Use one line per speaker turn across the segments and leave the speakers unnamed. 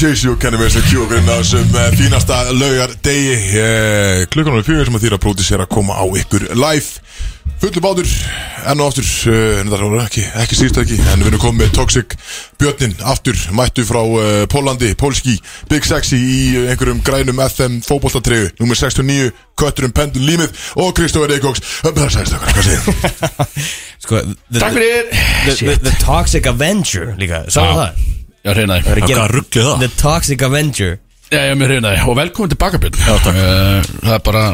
Chase You kennum við sem kjókurinn á þessum eh, fínasta laugar degi eh, klukkanum er fjögur sem að þýra pródísera að koma á ykkur live fullu bátur, enn og aftur eh, en það er ekki, ekki síðust ekki en við erum komið með Toxic Björnin aftur mættu frá eh, Pólandi, Pólski Big Sexy í eh, einhverjum grænum FM fótboltatregu, nummer 69 Kötturum Pendun Límið og Kristóður Eikóks Bara sæðist okkar, hvað segir þú?
sko, the,
Takk fyrir
the, the, the Toxic Avenger líka, sá
Já.
það
Já, hreinaði
Það er að
Hvað
gera-
ruggli það?
The Toxic Avenger
Já, já, mér hreinaði Og velkomin til Bakabjörn Já, takk uh, Það er bara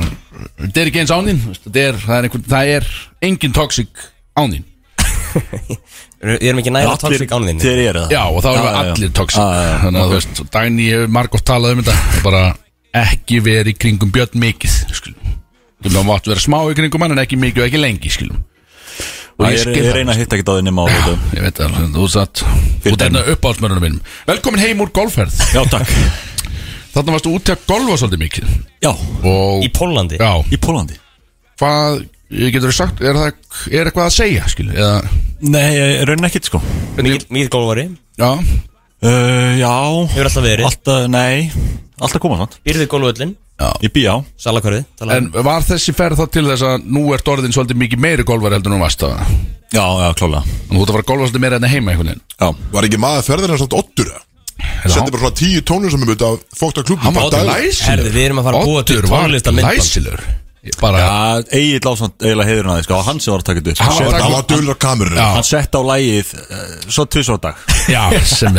Þetta er ekki eins án þín veistu, þetta er- Það er einhvern Það er engin toxic án þín
Við erum ekki næra Toxic án þinn
Þeir eru það
Já, og þá erum
Já,
við
já, já.
allir toxic
Já, já, já.
Þannig að þú veist Dagný hefur margótt talað um þetta Það er bara ekki verið í kringum Björn mikið Skulum Þú mátt vera smá í kringum hann En ekki mikið og ekki lengi, skulum
Og
Og ég
ég,
skil
ég
það.
reyna að hitta ekki á þið nema á þetta
Ég veit það, þú satt Þú
Fyrir
dæna uppáhaldsmörunum mínum Velkomin heim úr golfferð
Já, takk
Þarna varstu úti að golfa svolítið mikið
Já,
Og
Í Pólandi
Já,
í Pólandi
hvað getur þú sagt Er, það, er eitthvað að segja, skilu Eða,
Nei, ég raunin ekkit sko
Mikið mikið gólvari
já,
uh, Já,
Hefur alltaf verið
alltaf, nei Alltaf koma nátt
Býrðið gólvöllin
Ég býja á
Salakörði
en var þessi ferð þá til þess að Nú ert orðin svolítið mikið meiri golfar heldur en þú varst það
Já, já, klálega
Þú ert að fara að golfa svolítið meira enn heima einhvern
Já,
Var ekki maður ferðirinn samt oddur? Sendi
veginn
bara svona tíu tónum sem er út af fókta klubnum
Hann var
Bara
orðin
daglega.
læsilegur.
Herðu, við erum að fara að búa til
Oddur var
tónlistarmyndband.
Læsilegur Ég Bara,
já Egil Lásson eiginlega heiður hann aðeins sko Hann sem var að taka þetta
Hann var
upp
að
Sett-
Það var dölur á kamerunni
Já.
Hann sett á lægið uh, Svo tvisvar á dag
já, sem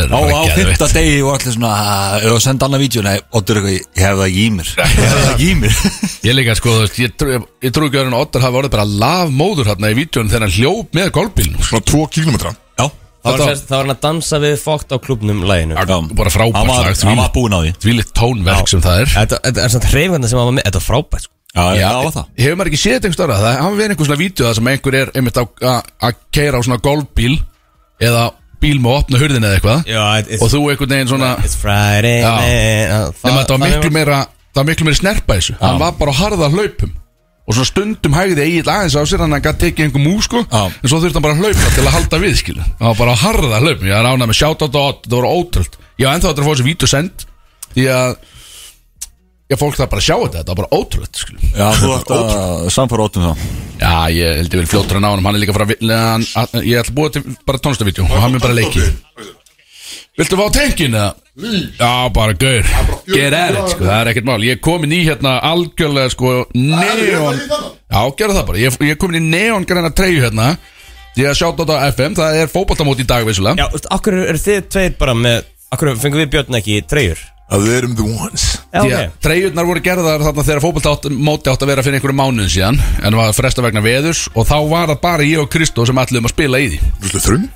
er
Á,
bara
á
geðveikt.
fyrta degi og allir svona "Ah, Og senda annað vídeo Nei, Oddur eitthvað Ég hef það ekki í mér Ég hef það ekki í mér
Ég líka sko, þú veist, ég, trú- ég, ég trú ekki að hann Oddur hafi orðið bara lavmóður hérna í vítjónu þegar hann hljóp með golfbílnum sko.
Svona 2 kilometra
Já
Það var,
Þetta-
sérst, það var hann að dansa við fókt á klubnum læginu
Já, bara frábært
Hann var-
lag, því-
Hann var búin á því
Því litt tónverk sem það er
Þetta þetta er svona hreyfandi sem hann var með Þetta er frábært sko.
Já, já, það var það
Hefur maður ekki séð þetta einhver stóra Það hafa verið einhver svona vídeo það sem einhver er einmitt á- að að keira á svona golfbíl Eða bíl með að opna hurðin eða eitthvað
Já, it's,
Og þú einhvern veginn svona
it's Friday uh,
Já.
night.
Nefnir þetta var
Þannig
miklu meira Það var miklu meira snerpa í þessu Hann var bara á harða hlaupum Og svona stundum hægði Egil aðeins á sér Þannig að hann gæti tekið einhver múr sko
Já.
En svo þurfti hann bara að hlaupa til að halda við skilu Hann var bara á harða hlaupum Ég er ánað með sjátt á dot Það voru ótröld Ég var ennþá eftir að fá þessi vídeo send Því að Já, fólk það bara að sjá þetta Þetta var bara ótröld skilu
Já, þú ætti að samfara Oddur um þá
Já, ég held ég vel fljótur en á hann Hann er líka frá hann, að, Ég ætla að búa til bara tónlistavídjó Og hann er bara leiki Viltu fá tenkin eða? Já, bara gaur Get at it, sko, það er ekkert mál Ég er komin í hérna algjörlega, sko Neon Já, gera það bara Ég, ég er komin í neon græna treyju hérna Ég er sjátt á þetta á FM Það er fótboltamót í dag,
Já,
vissulega
þú veist, okkur eru þið tveir bara með Okkur fengum við Björn ekki treyjur
Að við erum the ones
Já,
Því að treyjurnar voru gerðar þarna þegar fótboltamóti átt að vera fyrir einhverju mánuðin síðan En var fresta vegna veðurs Og þá var það bara ég og Kristó sem allir um að spila í því
Rúslega þrung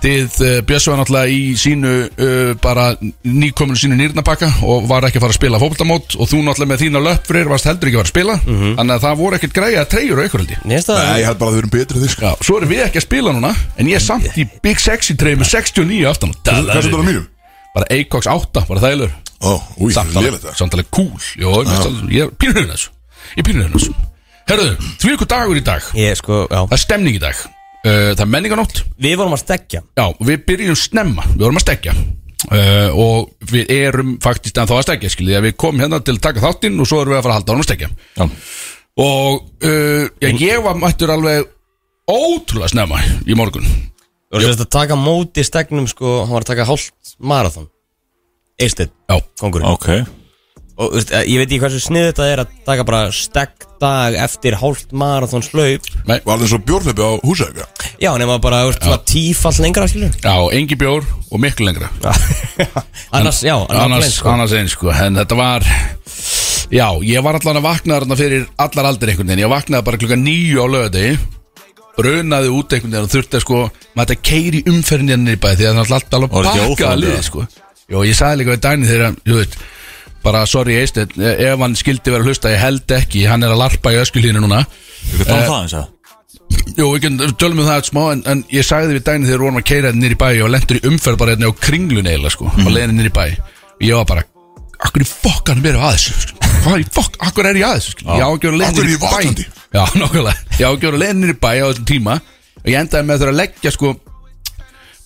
Þið uh, Bjössu var náttúrulega í sínu uh, bara nýkominu sínu nýrnabakka og var ekki að fara að spila fókbaltamót og þú náttúrulega með þína löpfrir varst heldur ekki að fara að spila
Mhm.
þannig að það voru ekkert græja að treyjur á ykkur held ég
Mér finnst
Nei,
það
ég held bara að við erum betri en þið sko
Já, svo erum við ekki að spila núna en ég er samt í Big Sexy treyju með 69 aftan
Hvað er þetta á mínum?
bara Acox 8, bara þælur
Ó, úi, lélega þetta
samtalið cool Jó, ég finnst alveg- ég er pínurinn þessu ég er pínurinn þessu Herðu, því ykkur dagur í dag
Ég, sko,
það
já
er stemning í dag uh, það er menninganótt
Við vorum að stekja
Já, og við byrjum snemma, við vorum að stekja uh, og við erum faktist en þá að stekja, skiljið, að við komum hérna til að taka þáttinn og svo erum við að fara að halda honum að stekja
Já.
og uh, já, ég var mættur alveg ótrúlega snemma í morgun
Við vorum sérst að taka móti stegnum, sko Hann var að taka hálft marathon Eistinn,
Já,
kongurinn
Ok
Og þú veist, eh, ég veit ekki hversu snið þetta er að taka bara stegg dag eftir hálft marathon slaup
nei,
Var það eins og bjórnleipi á húsæk
Já, nema bara, þú veist, svona tífall lengra, skilur
já, engi bjór og miklu lengra
Annars, já, annars,
annars,
annars, sko.
annars eins sko, en þetta var já, ég var allan að vakna þarna fyrir allar aldir einhvern veginn, ég vaknaði bara klukka nýju á lögadegi brunaði út einhvern veginn og þurfti að sko maður þetta keiri umferðin hérna í bæði því að það er alltaf alveg
Var þetta ekki
pakkað að
óþolandi,
liði
eða?
sko Jó, ég sagði líka við Dæni þegar, þú veist bara sorry Eistet, ef hann skildi vera að hlusta ég held ekki, hann er að larpa í öskulínu núna
Við getum það eins að
Jú, við getum tölum við það eitt smá en, en ég sagði við daginn þegar við vorum að keira nýri bæ og lendur í umferð bara hérna á kringlun eiginlega sko,
Mhm.
á leiðinni nýri bæ og ég var bara, akkur í fokkanum erum við að þessu sko? hvað er í fokk, akkur er ég að þessu sko? ég á að gera
Af hverju
leiðinni
er ég
í
vakandi?
bæ Já, nokkulega, ég á að gera leiðinni nýri bæ á þessum tíma og ég endaði með að þurfa að leggja sko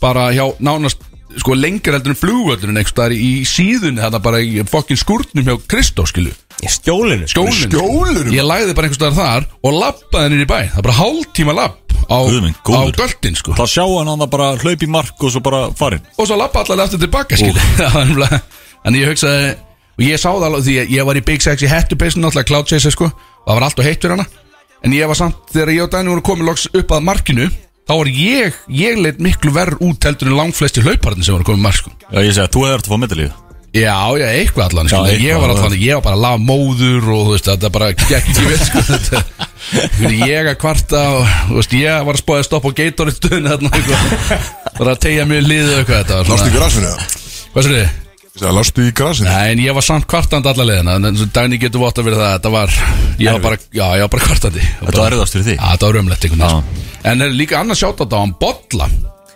bara hjá nánast sko lengur heldur en flugvöllurinn einhvers staðar í síðunni þarna bara í fokkin skúrtnum hjá Kristó sko. skilu
Í Skjólinu
skjólunum
Skjólunum?
ég lagði bara einhvers staðar þar og lappaði henni í bæ það er bara hálftíma lapp á,
Guð minn
á
góður.
döltin sko
Það sjá hann hann bara hlaup í mark og svo bara farin
og svo lappa allar eftir tilbaka skilu Það var nefnilega- þannig ég hugsaði og ég sá það alveg því ég, ég var í Big Sexy hettupeysun alltaf Cloud Chaser sko það var alltaf heitt fyrir hana en ég var samt þegar ég og Dani voru komið loks upp að markinu þá var ég ég leitt miklu verð út heldur en langflesti hlauparðin sem voru komið mark sko
Já, ég segi að þú hefur þetta að fá middalíð
Já, já, eitthvað allan,
Já,
skilur,
eitthvað
ég var
allan.
allan, ég var bara að laga móður og þú veist, þetta bara gekk ekki vel, sko, þetta, fyrir ég að kvarta og, þú veist, ég var að spáði að stoppa á geitorið stöðinu þarna, eitthvað, bara að tegja mjög liðið eitthvað þetta, var
Lástu í
svona,
grasinu það?
hvað sér þið?
Ég sagði, lástu í grasinu?
Nei, en ég var samt kvartandi alla leiðina, en eins og dagni getur vott að vera það, þetta var, ég var bara, já, ég var bara kvartandi.
Þetta var erfiðast fyrir þig?
Já, þetta var raumlegt einhvern veginn, sko. en er líka annars sjátt á hann, Bolla,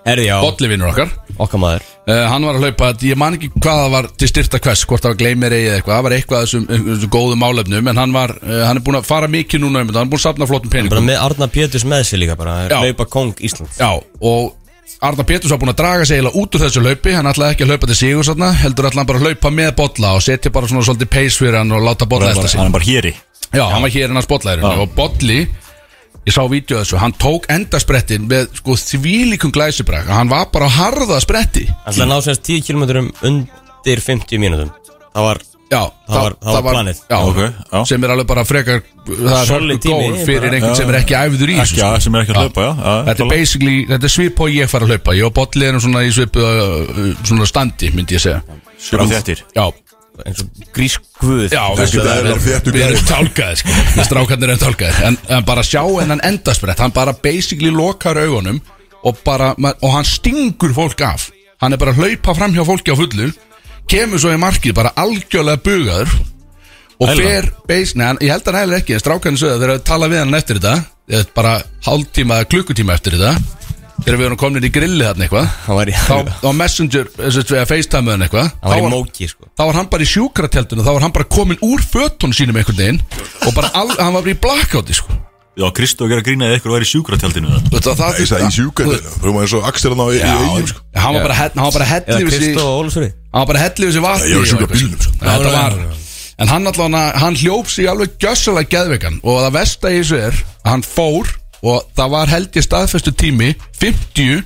Herði já,
Bolli vinnur okkar,
okkar maður
Uh, hann var að hlaupa, ég man ekki hvað það var til styrta hvers, hvort það var gleymeri eða eitthvað það var eitthvað af þessum, eh, þessum góðum álefnum en hann var, uh, hann er búin að fara mikið núna um þetta hann er búin að safna flottum
Bara
peningum
með Arna Péturs með sér líka bara
Já.
Hlaupa kong Íslands
Já, og Arna Péturs var búin að draga sig eiginlega út úr þessu hlaupi, hann ætlaði ekki að hlaupa til sigur satna, heldur ætlaði hann bara að hlaupa með bolla og setja bara svona svolítið pace fyrir hann og láta bolla eftir sig
Hann er bara hér í
Já, hann var hér innast bollæðurinn og bolli Ég sá vídeo af þessu, hann tók endasprettin með sko þvílíkum glæsibrak hann var bara á harða spretti
Alltaf ná sérst 10 km undir 50 mínútum Það var
Já,
Það var- það var planið.
Já,
Ok, já.
sem er alveg bara frekar Það er
Solid
hörku
tími,
góð fyrir
bara.
einhvern sem er ekki æfður í þessu,
Ekki,
sko.
já, sem er ekki að hlaupa, já, já,
Þetta er
klálega.
basically, þetta er svip og ég fara að hlaupa Ég og Bolli erum svona í svipu Svona standi, myndi ég segja
Sjöfum þéttir
Já,
eins og grískvöð
já
er ekkert eðlilega þéttur
Við erum
gæði.
tálkaði, sko Við strákarnir erum tálkaði en, en bara sjá hennan endasprett Hann bara basically lokar augunum Og bara, ma- og hann stingur fólk af Hann er bara að hlaupa fram hjá fólki á fullu Kemur svo í markið, bara algjörlega bugaður og
Æla.
fer beis, neðan, ég held að hann hægir ekki en strákarnir sögðu að þegar við tala við hann eftir þetta eða bara hálftíma eða klukkutíma eftir þetta þegar við erum komin í grilli þarna eitthvað
Hann var í-
þá, þá messenger, þess að facetime hann eitthvað
Það var
þá
í móki sko
þá var hann bara í sjúkrateltinu þá var hann bara komin úr fötun sínum einhvern veginn og bara al, hann var bara í blackouti sko
Já, Kristó er að grína að ykkur væri í sjúkratjaldinu það.
Þú veist að það
Ég sagði, í sjúkvæðinu Prúma eins og Axel hann á í eigin sko
hann var bara hell- hann var bara
Eða
hellið við sig
Kristó og Ólusfri
hann var bara hellið við sig vatni
Ég var í sjúka
og eitthvað.
bílnum, sko.
Já, þetta var en hann allan að hann hljóps í alveg gjössalega geðveikan og það versta í þessu er að hann fór og það var held ég staðfestu tími 50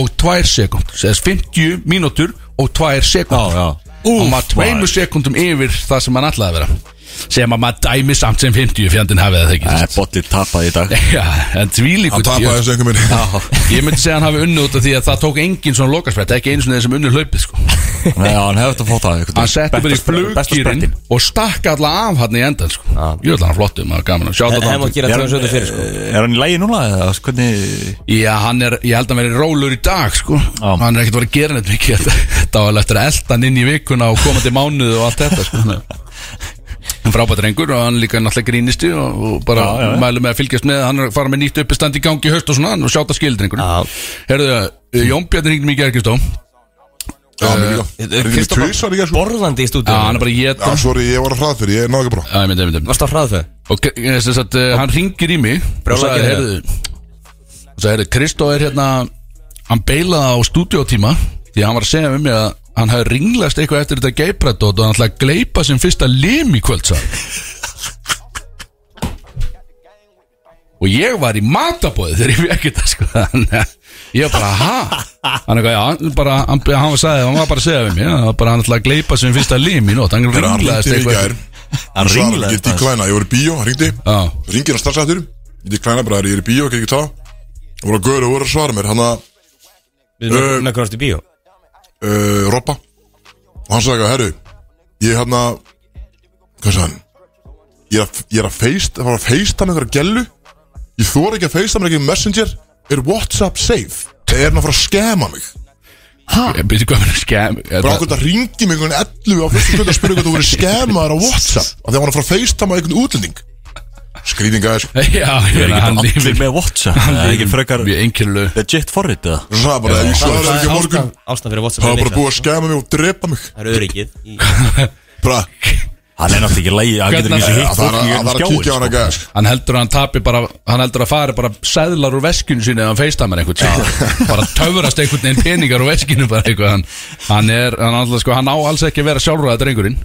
og 2 sekund Sess 50 mínútur og 2 sekund
já.
og maður tveimur sekundum yfir það sem hann ætlaði að vera sem að maður dæmi samt sem 50 fjandinn hafið það
Nei,
ekki
Bolli tapaði í dag.
Já, en
Hann
tvílíkur
tapaði þessu einhver minni
Ég myndi segja að hann hafi unni út af því að það tók engin svona lokarsprett ekki einu svona þeir sem unni hlaupið sko
Nei, já, hann hefði þetta að fá það. einhvern
Hann
veginn.
setti bara í
Besta spre- besta
fluggýrin
sprettin.
og stakka alla af hann í endan sko Jú, ætla hann flottum, það er gaman að sjá
En hann má
þetta
gera
Er
270 fyrir sko
Er hann í lægi núna? eða Hvernig...
Já, hann er, ég held að hann verið rólur í dag sko Hann er ekkert voru að gera neitt mikið Þetta- Þetta var alveg eftir að elta hann inn í vikuna og komandi mánuð og allt þetta sko En frábætt rengur og hann líka náttúrulega grínisti og, og bara
Já, já, já.
mælu með að fylgjast með Hann er að fara með nýtt uppistand í gangi í haust og svona og sjá þetta skildrengur
Já.
Herðu, Jón Bjarni ringdi mikið erkistó Eh,
Já, mér líka Það er
Kristó
tvísvar í
var
þessu
borðandi í
Já, hann
stúdíu
er bara
Já,
jétan
sorry, ég var að hraða fyrir, ég náðu ekki bara
Já, ég myndi, ég myndi
Varst á hraðföð?
Og eh, sem sagt, uh, hann ringir í mig Og
Brjálæði
sagði,
gerði
heyrðu Og sagði, heyrðu, Kristó er hérna Hann beilaði á stúdíótíma Því hann var að segja við mig að Hann hafi ringlast eitthvað eftir þetta geiprættót Og hann ætlaði að gleipa sem fyrsta lim í kvöld sagði. hann. Og ég var í matabóði þegar ég fekk þetta sko Þannig að Ég var bara, ha? Hann, eitthvað, já, hann, bara, hann, hann, var sagði, hann var bara að segja við mig Hann var bara hann ætlaði að gleipa sem fyrsta lim í nót Hann
Þegar hann
ringlaðist
ringdi í
eitthvað
gær
eftir-
Hann
Ég svaraði
ringlaði
ekki díklæna, ég var í bíó, hann ringdi
Já.
Ringir hann strax eftir Ég díklæna bara, ég er í bíó, ekki ekki tá Það voru að göra og voru að svara mér Hann að
Við
Eh,
erum með hvernig ástu bíó
uh, Robba og hann sagði herru, ég er hérna hvað sagði hann ég er að, ég er að feist, það var að feista með einhverja gellu ég þor ekki að feista með ekki messenger er whatsapp safe það er hann að fara að skema mig
Ég byrja Eh, hvað með skem
bara okkur þetta ringi mig einhvern 11 á fyrstu kvöldu að spyrja hvað þú verið skemaður á whatsapp af því að hann var að fara að feista með einhvern útlending skrýtinga er
Já, ég veit
Það er
að hann
ekki allir
lifir
með WhatsApp. Það er ekki frekar
Við einkennileg
legit forrið, eða?
og svo sagði bara, ég
Það
svaraði
er
ekki á morgun
ástæðan- ástæðan fyrir WhatsApp
það var bara
litla.
búið að skema mig og drepa mig
Það er öryggið í-
bara,
Hann er náttúrulega ekki lægi, hann getur
Hvernig-
ekki hitt
Hérna- Það er
fólk
að-
í
það er
gegnum
að kíkja á
skjáin
hana
sko.
gæðar
Hann heldur að hann tapi bara Hann heldur að fari bara Sæðlar úr veskinu sínu Eða hann feistamar einhvern tíma Bara töfurast einhvern veginn peningar úr veskinu Bara eitthvað Hann, hann er Hann, alltaf, sko, hann á alls ekki að vera sjálfræða drengurinn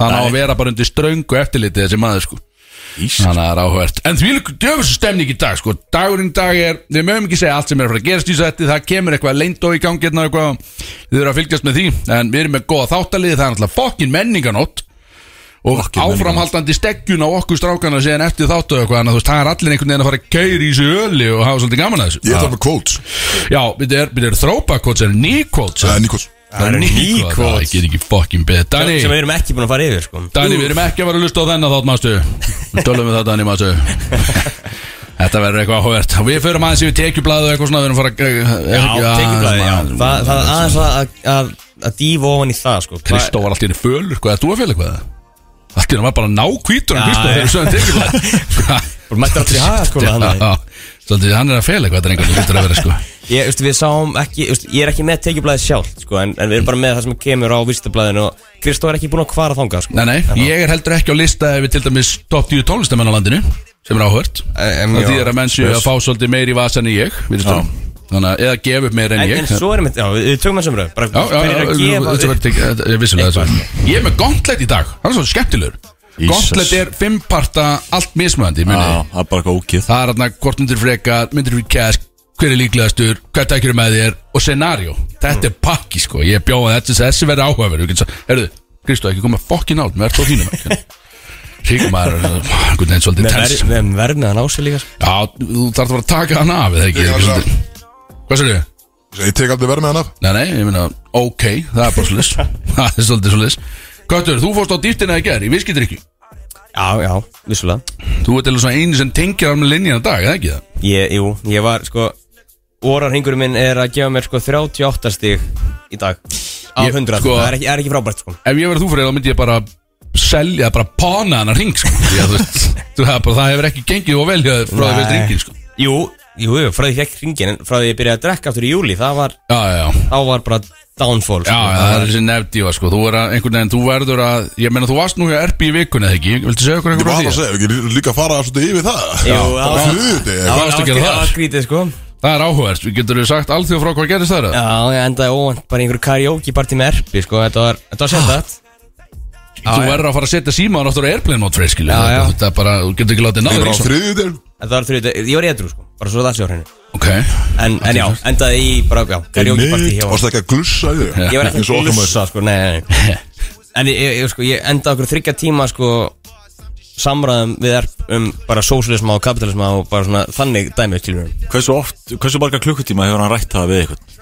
Hann á
Nei.
að vera bara undir ströngu eftirliti Þessi maður sko
Ís.
Þannig að það er áhugavert En því líka djöfus stemning í dag sko. Dagurinn í dag er, við mögum ekki segja allt sem er að fara að gerast í sætti Það kemur eitthvað leindó í gangi hérna eitthvað Við erum að fylgjast með því En við erum með góða þáttalið, það er alltaf fokkin menninganót Og
Fokkin
áframhaldandi steggjun á okkur strákana Síðan eftir þáttu eitthvað Þannig að þú veist, það er allir einhvern veginn að fara að keiri í sig öli Og hafa svolítið gaman að þessu
Ég ætla með quotes
Já, við erum er þrópakóts, er nýkóts
Það er Nikos
Það er
ný
nýkóts,
quotes.
það get ekki fokkin betur Dani,
sem við erum ekki búin að fara yfir sko.
Dani, við erum ekki að vera að lusta á þennan þátt, mástu Við tölum við það, Dani, mástu Þetta verður eitthvað áhugavert Við förum aðeins yfir tekjublaðu og eitthvað svona Við erum að fara að
Já, tekjublaði, já
aðeins-
Það það er aðeins að- að- að að dýfa ofan í það sko. Hvað-
Kristó var allt í henni fölur, hvað er þú að fjöla eitthvað? Allt í henni var bara nákvítur
Já,
hann Kristó
já.
þegar við sögum tekjublaði
Bara mættur allir í sko, hagaskóla, hann er.
Já, Svolítið, hann er að fjöla eitthvað þetta er einhvern veginn að vera sko
Ég, veist, við sáum ekki, veist, ég er ekki með tekjublaðið sjálft sko, en, en við erum bara með það sem kemur á vistablaðinu og Kristó er ekki búin að kvara þangað sko.
Nei, nei, ég er heldur ekki á lista ef við til dæmis top 10 tónlistamenn á landinu sem er áhört
En- en
Það
já,
þýðir að menn séu að
spes.
fá svolítið meiri í vasan en ég virðist vera. Þannig að, eða gefa upp meira en
en,
ég
en svo erum við, já, við við tökum þessum röð bara
Já, já,
hverjir
já,
að gefa
þetta verður ekki, þetta er vissulega þetta Ég er með gauntlet í dag, hann er svo skemmtilegur
Jesus.
Gauntlet er fimmparta allt mismöðandi,
Já,
muni
það er bara eitthvað ókið
Það er hérna hvort myndir freka, myndir fyrir kæsk Hver er líklegastur, hvað tækir með þér Og scenario, þetta er pakki sko Ég bjóða þetta, þessi verður áhugaverð Herðu, Kristó, ekki koma fokkin áld Mér er þó þínum Ríkum maður, einhvern veginn svolítið
með
tens
verð- með verðnaðan á sig líka sko.
Já, þú þarf að fara að taka hann af eða ekki,
Ég tek
ekki
hann af.
svolítið- Hvað sér ég?
Ég tek aldrei verð með hann af
Nei, nei, ég meina, ok, það er bara svolítið Það er svolítið svolítið Köttur, þú fórst á dýftina í gerð, í viskittir ekki
já, já, vissulega
Þú ert eða svona einu sem tengir hann með linjan að dag, eða ekki það?
ég, jú, ég var sko orarhingurinn minn er að gefa mér sko 38 stig í dag á
Ég-
100,
sko-
það er ekki, er ekki frábært sko.
Ef ég verið þú fyrir, þá myndi ég bara selja, bara pána hann að ring, sko Já, þú veist, þú veist, það, er bara, það hefur ekki gengið og vel hjá þér frá því veist
Nei.
ringin, sko
jú, jú, jú, frá því ekki ringin en frá því ég byrjaði að drekka aftur í júli það var,
Já, já, já,
þá var bara downfall sko.
já, já, það er þessi nefndíva, sko Þú er að, einhvern veginn, þú verður að, ég meina, þú varst nú hjá RB í vikunni, eða ekki? Viltu segja okkur
Ég
einhver
var að
því?
segja, við getum líka að fara svolítið yfir það
Jú,
það
það var-
var hluti
það var
varstu að gera
skrítið-
þar?
það var skrítið sko
Það er áhugavert, við getur við sagt alþjóð frá hvað gerist það, eða?
Já, ég endaði óvænt bara í einhverju karaoke partí með erpi, sko, þetta var, þetta var sérstætt
Þú
já.
verður að fara að setja símaðan aftur á airplane mode frey, skilju
Já, já.
Þetta er bara, þú getur ekki látið
Ég
náður
var
í
á
svo
þriðið
Þetta var þrjóðið, ég var edru, sko, bara svo það sé á hreinu
Ok,
En, en já, endaði í bara, já, karaoke partí hjá
Varst ekki að glussa í þig
Ég var ekki
Eins og
að
okkar maður.
glussa, sko, nei, nei, nei En ég, ég, ég, sko, ég endaði okkur þryggja tíma, sko Samræðum við erp um bara sósialisma og kapitalisma og bara svona þannig dæmið til mér
Hversu oft, hversu marga klukkutíma hefur hann rætt það við eitthvað?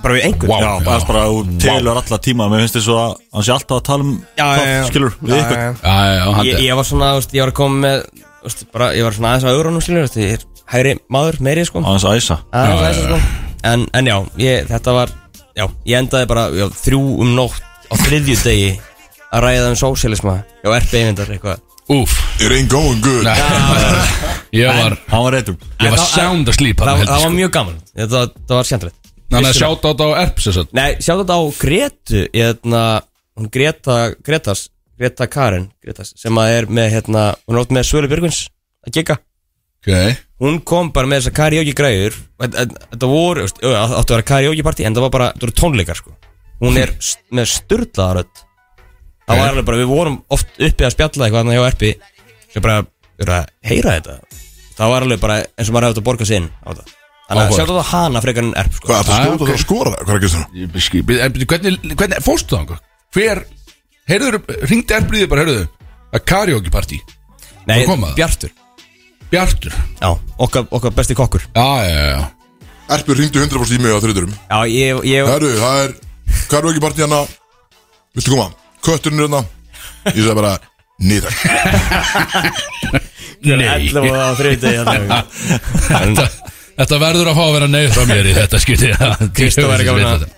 Bara við einhvern
Vá.
Já,
já.
bara bara þú telur alla tíma Mér finnst þess að hann sé alltaf að tala um
Já,
það,
já, já.
Skilur, við
Já,
eitthvað
já, já.
já, já, já, hann
ég, ég var svona, þú veist, ég var að koma með þú veist, bara, Ég var svona aðeins á öðrunum, skilur, þú veist, ég er hægri maður, meiri, sko
Aðeins að æsa
Já, já, já. En, en já, ég, þetta var já, ég endaði bara já, þrjú um nótt á þriðju degi að ræða um sósialisma já, erpi einvindar eitthvað
Úf,
It ain't going good
nei Ég var,
Hann var reytur
ég
En
var
þá-
sound asleep
það,
hann
það var
heldur sko
mjög gaman það, það, það var skemmtilegt
Þannig að
Vissulega.
sjáta á þetta á erp sér satt
Nei, sjá þetta á Gretu hérna, hún Greta, Gretas Greta Karen, Gretas sem að er með, hérna, hún er oft með Svölu Björgvins að gigga
Ok,
hún kom bara með þessa karaoke græður þetta þetta voru, veist, ö, áttu að vera karaoke partí en það var bara, þetta voru tónleikar sko hún er st með styrlaðarödd það
Ok.
var alveg bara, við vorum oft uppi að spjalla eitthvað annað hjá Erpi sem bara, við erum að heyra þetta það var alveg bara eins og maður hefði átt að borga sinn á þetta þannig að
Áhugavert.
sjáttu það hana frekar en Erp sko.
Hvað, ertu að
Ah,
skjóta
ok.
það að skora? Hvað er að hérna? gera það?
Ég byrski- byrju, en byrju, hvernig, hvernig, fórstu það einhver? Hver, heyrður, ringdi erpliðið bara, heyrðu Að karaoke party,
nei,
þá kom það.
Bjartur
Bjartur
já, okkar, okkar besti kokkur
Já, já, já, já
Erpur ringdu 100% í mig á þriðurum
já, ég, ég,
Herru, það er Karvöki partí hana Viltu koma? Kötturinn er hérna Ég sagði bara Nýðar
ég ætlum að þriðið þetta
Þetta, þetta verður að fá að vera neyð frá mér í þetta skipti
Kristó
Ég
er
veit
ekki að
þetta.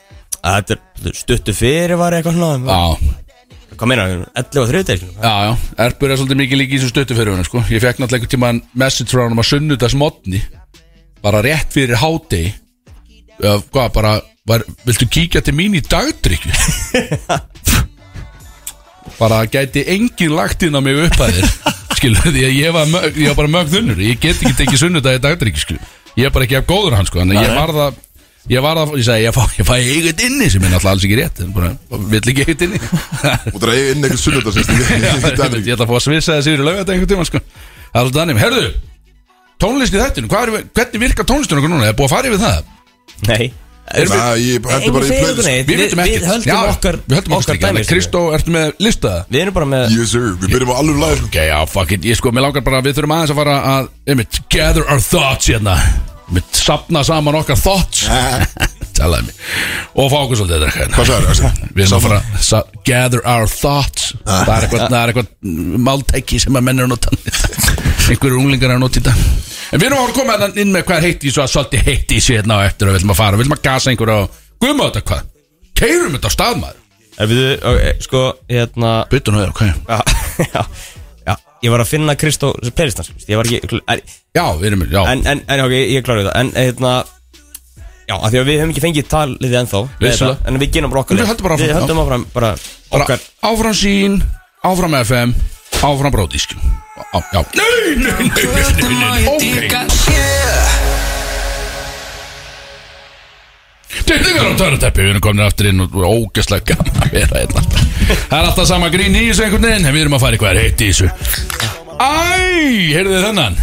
þetta er stuttu fyrir var eitthvað svona
Já,
hvað meina, 11 og 30
Já, já, Erpur er svolítið mikið líka í þessu stöttu fyrir henni sko. Ég fekk náttúrulega einhvern tímann message frá hann um að sunnudags modni bara rétt fyrir hádegi eða hvað, bara var, viltu kíkja til mín í dagdrykju bara gæti engin lagt inn á mig upphæðir skilur, því að ég var, mög, ég var bara mögð unnur ég get ekki tekið sunnudagi dagdrykki skilur ég er bara ekki af góður hann sko þannig að ég var það ég var það, ég sagði, ég fæ, ég fæ eigið inni sem er náttúrulega alls ekki rétt en bara, vill ekki eigið inni
Og það er inn ekkert sunnudar sem
ég ætla að fá að svissa þessi yfir lögat einhvern tíma sko það er alltaf þannig, herðu tónlist í þættinu, hvað er, hvernig virkar tónlistin okkur núna, er búið að fara yfir það
Nei
Nei, ég hendur bara í
segir okkur
playlist
neitt.
Við
Við-
vitum ekkert
Við höldum
Já,
okkar
Við höldum okkar
okkar dæmi
dæmi
sko. skilur.
Kristó, ertu með listaða?
Við erum bara með
Yes sir, við byrjum á alveg læg
Ok, já, fuck it Ég sko, mér langar bara Við þurfum aðeins að fara að einmitt, Gather our thoughts hérna Einmitt, Sapna saman okkar thoughts Talaði mig Og fá okkur svolítið þetta hérna.
Hvað sagðirðu, Axel?
Við erum að fara að sa- Gather our thoughts Það er eitthvað, það er eitthvað Máltæki sem að menn er að nota Einhverjur unglingar er að nota í þetta En við erum að fara að koma hérna inn með hvað er heitt í Svo að svolítið heitt í sér hérna á eftir Og við viljum að fara Við viljum að gasa einhverju og Guðum á þetta hvað Keirum þetta á staðmaður
Eh, Við, ok, sko, hérna
Byttu nú er, ok
Já, já, já Ég var að finna Kristó Peristan, ég var ekki en,
Já, við erum, já
en, en, en ok, ég klára þetta En, hérna Já, af því að við hefum ekki fengið talið ennþá með
Vissulega.
þetta, En við genum bara okkar
Við
leið.
höldum bara áfram,
Við höldum áfram bara
bara
okkar
áfram sín áfram FM, áfram bróðísk Á- já nei, nei, nei, nei, nei, nei, ok Tilningar á törnuteppi, við erum komin aftur inn og ógæslega gaman að vera hérna Það er alltaf sama grín í þessu einhvern veginn en við erum að fara eitthvað heitt í þessu Æ, heyrðu þið þennan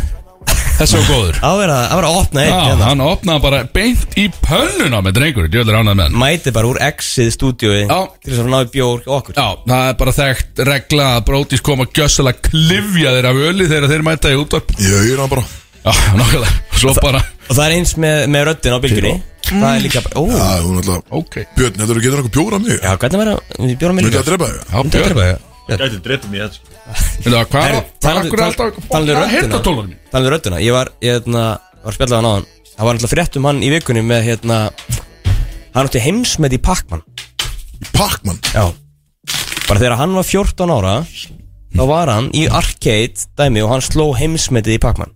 Þessi var góður
Að vera, að vera að opna
Já,
eitt hérna
hann opnaði bara beint í pönnuna með drengur, djöðlega ránað með hann
Mæti bara úr exið stúdíói
Já.
Til þess að náðu bjór hjá okkur
Já, það er bara þekkt regla að brótis koma gjössalega klifja þeir af öli þegar þeir mæta í útvarp
Ég er hann bara
Já, nokkulega, svo bara
Og það er eins með, með röddin á byggjunni Það er líka, ó,
Já, hún alltaf
Ok
Björn, heldur þú getur eitthvað bjóra mig?
já, hvernig verður Bjóra mig
Myndi
líka
að drepa þig?
Já,
Myndi að drepa
þig
Gæti drepa mér þetta sko.
Hvað, hvað,
Herru,
hvað,
talandi-
hvað,
tal-
hvað,
talandi
hvað,
röddina.
hérna tólunni
Þannig röddina, ég var, ég hérna, var spjallað hann á hann Það var alltaf frétt um hann í vikunni með hérna Hann átti heimsmet í Pac-Man
Pac-Man
Já Bara þegar hann var 14 ára Þá var hann í arcade dæmi og hann sló heimsmetið í Pac-Man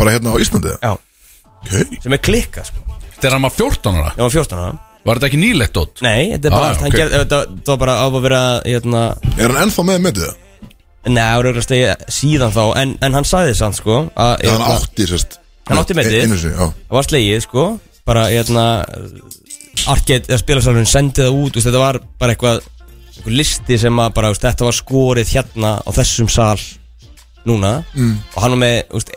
Bara hérna á Íslandi
Já
Ok
Sem er klikka sko Þegar
Þegar hann var 14 ára,
hann var 14 ára
var þetta ekki nýlegt dótt?
Nei, þetta er bara
Ah,
allt
ok.
Hann gerði, þetta þetta var bara á að vera hérna
Er hann ennþá með með þetta?
Nei, það voru að stegja síðan þá En, en hann sagði þess hann sko að,
Já, hann
hérna,
átti sérst e-
Hann átti metið.
Einu sinni, já
Það var slegið sko Bara hérna Arcade, eða spilarsalurinn sendi það út þú veist, Þetta var bara eitthvað einhver listi sem að bara þú veist, Þetta var skorið hérna á þessum sal Núna mm. Og hann var með þú veist,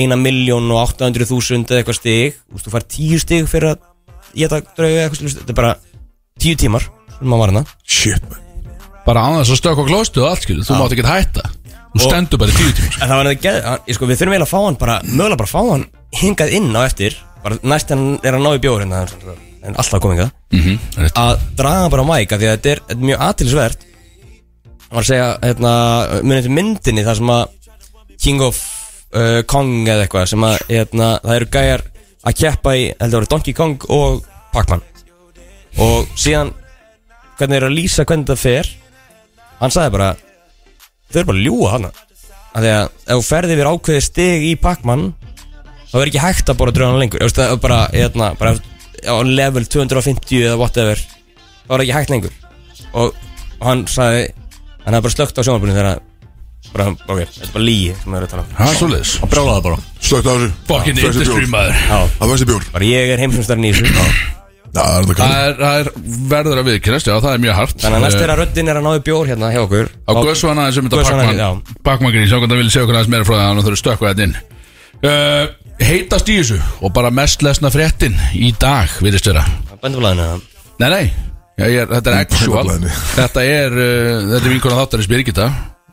eina miljón og 800.000 eða eitthvað stig Þú veist, þú fær tíu stig fyrir að Ég það draugu eitthvað stig Þetta er bara tíu tímar sem maður var hérna
Shit, man
Bara annað þess að stökk og glóstu og allt, skilur, þú mátt ekki hætta Þú
Og-
stendur bara í tíu tíma
En það var þetta geð, hann- ég sko, við þurfum eiginlega að fá hann bara, mögulega bara að fá hann hingað inn á eftir, bara næst hann er að ná í bjór hérna, en alltaf komið það,
rétt.
að draga hann bara á mæk, af því að þetta er, þetta er mjög aðtilsvert, hann var að segja, hérna, munið til myndinni, það sem að King of uh, Kong eða eitthvað, sem að, hérna, það eru gæjar að keppa í, heldur það voru Donkey Kong og Pac-Man, og síðan, hvernig er að lýsa hvernig þetta fer, hann sagði bara, þau eru bara að ljúa hana að því að ef þú ferði yfir ákveði stig í Pac-Man þá er ekki hægt að bora draugan lengur Þú veist, það er bara, hérna, bara á level 250 eða whatever þá er ekki hægt lengur og, og hann sagði hann hafði bara slögt á sjónarbúinu þegar að- bara, ok, þetta er bara líi sem það er að tala um
Það er svoleiðis
Brálaði bara
Slögt á þessu
Fucking
Föstu bjór.
industry maður
Það var þessi bjór
bara ég er heimsumstarinn í þessu
Já, það er þetta
Það
kannan
er- það er verður að viðkynast, já, það er mjög hart Eh,
þannig að næst er að röddin er að náðu bjór hérna hjá okkur
Á Guðsvana aðeins um
Guðs vana
þetta
aðeins,
bakmangri Sjá hvernig það vilja sjá hvernig aðeins meira frá það Þannig að þurfa að stökkva þetta inn uh, Heitast í þessu og bara mest lesna fréttin Í dag, virðist vera
bændablaðinu eða?
Nei, nei, já, ég er, þetta er actual
Bændablaðinu.
Þetta er, uh, þetta er vinkona þáttarins Birgitta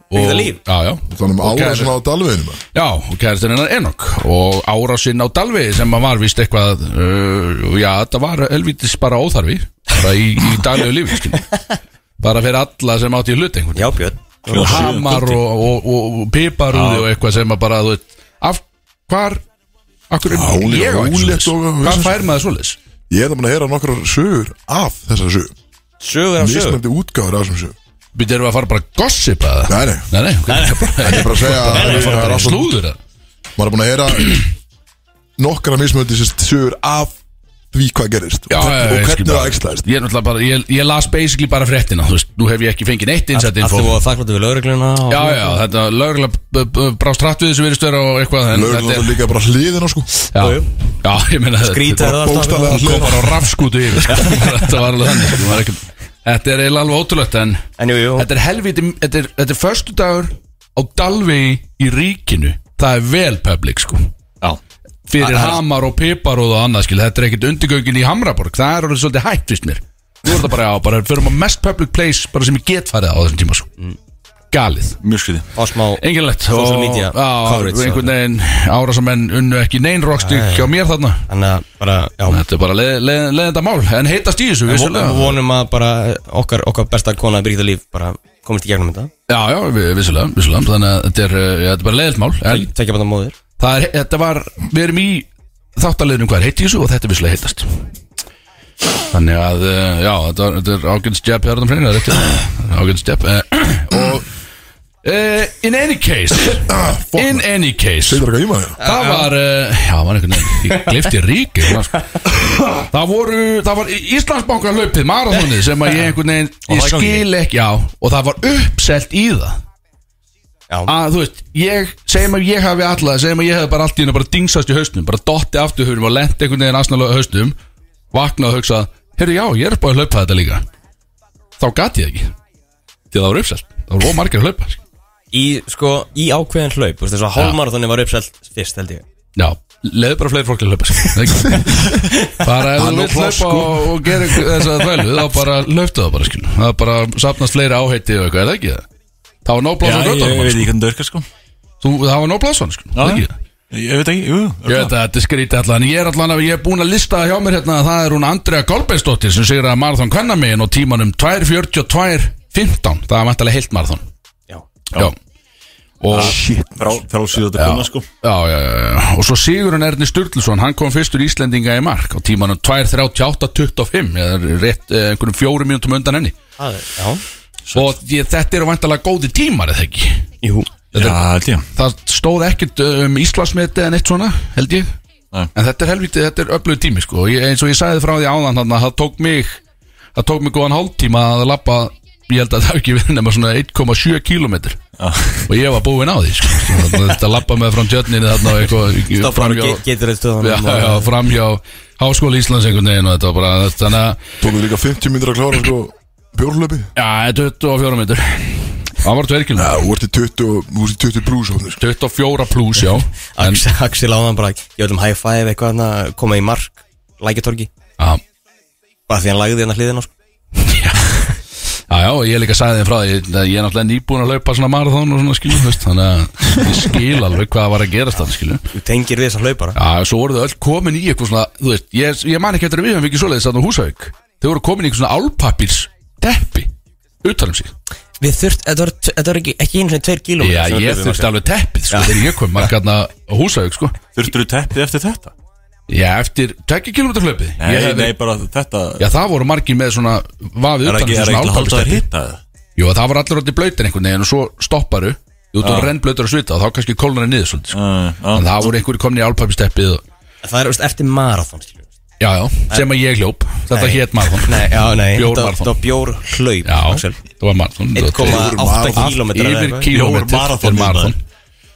Birgitta Líf?
Já, já
Þannig
Og
að ára
kæri-
svona á dalveginu man.
Já, og kæristin hennar Enok og árásinn á Dalvi sem að var vist eitthvað uh, já, þetta var helvítis bara óþarfi bara í, í daglegu lífi skilur. bara fyrir alla sem átti í hlut einhvern
já Björn
og hamar og, og, og, og piparúði og eitthvað sem að bara þú veit, af hvar akkur,
Áli-
ég á ekki
ólíkt
svoleiðis.
og-
hvað fær maður svoleiðis?
Ég er það búin að heyra nokkrar sögur af þessar sögur
sögur af sögur
Mismöndi útgáður af þessum sögur
Býttu erum við að fara bara að gossipa það?
Nei, nei
Nei, nei, nei.
Ég er bara að segja að það
Við fara
er
bara í
alltaf-
slúður það
Maður er búin að heyra nokkra mismöndi sérst sögur af því hvað gerist
Já,
og,
já, já,
hvern,
ég
og
skil
hvernig
bara.
það æxlaðist
Ég er náttúrulega bara, ég, ég las basically bara fréttina Þú veist, nú hef ég ekki fengið neitt innsætt
Allt
info
er búið að þakkláttu við lögregluna og-
Já, já, þetta lögurlega brást rætt við þessu virðistöra og eitthvað en
Lögur
þetta
náttúrulega
er-
líka bara hliðina sko
Já, já, ég meina þetta-
Skrýta er það alltaf
Bókstaflega
Hún kom
hliðina
bara á rafskútu yfir sko. Þetta var alveg þannig sko. Hún var ekki, Þetta er eiginlega alveg ótrúlegt En
En jú, jú
þetta er helviti Þetta er, þetta er förstu dagur á Dalvegi í ríkinu Það er vel public sko
Já
Fyrir
Það er-
hamar og piparóð og annað skil Þetta er ekkit undirgöngin í Hamraborg Það er alveg svolítið hægt, vist mér Þú er það bara, já, bara fyrir maður mest public place bara sem ég get farið á þessum tíma sko Galið
Mjög skriði
Og smá
Enginlegt
Social media coverage, sko.
Einhvern veginn árasamenn unnu ekki neyn rockstík hjá mér þarna
Þannig að bara, já
Þetta er bara leðenda leð, leð, leiðindamál, En heitast í þessu,
Við
vissulega
vonum að bara eh, okkar, okkar besta kona Birgitta Líf bara komist í gegnum þetta
Já, já, vi- vissulega, vissulega Þannig að þetta er, eh, þetta er bara leiðilt mál En
Tekja bara móðir
það er, þetta var, við erum í þáttaleginum hvað er heitt í þessu og þetta er visslega heitast Þannig að, eh, já, þetta, var, þetta er ágjönd stjæp Hjörðan Freyna, þetta er ágjönd stjæp Og uh, In any case
fuck,
In any case
Segir það ekki í maður
Það var, uh, já, var einhvern veginn Ég glifti ríki hérna, sko. Það voru, það var Íslandsbanka hlaupið marathónið sem að ég einhvern veginn
Og
Ég
það í gangi.
skil ekki, já, og það var uppselt í það
Já.
Að, þú veist, ég, segjum að ég hafi alla segjum að ég hefði bara allt í hennu bara dingsast í hausnum bara dotti aftur höfum og lent einhvern veginn asnalega hausnum, vaknað og hugsað Heyrðu, já, ég er bara að hlaupa þetta líka Þá gat ég ekki Því að það var uppselt, það voru ómargir að hlaupa sko.
Í, sko, í ákveðin hlaup Þú veist þess að hálfmarathoni var uppselt fyrst held ég
Já, leiðu bara fleiri fólk til að hlaupa sko. Ekki? bara ef
Hann
þú
og
vilt
pláss,
hlaupa
sko.
og, og gera einhver- þessa þvælu þá bara hlauptu það bara skil það bara sapnast fleiri áheiti og eitthvað, er það ekki það? Það var nóg
Já,
blásson
ég, ég veit
röndunum
ekki hvernig það örkar sko
Þú, það var nóg blásson sko, er það ekki það?
Ég veit ekki, jú,
Ég veit að þetta er skrítið allan, en ég er allan að ég er búin að lista hjá mér hérna að það er hún Andrea Kolbeinsdóttir sem segir að marathon kvennamegin og tímanum 2.42.15 það er vantilega heilt marathon
Já
Já, og
Shit Frálsýðu þetta kona sko
Já, já, já, já. og svo Sigurinn Erni Sturluson hann kom fyrstur Íslendinga í mark á tímanum 2.38.25 eða rétt eh, einhverjum fjórum mínútum undan henni
Það er, já
og ég, þetta eru vantalega góði tímar eða ekki
Jú
Já, held ég
það stóð ekkert um Íslandsmeti eða neitt svona held ég
Nei.
en þetta er helviti, þetta er öflug tími sko og ég, eins og ég sagði frá því áðan þannig að það tók mig það tók mig góðan hálftíma að lappa ég held að það hafi ekki verið nema svona 1,7 kilometr og ég var búinn á því sko. þetta lappa með frá tjötninni þarna og eitthvað
Stoppar og
framhjá-
ge- getur þetta
já,
stöðan
já, framhjá Háskóla Íslands einhvern veginn og þetta var bara þannig að,
Tókum líka 50 myndir að klára sko Bjórlöpi
já, 24 minnur það var tverkilna
Já, þú ert í 20, þú ert í sko, 20 brús ofnir
24 pluss, já en,
Axel, Axel áðan bara Ég öllum high five eitthvað hana Koma í mark Lækjatorgi
já,
Bara því hann lagði hérna hliðina sko.
já, já, ég líka sagði þeim frá því að ég er náttúrulega nýbúin að laupa svona marathón og svona skilu, þú veist, þannig að ég skil alveg hvað var að gerast þannig skilu
Þú tengir við þess að hlaupara
Já, svo voru þau öll komin í eitthvað svona Þú veist, ég, ég man ekki eftir að við höfum ekki svoleiðis þarna á Húsavík Þau voru komin í eitthvað svona álpapirs Teppi, utanum sig
Við þurft Þetta var, þetta var ekki, ekki einu sinni tveir kílómetrar
Já,
sem við
ég
hlaupum,
þurfti
Axel.
alveg teppið, sko, þegar ég kom Markarna á Húsavík, sko
Þurftur þú teppið eftir þetta?
Já, eftir 2 km hlaupið
Nei,
Ég hefði-
nei, bara þetta
Já, það voru margir með svona Vafið
Er
utan
ekki,
sig
er
svona
ekki hálftaður
álpapirsteppi
hitta það?
Jú, það var allir orðið blöytin einhvern veginn Og svo stopparu Þú ert
Já.
orðið rennblöytur að svita og Þá kannski kólnar er niður svolítið sko.
Já,
En það voru einhverjir komin í álpapisteppið og...
Það er veist, eftir marathon skilur við.
Já, já, sem að ég hljóp Þetta
Nei.
hétt marathon
Nei, já, nei
Bjór
þetta-
marathon.
Þetta var bjór hlaup
Já,
Axel
það var marathon
1,8
Marathon.
kílómetrar eða
Yfir
eitthvað.
kílómetr
Bjór marathon,
er marathon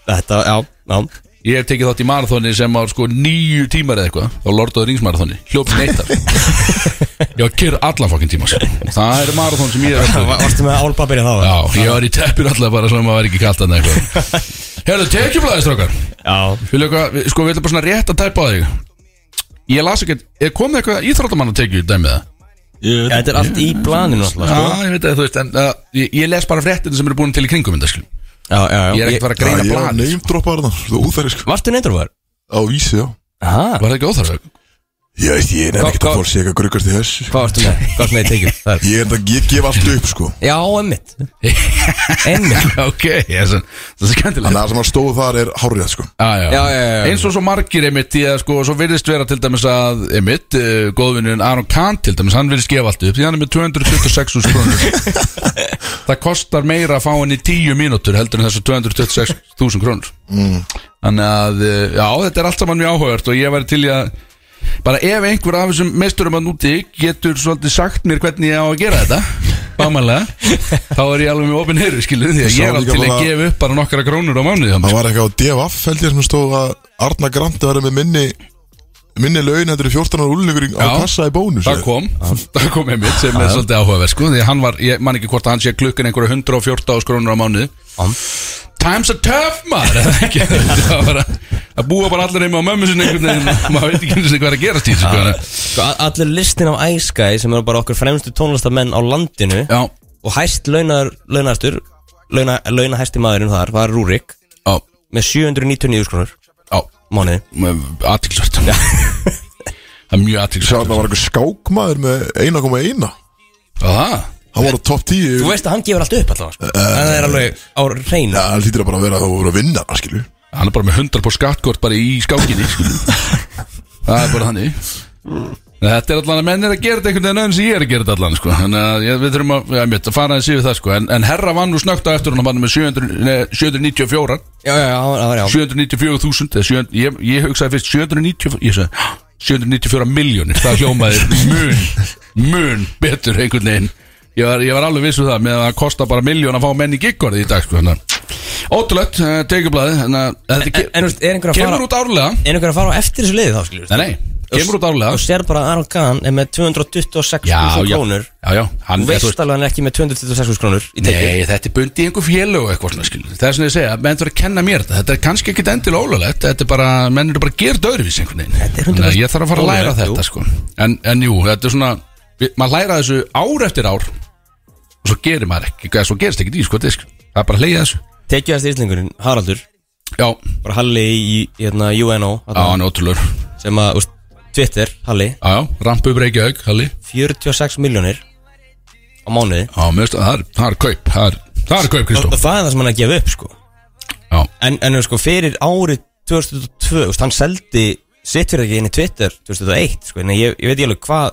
Þetta, já, já
Ég hef tekið þátt í marathoni sem var sko nýju tímar eða eitthvað á Lord of the Rings marathoni, hljópsin eittar Ég var að kyrra allan fokkin tíma sko. Það er marathon sem ég er að
Va- Varstu með álpapirinn þá?
Já, ég var í teppin alltaf bara svona að maður væri ekki kalt að eitthvað Herðu, tekjublaði strókar
Já
Vilja eitthvað, við- sko við ætlum bara svona rétt að tæpa á þig Ég las ekki, er komið eitthvað íþróttamann að tekju dæmið það?
ég
Ja,
veit
þetta er allt í planinu sko. alltaf,
Já, ég veit að þú veist, en uh, ég, ég les bara fréttina sem eru búin til í kringum þetta, skil
já, já, já.
Ég er ekkert að fara að
Já,
greina
ég er
planið sko.
neymdroppa þarna Þú er óþæri sko
Varstu neyndarfæður?
Á vísi, já
Aha
Var það ekki óþarfið?
Ég veist, ég er
Hvað-
ekkert að
hvað-
fór sér eitthvað gruggast í þessu sko.
Hvað varstu með? Hvað varstu með í tekjum? Þar.
Ég er þetta, ég gef allt upp sko
Já, emmitt Emmitt
ok, ég er svo- það er skemmtilegt
Þannig að það sem að stóð þar er hárrið sko
Já, já,
Já, já, já.
eins og svo margir einmitt í að sko, svo virðist vera til dæmis að einmitt, uh, góðvinnin Aron Kahn til dæmis, hann virðist gefa allt upp því hann er með 226 þúsund krónur það kostar meira að fá hann í 10 mínútur heldur en þessu 226 eh, þúsund krónur þannig að, uh, já, þetta er allt saman mjög áhugavert og ég væri til í að bara ef einhver af þessum mesturum að núti getur svolítið sagt mér hvernig ég á að gera þetta bámanlega, þá er ég alveg með opinn heyru skiluð, því að
Sá
ég er alveg
líka
til að
bara-
gefa upp bara nokkra krónur á mánuði
Það var eitthvað á DFF held ég sem stóð að Arna Grandi var með minni minni laun þetta eru 14 ára úlningur á
Já.
kassa í bónus
það kom, það kom einmitt sem er svolítið áhugaverð sko, því að hann var, ég man ekki hvort að hann sé klukkan einhverja 114 krónur á mánuði Times are tough maður eða ekki? það var að, að búa bara allir heima á mömmu sinni einhvern veginn, maður veit ekki einu sinni hvað er að gerast í þessu sko.
Sko, a- Allir listin á Ice Guy sem eru bara okkur fremstu tónlistamenn á landinu
já,
og hæst launar, launastur launa, launahæsti maðurinn þar var Rúrik
já,
með 799 skrúnur
já
mánuði
aðtilsvert það er mjög
Sjá
aðtilsvert
þarna var eitthvað skákmaður með 1,1
það
Hann var á topp 10
Þú veist að hann gefur allt upp alltaf sko.
Eh,
en það er alveg á reyna
Já, hann hlýtur að bara vera að það voru að vinna hann, skilju
hann er bara með 100 på skattkort bara í skákinni skilur. það er bara þannig En Þetta er allan að menn er að gera þetta einhvern veginn öðrum sem ég er að gera þetta allan sko. Þannig að ég- við þurfum að, ja, mitt, að fara þessi við það sko. en, en herra vann nú snögt á eftir hún hann var með 700, nei, 794
Já, já, já, það var já
794.000 eða 700 ég, ég hugsaði fyrst 794 ég sagði 794 miljónir það hljómaði mun mun betur einhvern veginn ég var, ég var alveg viss um það með að það kosta bara miljón að fá menn í gigorði í dag sko, þannig að- ótrúlegt, uh, tekjublaði þannig að þetta
En-
ke-
en, þú veist, er einhver að
kemur
fara-
út árlega
En einhver að fara á eftir þessu liði þá skilur
nei, nei, kemur út árlega
Og sér bara að Aron Kahn er með 226.000
já,
krónur
já, já
Þú
hann, þú
veist
veist-
alveg að hann er ekki með 226.000 krónur í tekið
Nei, þetta er bundi í einhver félög og eitthvað svona skil Það er svona ég segja, menn þurfa að kenna mér þetta Þetta er kannski ekkit endilega ólulegt Þetta er bara, menn eru bara gerð öðruvís einhvern veginn
Þetta er 100%
Þannig að Ég þarf að fara að læra
ólöglegt,
þetta sko En, en jú, þetta er svona við- Maður læra þessu ár eftir ár Og svo gerir maður ekki, eða svo gerist ekki í sko disk Það er bara að leiða þessu
Tekið þessi íslingurinn, Haraldur
Já,
bara Halli í hérna, UNO
á,
hérna,
hann er ótrúlur
sem að, úst, Twitter, Halli
Já, já, rampu upp Reykjavík, Halli
46 miljónir á mánuði
Já, mér veist að það er, það er kaup Það er, það er kaup,
og,
Kristó
og það er það sem hann er að gefa upp sko
Já,
en, en sko fyrir árið 2002 úst, hann seldi sitt fyrir ekki inn í Twitter 2001 sko en ég, ég veit ekki alveg hvað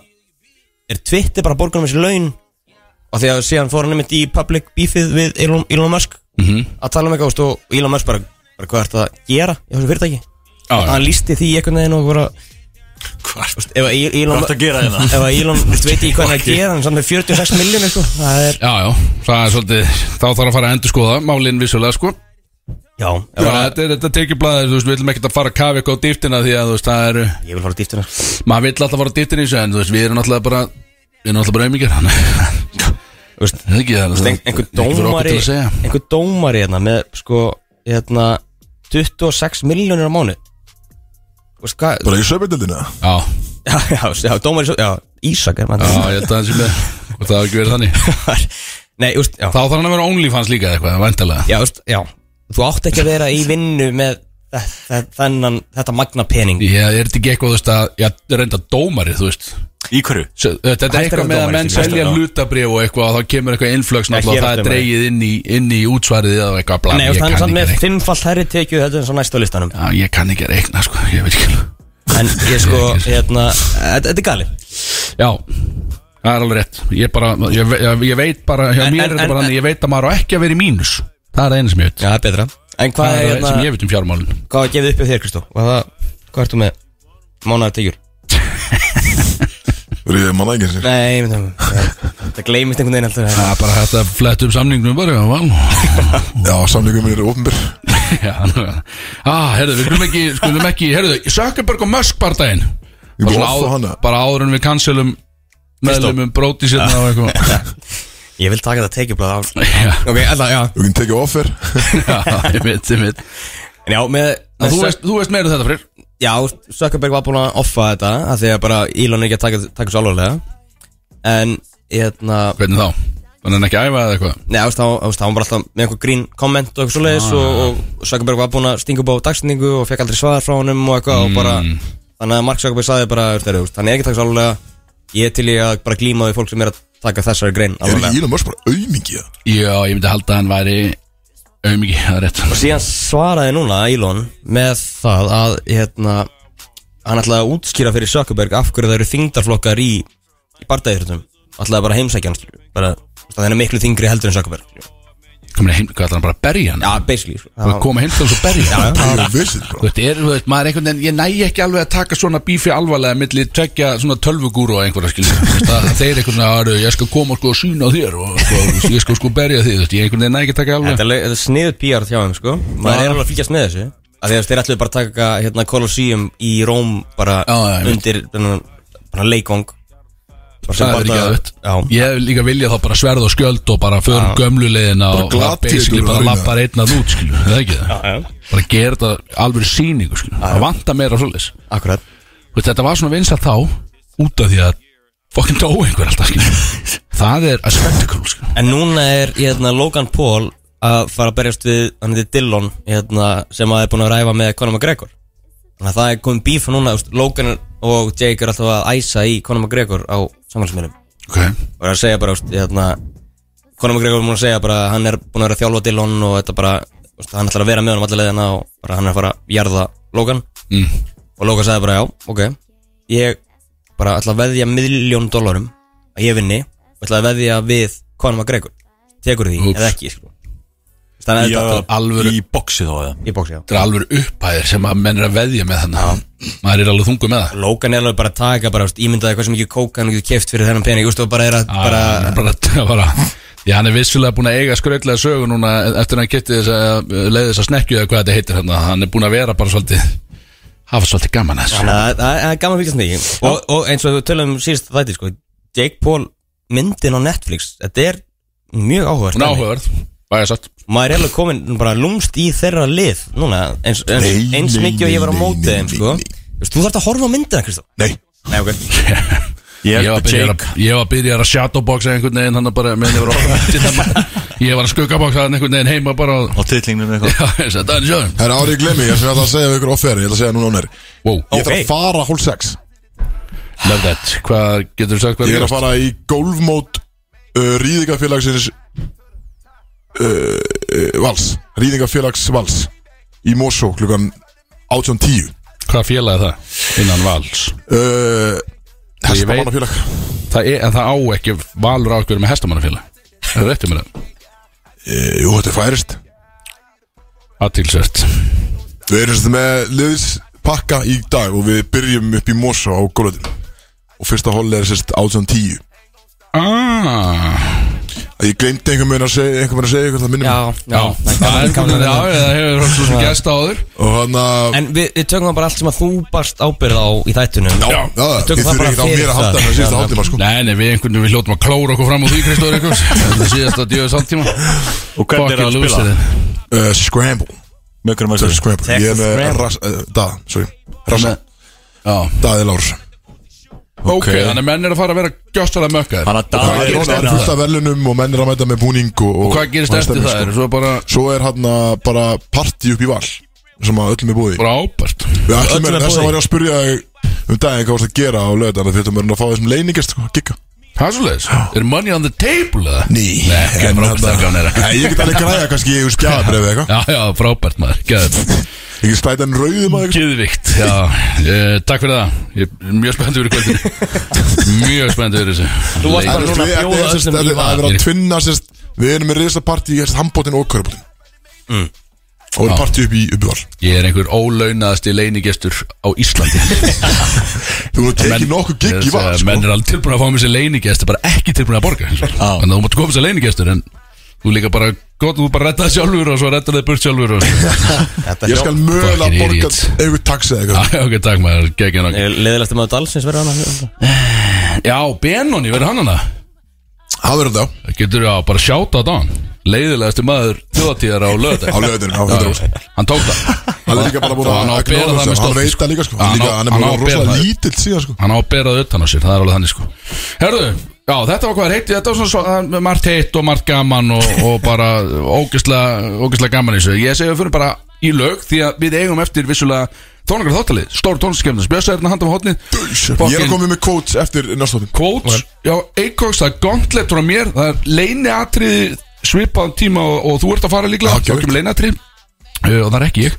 er Twitter bara borgunum þessi laun og því að síðan fór hann einmitt í public beefið við Elon, Elon Musk
Mhm.
að tala um eitthvað úst, og Elon Musk bara, bara hvað ertu að gera í þessu fyrirtæki
já,
og
já,
hann lísti því einhvern veginn og bara
Hvað
ef að E- Elon
ertu að gera
ef
hérna?
að Elon þú veist, veit ekki hvað hann er að gera hann er samt með 46 miljónir sko það er
já, já, það er svolítið Þá þarf að fara að endurskoða málinn vissulega sko
já,
Já,
ef að-
þetta, er- þetta tekið blaðið, þú veist, við viljum ekkert að fara að kafa eitthvað á dýftina því að, þú veist, það eru,
ég vil fara að dýftina sko.
maður vill alltaf fara á dýftina í þessu, en, þú veist, við erum alltaf bara, við erum alltaf bara auðmikið, hann,
Þú veist,
það er ekki það,
Ein, einhver
ekki fyrir okkur
dómari
til að segja.
einhver dómari hérna með sko hérna 26 miljónir á mánu Þú veist hvað
Bara í söpindildina
Já,
já, já, já, dómari svo- já, Ísak er
já,
maður
ég held að það sé með, og það hafa ekki verið þannig.
nei, þú veist, já,
Þá þarf hann að vera OnlyFans líka eða eitthvað, væntalega.
já, þú veist, já þú átt ekki að vera í vinnu með þe- þe- þennan þetta magna pening
Ég er þetta ekki eitthvað, þú veist, að, já, reynda dómari, þú veist,
Í hverju?
Svo, Þetta er
Hættar
eitthvað
að
með að
dómari,
menn
skilur.
selja hlutabrif og eitthvað og þá kemur eitthvað influx náttúrulega
hér
og það
er
er
dómari.
dreigið inn í, inn í útsvarið eða eitthvað bla,
nei, þú
ég
veist, hann er
kann
samt
ekki
með
reikna.
fimmfalt herri tekju þetta er svo næst á listanum
Já, ég kann ekki að reikna, sko, ég veit ekki alveg.
en ég sko, hérna, þetta þetta er gali
Já Það er alveg rétt Ég, bara, ég, ve- ég, ég veit bara Hjá
En-
mér
en-
er þetta bara
en-
þannig Ég veit að maður á ekki að vera í mínus Það er það eina sem ég veit
já, betra en
Það
hvað
er
er
það sem
hérna,
ég veit um fjármálin
hvað er gefið upp hjá þér Kristó hvað, hvað ertu með mánaðartekjur
Ríðið manna enginn sér
Nei, ég myndi að Það gleymist einhvern veginn alltaf
Það er bara hægt að fletta upp samningnum bara Já, val
Já, samlingum minn er ofnbyr
Já, nú er það. ah, herðu, við skulum ekki, skulum ekki Herðu, Sökkerberg og Musk bara daginn
Ég
Bara
búið
svona
off á
áður-
hana
Bara áður en við cancelum Meðlumum bróti sérna á hérna eitthvað
Ég vil taka þetta tekjublað af
Já,
Ok, alltaf, já
Við kunum tekið offer
já, ég veit, ég veit
En já, með,
En
með
Þú
Zuck-
veist, þú veist meira um þetta fyrir
Já, Zuckerberg var búin að offa þetta af Því að bara Elon er ekki að taka, taka svo alvarlega En, hérna
Hvernig þá? Þannig að hann ekki að æfa eða eitthvað
Nei, ást, þá, ást, þá var bara alltaf með einhver grín komment og eitthvað svoleiðis og, og Zuckerberg var búin að stinga upp á dagstendingu og fekk aldrei svar frá honum og eitthvað
Mm.
og bara Þannig að Mark Zuckerberg sagði bara, þú veist, hann er ekki að taka svo alvarlega Ég er til í að bara glíma við fólk sem er að taka þessari grein
Er
alvarlega
ekki Elon Musk bara aumingi það?
Já, ég myndi halda að hann væri Auðmikið, það er rétt
Og síðan svaraði núna Elon með það að hérna, hann ætlaði að útskýra fyrir Zuckerberg af hverju það eru þingdarflokkar í, í bardæðirðum ætlaði bara að heimsækja hann skilju. bara, þú veist, að hann er miklu þingri heldur en Zuckerberg skilju.
komin heim, hvað ætlar hann bara að berja hann
Já, basically sko.
og koma heim til þess að berja hann
Það er vissið,
Þú
bro
veist, er, þú veist, maður er einhvern veginn, ég næ ekki alveg að taka svona bífi alvarlega milli tvekja svona tölvugúru og einhverja skilja Þeir einhvern veginn að "Herru, ég skal koma sko að sína þér og sko, þú veist, ég skal sko berja þig, þú veist, ég einhvern veginn næ ekki að taka alveg
Þetta er, er sniður PR hjá þeim sko Maður er alveg að fylgjast með þessu Af því að þeir ætluðu bara að taka hérna Colosseum í Róm bara
Já, já, ég
undir þennan- bara leikong Bara sem
Það er
bara-
ekki aðvett
Já,
Ég hef líka viljað þá bara sverð og skjöld og bara förum gömlulegina og
Bara
bara
gladiator
basically bara
og raunar.
lappar einn að út skilju, það er ekki það
já.
Bara gera þetta alveg sýningu skilju, það vantar meira svoleiðis
akkurat
Þú veist, Þetta var svona vinsað þá út af því að fokkin dó einhver alltaf skilju Það er að spektakul skilju
En núna er hérna Logan Paul að fara að berjast við hann heitir Dillon hérna, sem að er búin að ræfa með Conor McGregor Þannig að það er komið bíf núna þú veist, Logan og Jake er alltaf að æsa í Conor McGregor á samfélagsmiðlum
okay.
og er að segja bara þú veist, hérna, Conor McGregor er búin að segja bara að hann er búin að vera að þjálfa Dillon og þetta bara þú veist, hann ætlar að vera með honum alla leiðina og bara hann er að fara að jarða Logan
mm.
og Logan sagði bara já, ok ég bara ætla að veðja miljón dólarum að ég vinni og ætla að veðja við Conor McGregor tekur því
Úps.
eða ekki sko. þannig að þetta
alvöru-
í boxi þá eða
ég bóksi já
Þetta er alveg upphæðir sem að menn er að veðja með þannig Maður er alveg þungu með það
Logan er alveg bara að taka bara, veist, ímyndaði hvað sem ekki kóka hann getur keft fyrir þennan pening, úst, og bara er að
Ah,
bara,
bara, bara, bara Já, hann er vissulega búin að eiga skrautlega sögu núna eftir að hann getið þess að leiði þess að snekkju eða hvað þetta heitir hérna hann er búin að vera bara svolítið hafa svolítið gaman að þessu
þannig að það það er gaman að fylgjast með því og, og eins og við tölum um síðust þætti sko, Jake Paul myndin á Netflix þetta er mjög áhugavert
Hún er
dæmi.
áhugaverð, hvað ég sagt
maður er alveg komin bara lúmst í þeirra lið núna, eins, eins,
Nei,
eins
nei,
mikið og ég var á
nei,
móti
nei,
þeim
nei,
sko.
nei.
Þú veist, þú þarft að horfa á myndina Kristof
Nei,
Nei, ok
Ég
Ég var að
held að
byrja
Jake
að, ég var að, byrja að shadowboxa einhvern veginn hann bara meðan ég var að horfa á myndina. Ég var að skuggaboxa hann einhvern veginn heima bara og
á titlingnum eitthvað
Já, ég sagði, Danny Sjöðum
það er árið ég glemmi, ég sem ég ætla að segja við ykkur offer, ég ætla að segja núna ánæri
Wow,
Ég þarf
Ok.
að fara hól 6
love that Hvað getur þú sagt hvað
Ég er að fara í golfmót uh, Rýðingafélagsins uh, uh, Vals Rýðingafélags Vals Í Mosó klukkan 18.10
Hvað félagi það innan vals
uh, Hestamannafélag
Það er, en það á ekki valur á ykkur með hestamannafélag Það er réttið mér það
uh, Jú, þetta er færist
Aðtilsvert
Við erum sem sagt með liðspakka í dag og við byrjum upp í Mosó á golföldinu og fyrsta hól er sérst 18.10
Ah,
Ég glemdi einhvern veginn að segja einhvern veginn að segja ykkur það minnum
Já, já,
já,
það er
það
gaman-
er
gaman
komin
að
Já,
það.
það hefur svo sem gæst áður
og hann að
En við, við tökum það bara allt sem að þú barst ábyrð á í þættunum
Já, það,
Við tökum
þið
það
þurfið
bara
ekkert á
fyrir
mér að halda
það.
það síðasta
Já,
hálftíma sko
Nei, nei, við einhvern veginn við hljótum að klóra okkur fram á því Kristóður Ríkos Þetta er síðasta djöðu samtíma
Og hvernig er hann að spila?
Uh, Scramble
Með hvernig maður
Þetta er Scramble
Texas
sér
Ég er með
Scramble.
Ras- eh, Daða, sorry Rassa,
Já,
Daði Lárus
ok, þannig að menn er að fara að vera gjössalega mökkaðir
Hann að
Það er
daði er
orðað fullt af velunum og menn er að mæta með búning og,
Og hvað gerist
og
eftir
stemning,
það er
sko.
svo bara
Svo er hann að bara party upp í val sem að öllum er búið í
frábært
Við ætlum
öllum
er
er
þess
boðið í.
að var ég að spurja þig um daginn hvað varst að gera á löðan því ætlum er að fá þessum leiningest sko, að gigga
Það er svoleiðis, er money on the table eða?
Ný,
Nei, ekki frábært það gafn er
Nei, ég get alveg græða kannski ég skjáðabrefið eitthvað
Já, já, frábært maður, gæðið
Ég get slæta hann rauðum að eitthvað
Gjöðvikt, já, eh, takk fyrir það Ég er mjög spenntið fyrir kvöldinu Mjög spenntið fyrir þessu
Þú varst
Leik-
bara núna að
Þetta er
bjóða öllum
sem sagt-
í
þetta er
val.
að vera að tvinna sem sagt, Við erum með reysa partí í handbótin og körbótin
Mm.
Og erum partí upp í uppvall
Ég er einhver ólaunaðasti leinigestur á Íslandi
Þú erum tekið nokkuð gig í val
Þessi,
sko.
uh, Menn er alveg tilbúin að fá mér sér leinigestur Bara ekki tilbúin að borga
Já.
Þannig að þú mátt koma sér leinigestur En þú líka bara, gott, þú bara redda það sjálfur Og svo redda það burt sjálfur og...
Þetta
Ég skal mögulega
Fucking Ah.
borga
idiot.
einhver taxa eða
Já,
eitthvað
ok, takk maður, geggjum nokkuð
Leðilegst maður dalsins verður hann
Já, Benoni, verður hann hana?
Það verður þetta
Getur já, bara sjáta þetta á hann Leiðilegasti maður þjóðatíðar á
á
lögðar
löðinu á löðinu
Hann tók það
Hann er líka bara búin
Og hann á
að
að bera
agnóra
það með
þessu Hann
stolti,
veit
sko.
það líka sko
Hann
Hann
á-
líka- hann er
hann
bara
á að bera
rosalega
það.
lítill síðan sko
Hann á að bera það utan á sér, það er alveg þannig sko Herðu, já þetta var hvað er heitt Þetta var svona svo, margt heitt og margt gaman Og, og bara ógislega, ógislega gaman í þessu Ég segi við fyrir bara í lög Því að við eigum eftir vissulega tónakar þáttalið Stór tónliskefnir, spjössaðurna hérna handa á hotni
Ég er að koma með quotes eftir næstóttin
Quotes, já, Eikoks, það er gauntlet frá mér Það er leiniatriði svipaðan tíma og, og þú ert að fara líklega
Já, geðveikt.
Tökum leiniatriði uh, Og það er ekki ég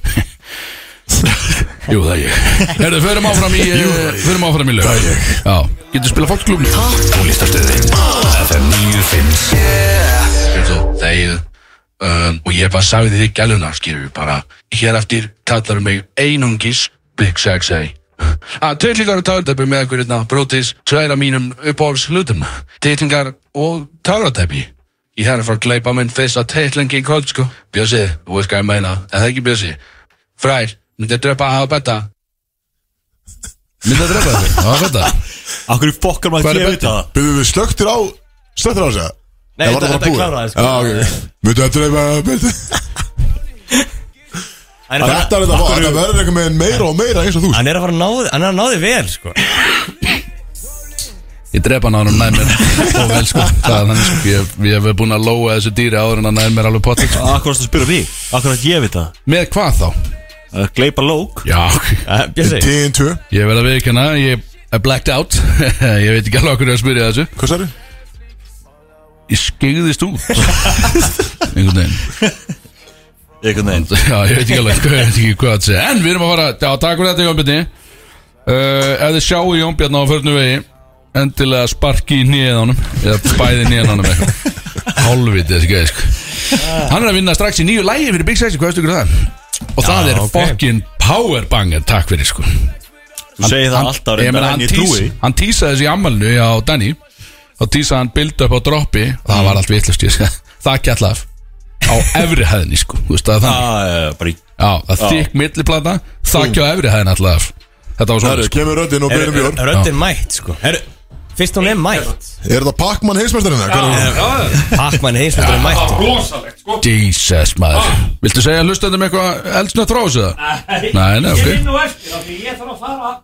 Jú, það er ég Herðu, förum áfram í, uh, förum áfram í lög
Það er ég.
Já, getur spilað fólksklubni Tónlistarstöðin FM 95 Þegar
um, og ég bara sagði þið gæluna skilur bara, hér eftir kallar mig einungis Big Sexy að tveillíkar og taratæpi með einhverjum brotis tveir af mínum uppáhalds hlutum titlingar og taratæpi ég er hérna að fara að gleypa minn fyrsta titlingi í kvöld sko Bjössi, þú veist hvað ég meina en það er ekki Bjössi Frær, myndi að drepa að hafa betta
Myndi að drepa þetta Það var þetta
Akkur fokkar maður
Hvað
ekki
er
að vita það
Byrðu við slöktir á Slöktir á þess að
Nei,
Eða var það
þetta-
bara
þetta
búið?
kláraði, sko.
Já, ok Myndu að dreifa Byrðu
Hann er að
Þetta er þetta Þetta verður eitthvað með meira og meira eins og þú sko.
hann er að fara að ná þig- hann er að ná þig vel sko
Ég drepa hann á hann og næði mér Og vel sko Það er þannig sko Ég, ég hef búin að lóa þessu dýri áður en að næði mér alveg potið sko.
Akkur varst að spyrja mig Akkur varst ég að vita það?
Með hvað þá?
Að Gleypa lók
Já
Eh, Bjössi,
10-2
Ég verð að viðkjanna Ég er blacked out Ég veit ekki alveg okkur að spyrja þessu
Hvað særðu?
Ég skyggðist út Einhvern veginn
Einhvern veginn
Já, ég veit ekki alveg hvað, ég veit ekki hvað að segja En við erum að fara, já, takk fyrir þetta Jón Bjarni uh, Ef þið sjáu Jón Bjarni á förnu vegi Endilega sparki í nýjan ánum Eða bæði nýjan ánum eitthvað Hálfviti þessi gæði, sko Hann er að vinna strax í nýju lægi fyrir Big Sexy, hvað veistu ykkur það? Og það er
ok.
fucking powerbanger, takk fyrir, sko
Þú segir það alltaf
ég meina,
reyndar
hann,
en ég
tís,
trúi
hann tísaði þessi í ammalinu á Danny Þá tísaði hann build up á droppi og
Mm.
Það var allt vitlust, ég sko Það kjalla af á efri hæðinni sko, þú veist það er þannig
Það er bara í
Já, það
Ah.
er þykk milliplata Þakki á efri hæðin alltaf Þetta var svona
Herru,
sko.
kemur röddinn og byrjum bjór
röddinn mætt sko Herru, Fyrst hún er mætt
Er þetta Pac-Man heimsmeistarinn? eða? Hvað er það?
Pac-Man heimsmyndur er mætt
sko.
Jesus maður
Ah.
Viltu segja hlustandum eitthvað eldsnöð frá þessu? eða? Nei, nei, ok.
Ég er nú eftir af því ég þarf að fara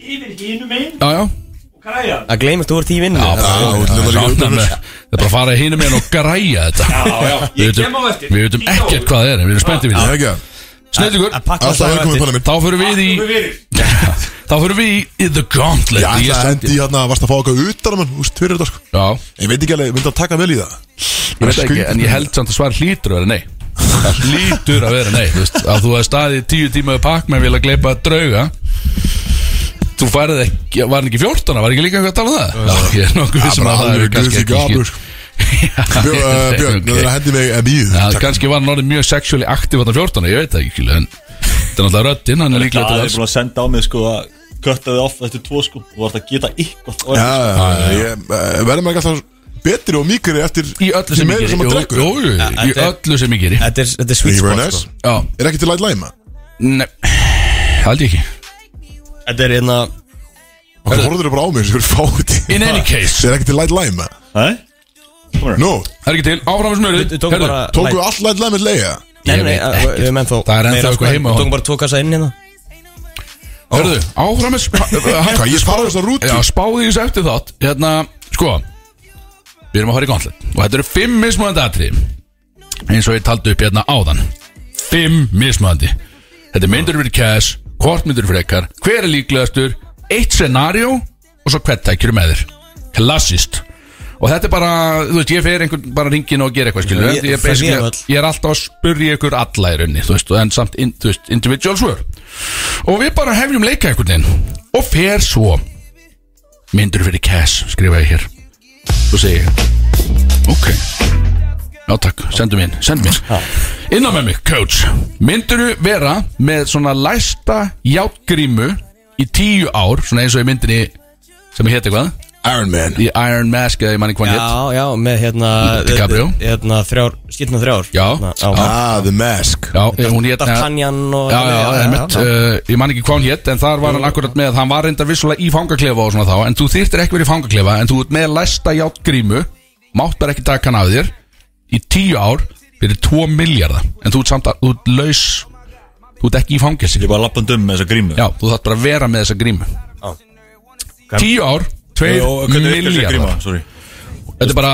yfir hínum einn
Já, já
og græja
Að gleymast þú ert í vinnu
Já,
Það-
já,
Það er
já,
svona
já.
með- það er bara að fara hínum einn og græja þetta
Já, já,
Við
ég
vitum,
kem á eftir
við vitum ekkert hvað það er en Við erum spenntið við
Ég
það
er ekki að
Sneitt ykkur
Að Pac-Man
Alltaf
svarar
velkomin
eftir-
panna minn
Þá fyrir við í
hvað
Þá fyrir við í- í The
Ég
Gauntlet
ætla
Ég
að
sendi-
hendi í hérna Varst að fá eitthvað utan að mann Þú veist, fyrir þetta sko
Já,
Ég veit ekki alveg Myndi að taka vel í það
ég veit ekki En ég held samt að svara hlýtur að vera nei Það hlýtur að vera nei Þú veist, að þú hefði staðið í tíu tíma við pakkmenn Vil að gleipa að drauga Þú færið ekki, var hann ekki 14 Var ekki líka eitthvað að tala um það? Já, ég er nokkuð vissum
bara
að það
alveg
er kannski
guðs í
ekki
gabur,
skil- Já,
Björn, eh, Björn, þú
ok.
er að hendi mig eh, en í
Já, kannski var hann orðið mjög sexually aktiv Þannig 14, ég veit það ekki skil En þetta er náttúrulega röddinn, hann er líklega
Það
til
er
þess
búin að senda á mig sko að Kötta þið off eftir tvo sko Þú vart að geta ykkur
Já, ég eh, verður maður ekki alltaf betri og mýkri eftir
Í öllu sem ég
meira sem að
geri Jú,
drekkur
jú, jú, í
þetta er-
öllu sem ég geri
Þetta er þetta er sweet
Very
spot
nice
sko.
Já,
Er ekki til að læma?
nei, held ég ekki
Þetta er hérna
Og þú horfður bara á mig sem fyrir fáið í
In any case,
Er ekki til light lime?
Nei?
Nú,
það er ekki til, áfram með
Við
smörið
tókum
Herðu,
bara
tóku við all light lime leiða
Nei,
Ég
nei,
veit
að- við erum ennþá
Það er ennþá
meira,
eitthvað
sko,
heima á
Við
honum.
tókum bara tvo kassa inn hérna
Hörðu, áfram með
Hvað,
smörið
ég sparaði þess að rúti
Já, spáði ég þessu eftir þátt Hérna, sko Við erum að fara í gauntlet Og þetta eru fimm mismunandi atrið Eins og ég taldi upp hérna áðan Fimm mismunandi Þetta er myndur fyrir cash, hvort myndur fyrir ekkar Hver er líklegastur, eitt scenario Og svo hvert tækjur með þér Klassist Og þetta er bara, þú veist, ég fer einhvern bara ringin og gera eitthvað skilur
Já,
ég,
ég-
ég,
fer
basically-
ég á öll.
ég er alltaf að spurja ykkur alla í raunni Þú veist, en samt, in, þú veist, individual svör Og við bara hefjum leika einhvern veginn Og fer svo Myndur fyrir cash, skrifa ég hér Svo segi ég Ok Já takk, sendum inn, sendum inn Innan með mig, coach Myndur vera með svona læsta játgrímu Í tíu ár Svona eins og í myndinni Sem ég hétt eitthvað
Iron Man
Í Iron Mask eða ég manni hvað hétt
Já, já, með hérna
DiCaprio.
Hérna þrjár, skýtna þrjár
Já.
Hérna, Já
Ah, the mask
Já, eh, hún hétt
D'Artagnan og
Já, já, já, einmitt, uh, ég man ekki hvað hann hétt En þar var hann akkurat með, hann var reyndar vissulega í fangaklefa og svona þá En þú þyrtir ekki verið í fangaklefa En þú ert með læsta játgrímu Mátt bara ekki taka hann af þér Í tíu ár fyrir 2 miljardar En þú ert samt að, þú ert laus Þú ert ekki í fangelsi
Ég er bara lappand um með þessa grímu
Já, þú þarf bara að vera með þessa grímu
Já.
Tíu ár, 2
Nei, og hvernig virkar þessi
miljardar
gríma, sorry
Þetta er bara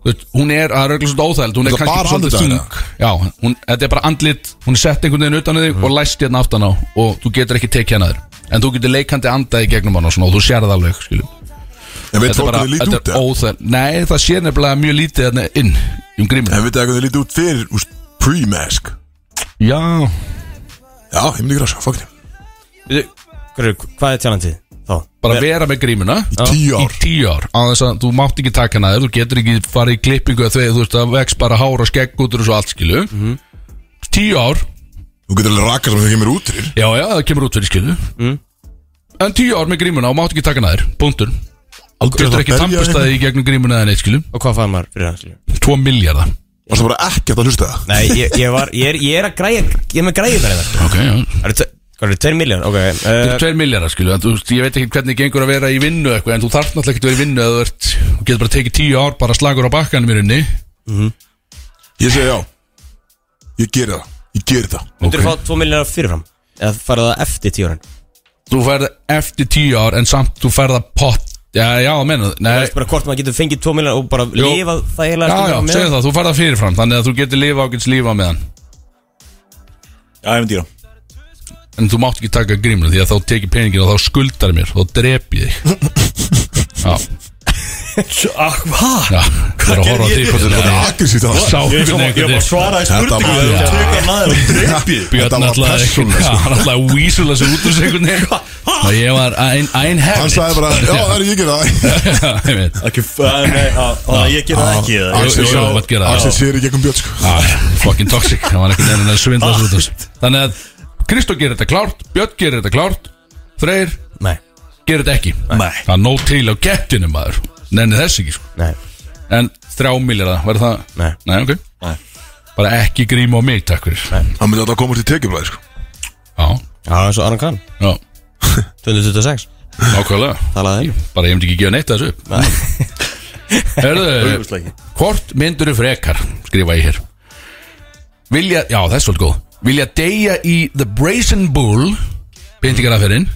þú veist, Hún er að röglega svona óþæld Hún er
Þetta er bara
kannski svolítið
andlitið
þung Já, hún, þetta er bara andlit Hún er sett einhvern veginn utan á þig og læst hérna aftan á Og þú getur ekki tekið hana þér En þú getur leikandi andaði gegnum hana og, svona, og þú sér það alveg skilur.
En veit
Þetta er
fólk
bara
að þið líti út
þetta er
eða?
óþæld Nei, það sér nefnilega mjög lítið þarna inn Um gríminu
En veit það að þið líti út fyrir úst, pre-mask
Já,
Já, ég myndi ekki rása, fuck it
Hvað er tjálandið? þá
bara vera með grímuna
Já.
Tíu
í
ár
tíu ár á þess að þú mátt ekki taka hana þér þú getur ekki farið í klippingu að því þú veist það vex bara hár og skegg út úr þessu allt skilu tíu ár
Þú getur alveg rakað sem það kemur út fyrir
já já það kemur út fyrir skilu en tíu ár með grímuna og mátt ekki taka hana þér punktur getur ekki tampast að í gegnum grímuna eða neitt skilu
Og hvað fæði maður fyrir það? skilju?
2 miljardar
Varst það bara ekkert að hlusta það
Nei, ég, ég var, ég er, ég er að græja, ég er með græja þar eða
ok já
Það
Eh.
eru, tve- hvað eru, 2 miljón, ok
Þetta
uh,
eru 2 miljardar skilu, en þú veist, ég veit ekki hvernig gengur að vera í vinnu eitthvað, en þú þarf náttúrulega ekki að vera í vinnu eða þú ert, þú getur bara tekið 10 ár bara slagur á bakkanum í rauninni
Ég segi já Ég geri það Ég geri það
Myndur þú
Ok.
fá 2 miljón fyrirfram? Eða fara það eftir 10 árin?
þú færð eftir tíu ár en samt þú færð að pott já, já, menna,
Það
nei
er bara hvort maður getur fengið 2 miljón og bara
Jú.
lifað það
já,
eiginlega
já, segðu það, þú færð að fyrirfram þannig að þú getur lifa ákveðs lífa meðan
Já, ég myndi ég
en þú mátt ekki taka grímuna því að þá tekið peningin og þá skuldar mér, þá drep ég þig já,
Hvað?
já það er að horfa á
gerði
því
ég
hvort
Þetta
þú
er aggressíft
sá
það
Ég
hvernig
var bara
einhvern
að svara í
Þetta var-
spurningu Þú tekar maður og drepið
Þetta
Björn
var
alltaf
persónulega, sko.
hann alltaf vísula sig út úr sig einhvern veginn og ég var ein, ein
Hann sagði bara Já, það er ég geri það
ég veit
Ekki, að, nei, að, að ég gera það ekki eða?
Jú, jú, jú, mátt um gera það.
Axel sér í gegnum björn sko
Ah, fucking toxic, það var einhvern veginn að svindla svo út af þessu. Þannig að Kristó gerir þetta klárt, Björn gerir þetta klárt Freyr
Nei,
gerir þetta ekki
Nei.
Það er nóg til á getinu maður Nenni þess ekki sko.
nei,
En þrjá miljara, verður það?
Nei.
Nei, ok
Nei.
Bara ekki gríma á mig, takk fyrir Nei.
Hann myndi alltaf að koma til tekjumræði sko
Já,
já, það er svo Aron Kahn
já,
226,
ákveðlega
talaði þig
Bara ég myndi ekki gefa neitt að þessu upp Herðu,
Augljóslega ekki.
hvort myndur frekar Skrifa ég hér Vilja, já, það er svolítið góð Vilja deyja í The Brazen Bull Pyntingaraferinn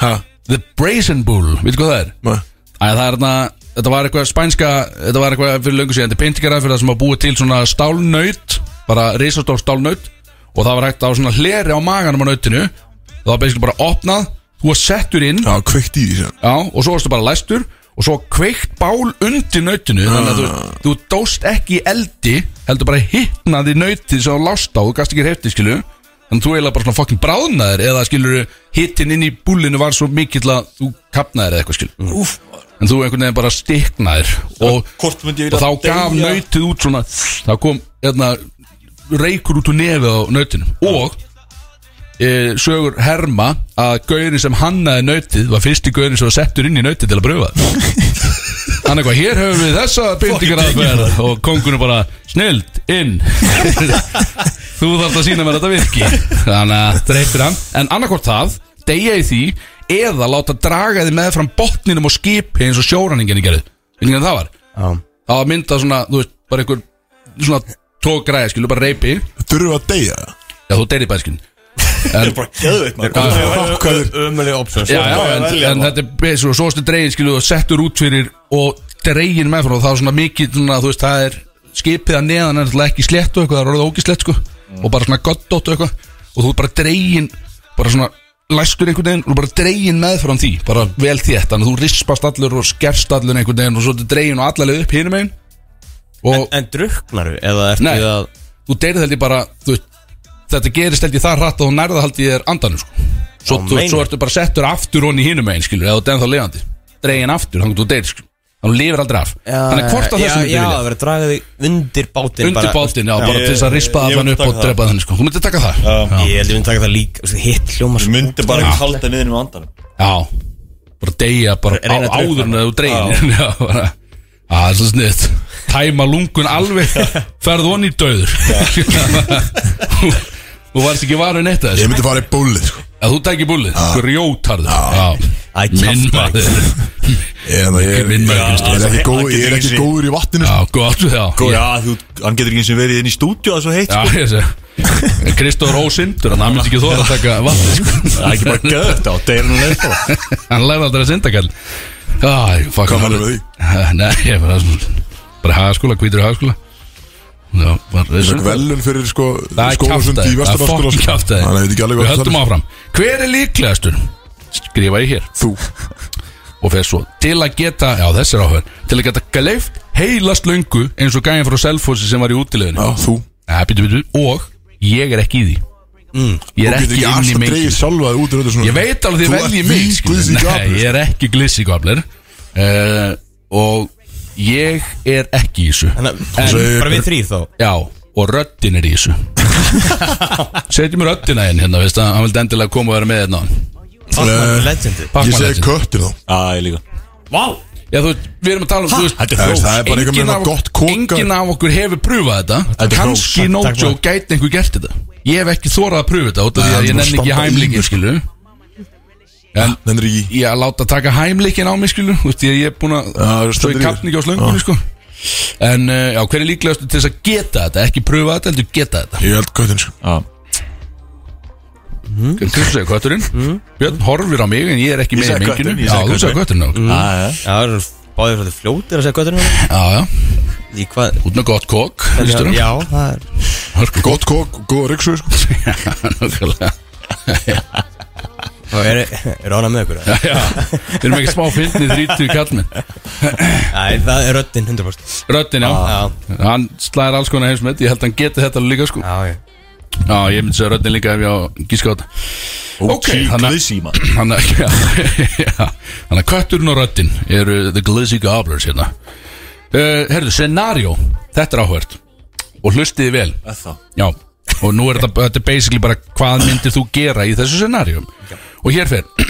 Hæ?
The Brazen Bull, veitu hvað það er? Æ, það er þarna, þetta var eitthvað spænska Þetta var eitthvað fyrir löngu síðan Þetta er pyntingarað fyrir það sem að búið til svona stálnaut Bara risastór stálnaut Og það var hægt á svona hleri á maganum á nautinu Það var basically bara opnað Þú var settur inn
Já, kveikt í því sem
Já, og svo varstu bara læstur Og svo kveikt bál undir nautinu Þannig að þú, þú dóst ekki í eldi Heldur bara hittnaði nautið sem þú lást á Þú gast ekki hefti, skilu Þannig að þú eiginlega bara svona fokkin bráðnaðir Eða skilur hittin inn í búlinu var svo mikill að Þú kapnaðir eða eitthvað skilu
Úf,
En þú einhvern veginn bara stiknaðir Og,
hvort myndi
og
ég vilja
þá gaf
deyja?
nautið út svona Það kom eðna, reykur út úr nefið á nautinu Og e, sögur herma að gaurin sem hannaði nautið var fyrsti gaurin sem var settur inn í nautið til að pröfa hann eitthvað, hér höfum við þessa bindingar aðferð og kongunum bara snild, inn þú þarft að sína mér að þetta virki þannig að dreifir hann en annarkort það, deyja í því eða láta draga þið með fram botninum og skipi eins og sjóranningin gerði veitum hvernig það var?
Já,
það var mynda svona, þú veist, bara einhver svona tókgræði, skilu, bara reypi já,
Þurfum við að deyja
þú deyri bara, skilu
Þetta er bara geðveikt maður
já,
Hvað er
ömuleg opsjón
já, já,
já,
en,
velja
en
bara.
þetta er besur og svo stu dregin skilu og settur út fyrir og dregin með frá og það er svona mikið svona, þú veist, það er skipið að neðan er náttúrulega ekki slett og eitthvað, það er orðið ógislett sko og bara svona goddótt og eitthvað og þú er bara dregin, bara svona læstur einhvern veginn og bara dregin með frá því bara vel þétt, þannig að þú rispast allur og skerst allur einhvern veginn og svo ertu dregin og allaleg upp hinum einn og
En druknaru, eða ertu
Nei.
að
þú deyrið held ég bara þú veist, þetta gerist held ég það hratt að þú nærða held ég er andanum sko.
Já,
svo, þú,
meinar.
svo ertu bara settur aftur honni hinum einn skilur, eða þú den þá levandi dregin aftur, þannig að þú deyrir sko. þannig að þú lifir aldrei af þannig að hvort af þessum
Já, það
myndir vilja
verður að draga þig undir bátinn
undir
bara-
bátinn, já, bara
Ég-
til þess að rispa
ég
það
myndi
upp og
taka það.
drepa þannig sko. þú myndir taka það já,
Ég held ég myndi taka það líka, þú veist, hitt hljóma
Þú
svo-
myndi bara ekki halda niðinum andanum
já. bara deyja bara á,
Reyna að drukna.
áður en þú dregin já, bara Það er svo sniðt Tæma lungun alveg Ferðu honni í döður Þú þú varst ekki varun eitt að þessu
Ég myndi fara í bólið sko
að þú tækir búlið, grjótarður
Æ,
já,
kjaftaðu.
minn maður
Eða ég er-
Minn maður,
ég er ekki góð- ég er ekki góður í vatninu sko.
já, gott já, Sko, já,
Já, þú, hann getur ekki eins og verið inn í stúdíu að svo heitt
já, ég sé Kristóður ósindur, hann myndi ekki þóra að taka vatni sko.
Það er ekki bara gött á, deyra nú leið bara
hann læði aldrei að synda kall Æ, fuck
Hvað mælum við því?
því? Nei, ég bara svona bara hagaskóla, hvítur í hagaskóla Já, bara
Fekk velun fyrir sko
Það er
skólasund í
kjáftæði, það er
Vesturlandsskóla sko.
fokkin kjáftæði
Þannig að ég veit ekki alveg
Við
hvað það
höldum
er
áfram Hver er líklegastur? Skrifa ég hér
Þú
og fer svo til að geta, já þessi er áhverð til að geta gleift heilast löngu eins og gæðin frá Selfossi sem var í útileginu
Já, þú
ja, bítu, bítu, og ég er ekki í því Ég
Þú
er
getur
ekki
ekki
inn í
alltaf
mengi
dreigir sjálfaði út úr öllu svona
Ég veit alveg því
Þú
vel ég
ert
mig
í
skilur.
Glizzy Gabler.
Nei, ég er ekki glissíkabler uh, Og ég er ekki í þessu
Þannig
En-
að en bara við þrýr þá
Já, og röddin er í þessu Setjum röddina inn hérna, veist að hann vildi endilega koma og vera með hérna
Pac-Man Legendi
Ég
Pac-Man
segi
legend.
köttir þá
Já, ég líka
Vá
Já, þú veist, við erum að tala um, þú veist
þetta er
Já, veist,
frós
Það er bara einhver
enginn
meina
af-
gott koka
Enginn af okkur hefur prúfað þetta
Þetta er
Kanski
próf.
no
Takk, takk,
joke gæti einhver gert þetta Ég hef ekki þórað að prúfa þetta út af
Nei,
Því
hann er
að
bara að
ég nenni ekki
standa í
hæmlingur skilu En
Nennir ekki í
ég að láta taka hæmleikin á mig skilu Þú veist, ég ég er búin að
Já, þú
Svo
stendur
ég
í
kapn
þér.
ekki á slöngunni sko En uh, já, hver er líklegastu til þess að geta þetta Ekki prúfa þetta, heldur geta þetta
Ég held köttin sko
Kristur segir kötturinn Björn horfir á mig en ég er ekki
Ég
með í
segi
menginu
kötturinn, Mm. ég
Já,
segi
þú segir kötturinn ok.
Já, já
Já, það eru báðir svolítið fljótir að segja göttunum
Já, já,
Í hvað
út með gott kokk Vistu
Já, það er
það?
Gott kok, góða ryksu sko
Nákvæmlega
Það er, er ánað með ykkur eða?
Já, við erum ekki smá fyndni 30 kallmenn
Nei, það er röddinn 100%
Röddin, já
Já,
Hann slæðir alls konar heimsmet Ég held að hann geti þetta líka sko
já, já
Já, ég myndi segja röddin líka ef ég á gíska á þetta Ok, þannig að-
Glizzy, mann
Þannig að- já, já. Þannig að kötturinn og röddin eru The Glizzy Gobblers hérna uh, Herðu, scenario Þetta er áhvert Og hlustiði vel
Það
Já, og nú er þetta, þetta er basically bara hvað myndir þú gera í þessu scenarium og hér fer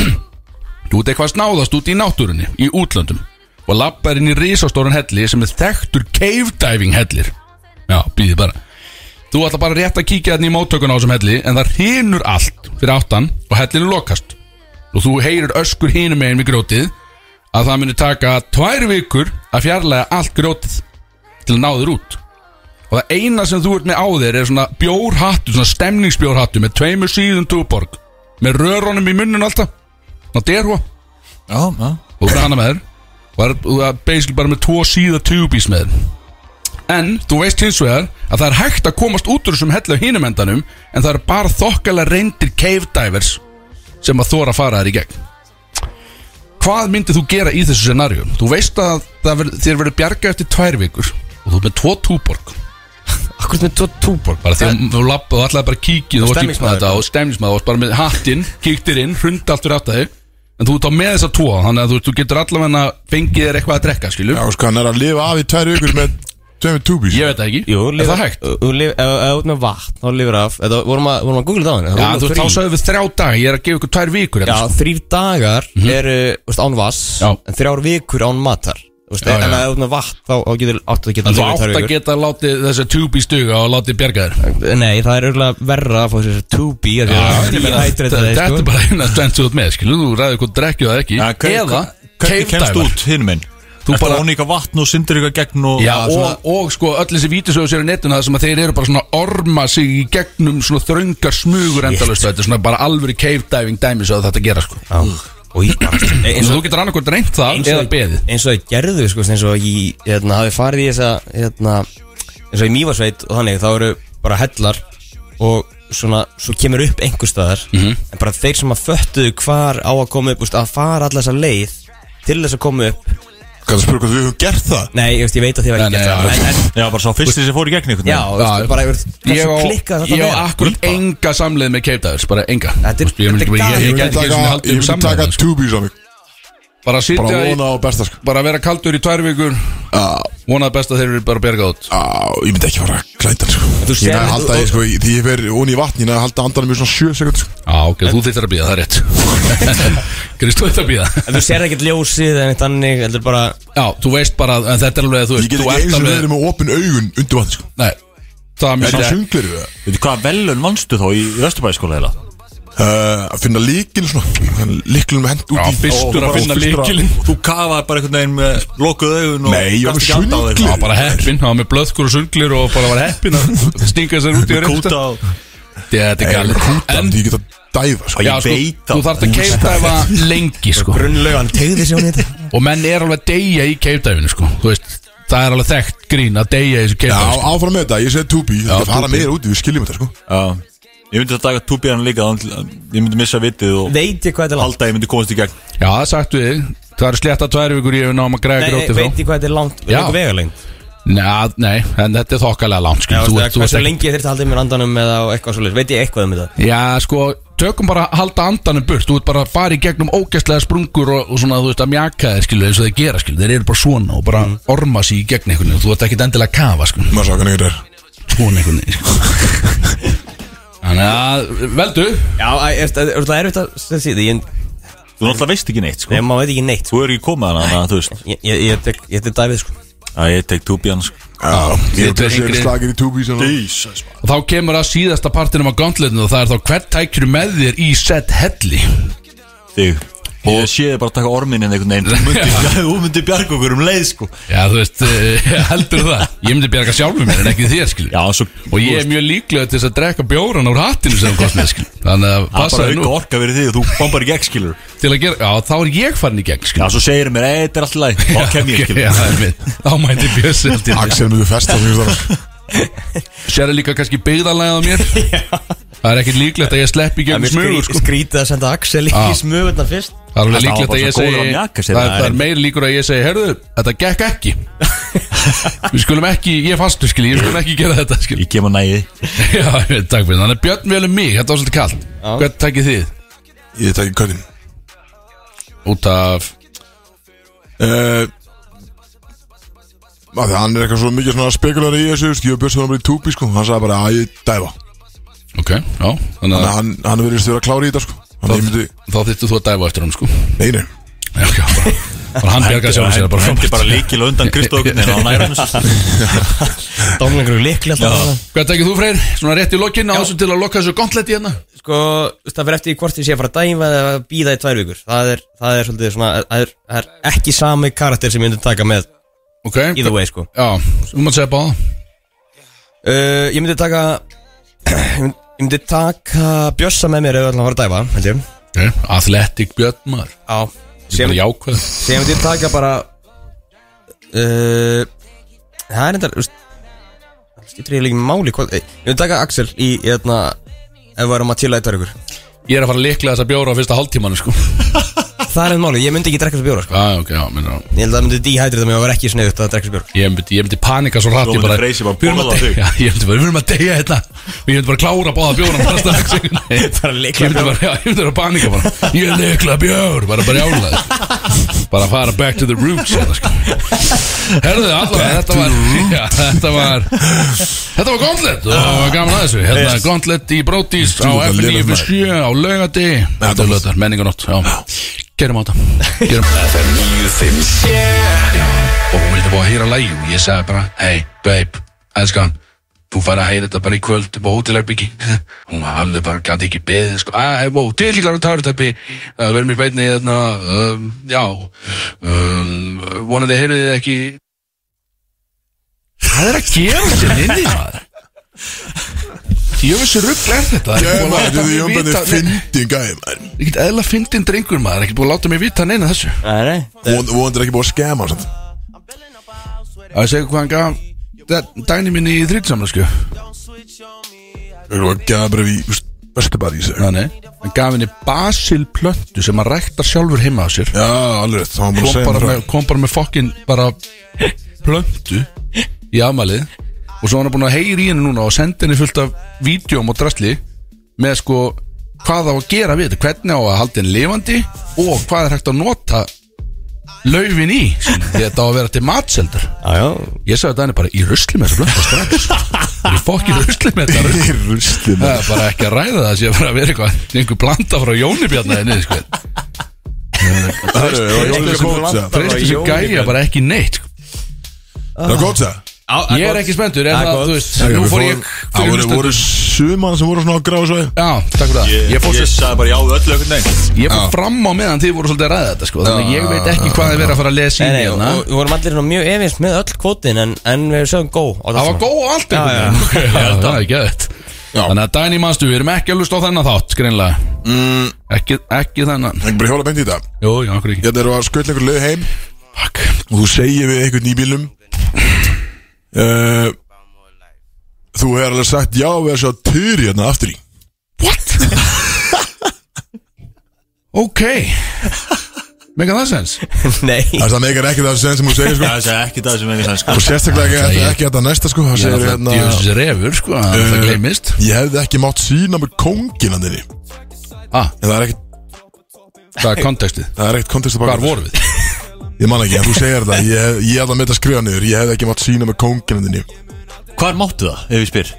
þú ert eitthvað snáðast út í náttúrunni í útlöndum og lappar inn í risastóran helli sem er þekktur cave diving hellir já, býði bara þú ætla bara rétt að kíkja þarna í móttökun á þessum helli en það hrinur allt fyrir áttan og hellinu lokast og þú heyrir öskur hinum megin við grótið að það muni taka tvær vikur að fjarlæga allt grótið til að ná þér út og það eina sem þú ert með á þér er svona bjórhattu, svona stemningsbjórhattu með tveimur síðum túborg með rörunum í munnun alltaf það derhva og
Já, já
þú ert með hana með þér og það er- og það er basically bara með tvo síða tjúbís með þér en þú veist hins vegar að það er hægt að komast út úr þessum hellu hinum endanum en það eru bara þokkalega reyndir cave divers sem að þóra að fara þær í gegn hvað myndir þú gera í þessu scenarium? Þú veist að það ver, þér verður bjarga eftir tvær vikur og þú ert með tvo túborg
Akkur með tvo túborg
bara því að þú lapp- þú ætlaði bara að kíkja þú varst ekki með
Stemningsmaður.
þetta og stemningsmaður þú varst bara með hattinn, kíktir inn, hrundi allt fyrir átt að þig en þú ert á með þessa tvo þannig að þú, þú getur allavega fengið þér eitthvað að drekka skilju,
Já, sko, hann er að lifa af í tvær vikur með Tveimur túbís
ég veit það ekki
Jú,
er það hægt?
Ef þú út með vatn, þá lifir af Þetta vorum að, vorum að googla það á henni
Já, þú veist, þá sagðu við þrjá daga, ég er að gefa ykkur tvær vikur hérna.
Já, þrýr dagar eru þú veist, án vass
Mhm. Já.
En þrjár vikur án matar Þú veist,
Já, já.
En ef þú ert með vatn, þá þá getur áttu að geta
en þú
lifað í tvær
átt að
vikur.
geta að láti þessi tjúbi stuga og láti bjarga þér
Nei, það er örgulega verra að fá þessi 2B að því að
Ég meina,
dehydrate
þetta
þig,
þetta
sko.
er bara eina stend sem þú ert með skilju, þú ræður hvort drekkið það ekki
Já, hver-
eða
Hvernig
cave
kemst
diver.
út hinn minn? Þú
bara-
bara án ykkar vatn og syndir ykkar gegn og
Já,
að svona-
og, og sko öll þessi vítisöðu sér í netinu það sem að þeir eru bara svona að orma sig í gegnum svona þröngar smugur endalust þetta er svona bara alvöru cave diving dæmi svo að þetta gera sko
Já. Og ég-
eins
eins
og þú getur annarkvæmt reynt það eða beðið
eins og ég gerðu sko, eins og ég hérna, hafi farið í þessa hérna, eins og í Mývarsveit og þannig þá eru bara hellar og svona, svo kemur upp einhver staðar
Mhm.
en bara þeir sem að föttuðu hvar á að koma upp úst, að fara alla þessa leið til þess að koma upp
Kannu spyrja hvað við höfum gert það
nei, ég, veist, ég veit að þið var
Nei,
ekki gert
nei,
það
já.
en, en,
Já, bara sá fyrsti sem fór í gegn ykkur
já, þú veist, bara yfir,
Ég á,
klikkað
ég
þetta
á akkurat enga samleið með cave divers, bara enga
Þetta er-
Þú veist, Ég myndi
þetta er
bara- ég-
galið.
ég
Ég
gæti
myndi
ekki svona
taka,
haldið
ég
um
myndi taka
samleið sko.
túbís á mig
Bara
Bara
sitja í,
vona á besta sko
bara vera kaldur í tvær vikur
Já,
vonað best að þeir eru bara að berga út
á, ég myndi ekki fara að klænta hann, sko
Þú
Ég
sérð-
næði að halda því sko í- Því ég fer ón í vatn Ég næði að halda andanum í svona sjö sekund sko.
Já, ok, þú þittir að býða, það er rétt Kristó þetta að býða
en þú sér ekkert ljósið en eitt annig heldur bara
Já, þú veist bara, en þetta er alveg að þú
Ég
veist
get
þú
ekki
ert
eins og
alveg-
verið með opin augun undir vatn sko
Nei, það er mjög
Er það
rétt.
sunglir við það?
Veitu hvað velun vannstu þá í Vesturbæðiskóla eða?
Uh, að finna líkil svona Líkilum hend út
Já,
í
fyrstur
og-
að
og-
finna
fyrstur að-
líkilinn
Þú kafaði bara einhvern veginn með lokuð augun og
Nei, ég var
gast
með
ekki andað
sundgleru.
eitthvað.
bara heppin, hann var með blöðkur og sunglir og bara var heppin að stinga sér út í
Með
reynda
kúta og
Þetta er
Ég er með
galið
kútan
En,
Því ég get að dæfa sko
Ég
já, sko,
veit
þú
það.
þarft að keipdæfa lengi, sko
grunnlaugan tegði sér hún í þetta
Og menn er alveg að deyja í keipdæfinu, sko Þú veist, það er alveg þekkt grín að deyja í þessu
Já,
keipdæfinu sko.
áfram með þetta, ég segi túbí Ég get að fara
túbí.
meira úti, við skiljum þetta sko
Já, ég myndi að taka túbíðan líka þá- Ég myndi missa vitið og
veit ég hvað þetta er langt
halda að ég myndi komast í gegn
Já, það sagt við, það eru slétta tvær vikur í ef við náum að græða
Nei,
grótið
veit
frá
ég hvað þetta er langt
Já.
langt vegalengd
Nei, nei, en þetta er þokkalega langt
Já,
skilur,
þú
þú,
veist,
þú,
hversu
þú,
lengi ég þurfti að halda í mér andanum eða á eitthvað svolítið, veit ég eitthvað um þetta?
Já, sko, tökum bara að halda andanum burt Þú ert bara að fara í gegnum ógæstlega sprungur og, og svona, þú veist, að mjaka þeir, skilu, eins og þeir gera, skilu Þeir eru bara svona og bara
Mm.
orma sér í gegn einhvern veginn Þú ert ekkit endilega að kafa, skilu,
Maður sá hvernig þetta er
svona einhvern veginn skilu. Þannig að, veldu
Já, æ, er þetta er þetta erfitt að segja því, ég,
Þú náttúrulega veist ekki neitt sko
ég, maður veit ekki neitt, sko.
Þú er ekki komað hana, þannig að þú veist
Ég, ég, ég, tek- ég, þetta er dæfið, sko.
að ég tek túbjans sko.
Já, ég er
þetta er
bara sér
yngri-
slagir í túbís
Og þá kemur að síðasta partinum á gauntletinu og það er þá hvert tækir með þér í set helli
Þig Ég sé þig bara taka orminin einhvern veginn Þú myndir- Þú myndir bjarga okkur um leið sko
Já, þú veist, eh, heldur það Ég myndi bjarga sjálfur mér en ekki þér, skilu
Já, svo
Og ég er mjög líklega til þess að drekka bjóran úr hattinu sem þú kost með, skilu Þannig að
Það er
passa
bara
þér
auka
nú
orka verið þig Þú bombar í gegn skilur
til að gera Já, þá er ég farin í gegn, skilu
Já, svo segir mér, ei, þetta er allt í læg Þá kem ég
Já,
skilur
það er mitt. Þá mæti Bjössi allt í lagi.
Axel myndi festa því þar
Sér er líka kannski byggðarlæð á mér Það er ekkert líklegt að ég slepp í gegn
Mér skrý-
smugur sko.
skrýtið að senda Axel í
Já.
smugurna fyrst.
Það er alveg
Þetta var
líklegt
bara
að ég
svo góður að
segi
mjaka sér,
Það er-
það
það
er-
er meiri líkur að ég segi Herðu, þetta gekk ekki Við skulum ekki, ég er fastur skil Ég skulum ekki gera þetta skil
Ég kem að næði
Já, ég- takk fyrir Þannig að Björn velum mig, þetta var svolítið kallt Hvernig takkið þið?
Ég tekki köttin
Út af
uh, að því að hann er eitthvað svo mikið svona spekulari í þessu, veist, ég og Björn var bara í túbi sko, hann sagði bara að ég dæfa
Ok, já, þannig
þannig
að
að hann, hann verið stöður að klára í þetta sko þannig að ég myndi,
Þá þyrftu þú að dæfa eftir hann sko
nei nei
Já, ok, bara bara Hann bjarga sjálf sér bara
Hendi bara
frábært.
líkil og undan Kristóknin á nærans
Dómlengur og likli alltaf. bara.
Hvað tekið þú Freyr? Svona rétt í lokin á þessu til að lokka þessu gontletti hérna
Sko, þú veist, það fyrir eftir í hvort ég sé að fara að dæma eða að býða í tvær vikur. Það er, það er svolítið svona, það er, það er ekki sami karakter sem ég myndi taka með
Ok,
either way, sko.
já, þú mátt segja báða
Uh, ég myndi taka, ég myndi, ég myndi taka Bjössa með mér ef við ætlum að fara að dæma, held ég.
okay. Athletic Björn maður
Já.
Ég er
Sem,
bara jákvæð
sem ég myndi taka bara, uh, það er endar, þú veist, það skiptir ég líka máli, hvað, ég myndi taka Axel í, ég ætla, ef við erum að chilla í tvær vikur.
Ég er að fara að likla þessa bjóra á fyrsta hálftímanu sko
Það er enn máli, ég myndi ekki drekka þessu bjóra, sko.
Já, ok, já, minna
Ég held að það myndi dehydrata mig og vera ekki sniðugt að drekka þessu bjóra.
Ég myndi, ég myndi panika svo rætt
Þú
Ég
myndir
bara,
Freysi bara
við erum að
borða
deyja Já,
þig.
Ég myndi bara, við erum að deyja hérna Og ég myndi bara klára að báða bjóra bara strax Ég myndi
Bara likla
bara, já, ég myndi bara panika bara Ég leikla bjór, bara bara jála Bara fara back to the roots hérna, sko. Herðu, allavega, þetta var já, Þetta var Þetta var Gauntlet og það var gaman að þessu Hérna, Gauntlet í Brótis á
Þetta er lélegt, maður.
F9 á laugandi Þetta er lögðar, menninganótt Gerum á þetta Gerum
FM 957 Og hún vildi bara heyra lægi og ég sagði bara Hey babe, elskan Þú fær að heyra þetta bara í kvöld upp á hótelherbyggi Hún hafði bara gæti ekki beðið sko Æ, vó, til í klara tártæpi Það verður mér beinni þarna um, Já um, Vonandi heyrðu þið ekki
Hvað er að gera sér inn í maður? Jöfissi rugg er þetta Það er
ég
ekki
maður,
búin að láta
þetta er
mig
jömbandi
vita
fyndin gæði maður
Ekkert eðla fyndin drengur maður er Ekki búin að láta mig vita neina þessu
Nei, nei
Von- vonandi er ekki búið að skema hann samt.
Að ég segja hvað hann gaf da- Dæni minni í þrýtsamla sko
Ég er að gefa bara í vestubar í sig já,
Þannig Hann gaf henni basilplöntu Sem hann ræktar sjálfur heima á sér
alveg rétt, þá var maður
Kom
að segja
bara
mér
með,
frá.
kom bara með fokkin Bara plöntu Í afmælið Og svo hann er búin að heyri í henni núna Og sendi henni fullt af vídjóm og drastli Með sko Hvað á að gera við þetta Hvernig á að halda henni lifandi Og hvað er hægt að nota Laufin í skilur. Því þetta á að vera til matseldur
Jájá
Ég sagði Dani bara í rusli með þetta blönda strax Ég fokk í rusli með þetta rusl
Í ruslið,
Það
maður.
er bara ekki að ræða það sé bara að vera eitthvað einhver blanda frá Jónibjarnaðinni sko.
Herru, ég var jólin
Treystu
að kóta það.
treystu þessu gæja bara ekki neitt sko.
Það er gott það
Ég er ekki spenntur en
Það er
það,
gott.
þú veist,
Herru,
nú
við
fór
fórum-
ég
Það voru-
fyrir um
voru suman sem voru svona á gráðu svæði
Já, takk fyrir það Ég fór,
Ég
ég,
sagði bara já við öllu einhvern veginn
ég fór fram á meðan þið voru svolítið að ræða þetta sko. Þannig að ég veit ekki hvað þið verið að fara að
Nei,
lesa í
nei, og
hérna
og við vorum allir svona mjög efins með öll kvótin en, en við sögum gó á
Það var góð og allt
Já, já.
einhvern veginn. Já, Það er gett Þannig að Dæni mannstu, við erum ekki að lusta á þennan þátt greinlega
Mm.
Ekki, ekki þennan
Það er bara hjóla beint í þetta
Jú, já, okkur ekki
Ég er að skvöld einhver leið heim
Fuck
og þú segir við einhvern í bílum uh, Þú hefur alveg sagt já við að sjá Turi hérna aftur í
What? ok Mega það sens
Nei
Það meikar ekki það sem sem hún segir sko
Það er ekki það sem er það sko
Og sérstaklega ekki,
ég-
ekki þetta næsta sko Það
Ég er
segir
alltaf
hérna
djóðsins refur sko að Það
Eh,
gleymist
Ég hefði ekki mátt sína mér kóngin hann þinni En
Ah,
það er ekkit,
það er kontekstið
það er ekkit kontest að baka
Hvar vorum við?
Ég man ekki, en þú segir þetta Ég, hef- ég ætla að mynda að skrifa niður Ég hefði ekki mátt sína mér kóngin hann þinni
Hvar máttu það, ef ég spyr?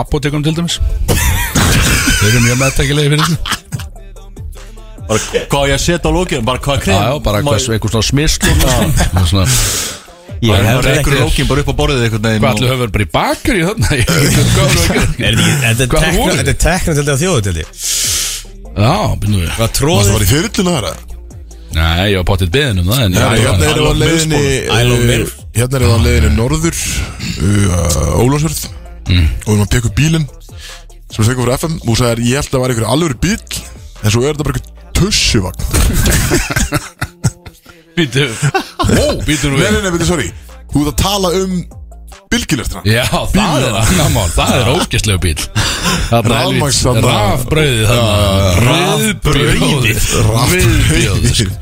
Apotekum til dæmis Þeir eru mjög meðtækilegi fyrir þessu
Bara, hvað á ég að setja á lókinu? Bara hvað krem?
Já, já, bara
Má-
eitthvað svona- eitthvað svona smist Hvað
Ég
Bara
hefði
reykur
ekki
lókin bara upp á borðið einhvern veginn
allir höfum verið bara í bakar í þarna Ég veit ekki hvað vorum við að gera.
Er þetta ekki-
Hvað
þetta
voru?
er tekna til þetta á þjóðu til því
Já, byrjum við
Hvað
Varstu
tróðið
bara í þyrluna þar eða?
Nei, ég var pottitt beðin um það en ég
Nei,
var
Hérna
bara-
er það á leiðinni eh, Hérna er
Ah.
það á leiðinni norður Ólásvörð
Mm.
Og við erum að peka upp bílinn Sem við fyrir FM Og þú sagðir, ég held að það var einhver alvöru bíl En svo er þetta bara einhver tussuvagn
Býtu Ó, býtu nú
Nei, nei,
við
nei, veitir, sorry Þú ert að tala um bylgilestra
Já, það er annamál, það er ógæstlegu bíl
Rafmagns-
Rafbröðið þarna Rafbröðið Rafbröðið sko.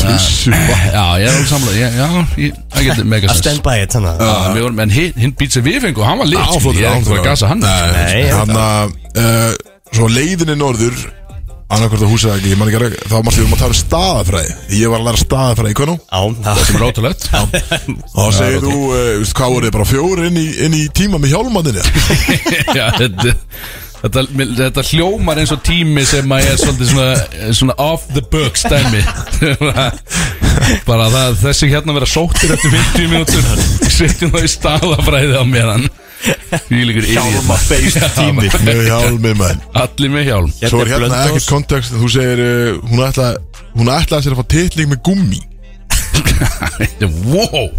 Tussuvagn
Já, ég er alveg samlega Já, já, ég- það getur
Að
megasens
stand by it þannig að-
Já, við vorum, en hinn hinn bít sem við fengum, hann var lit
Já, flottur,
Ég er
já,
ekki bara að gasa hann
Nei, ég
Þannig að eh, Svo leiðinni norður Annarkvort að húsa ekki Ég man ekki að Það var maður að tala um staðafræði Ég var að læra staðafræði í Könú
Á, það
Sem er ótrúlegt
Og þá segir þú eh, Veistu hvað voru þið bara fjóri inn í, inn í tíma með hjálmandinni
Já, þetta Þetta, þetta hljómar eins og tími sem að er svolítið svona, svona off the books dæmi bara það, þessi hérna vera sóttir eftir 50 mínútur setjum það í staðafræði á mér hann því líkur
Hjálma feist tími
Með hjálmi menn
allir með hjálm
Svo er hérna
Blönduós.
ekkert kontekst Þú segir eh, Hún ætla Hún ætlaði sér að fá titling með gummi
wow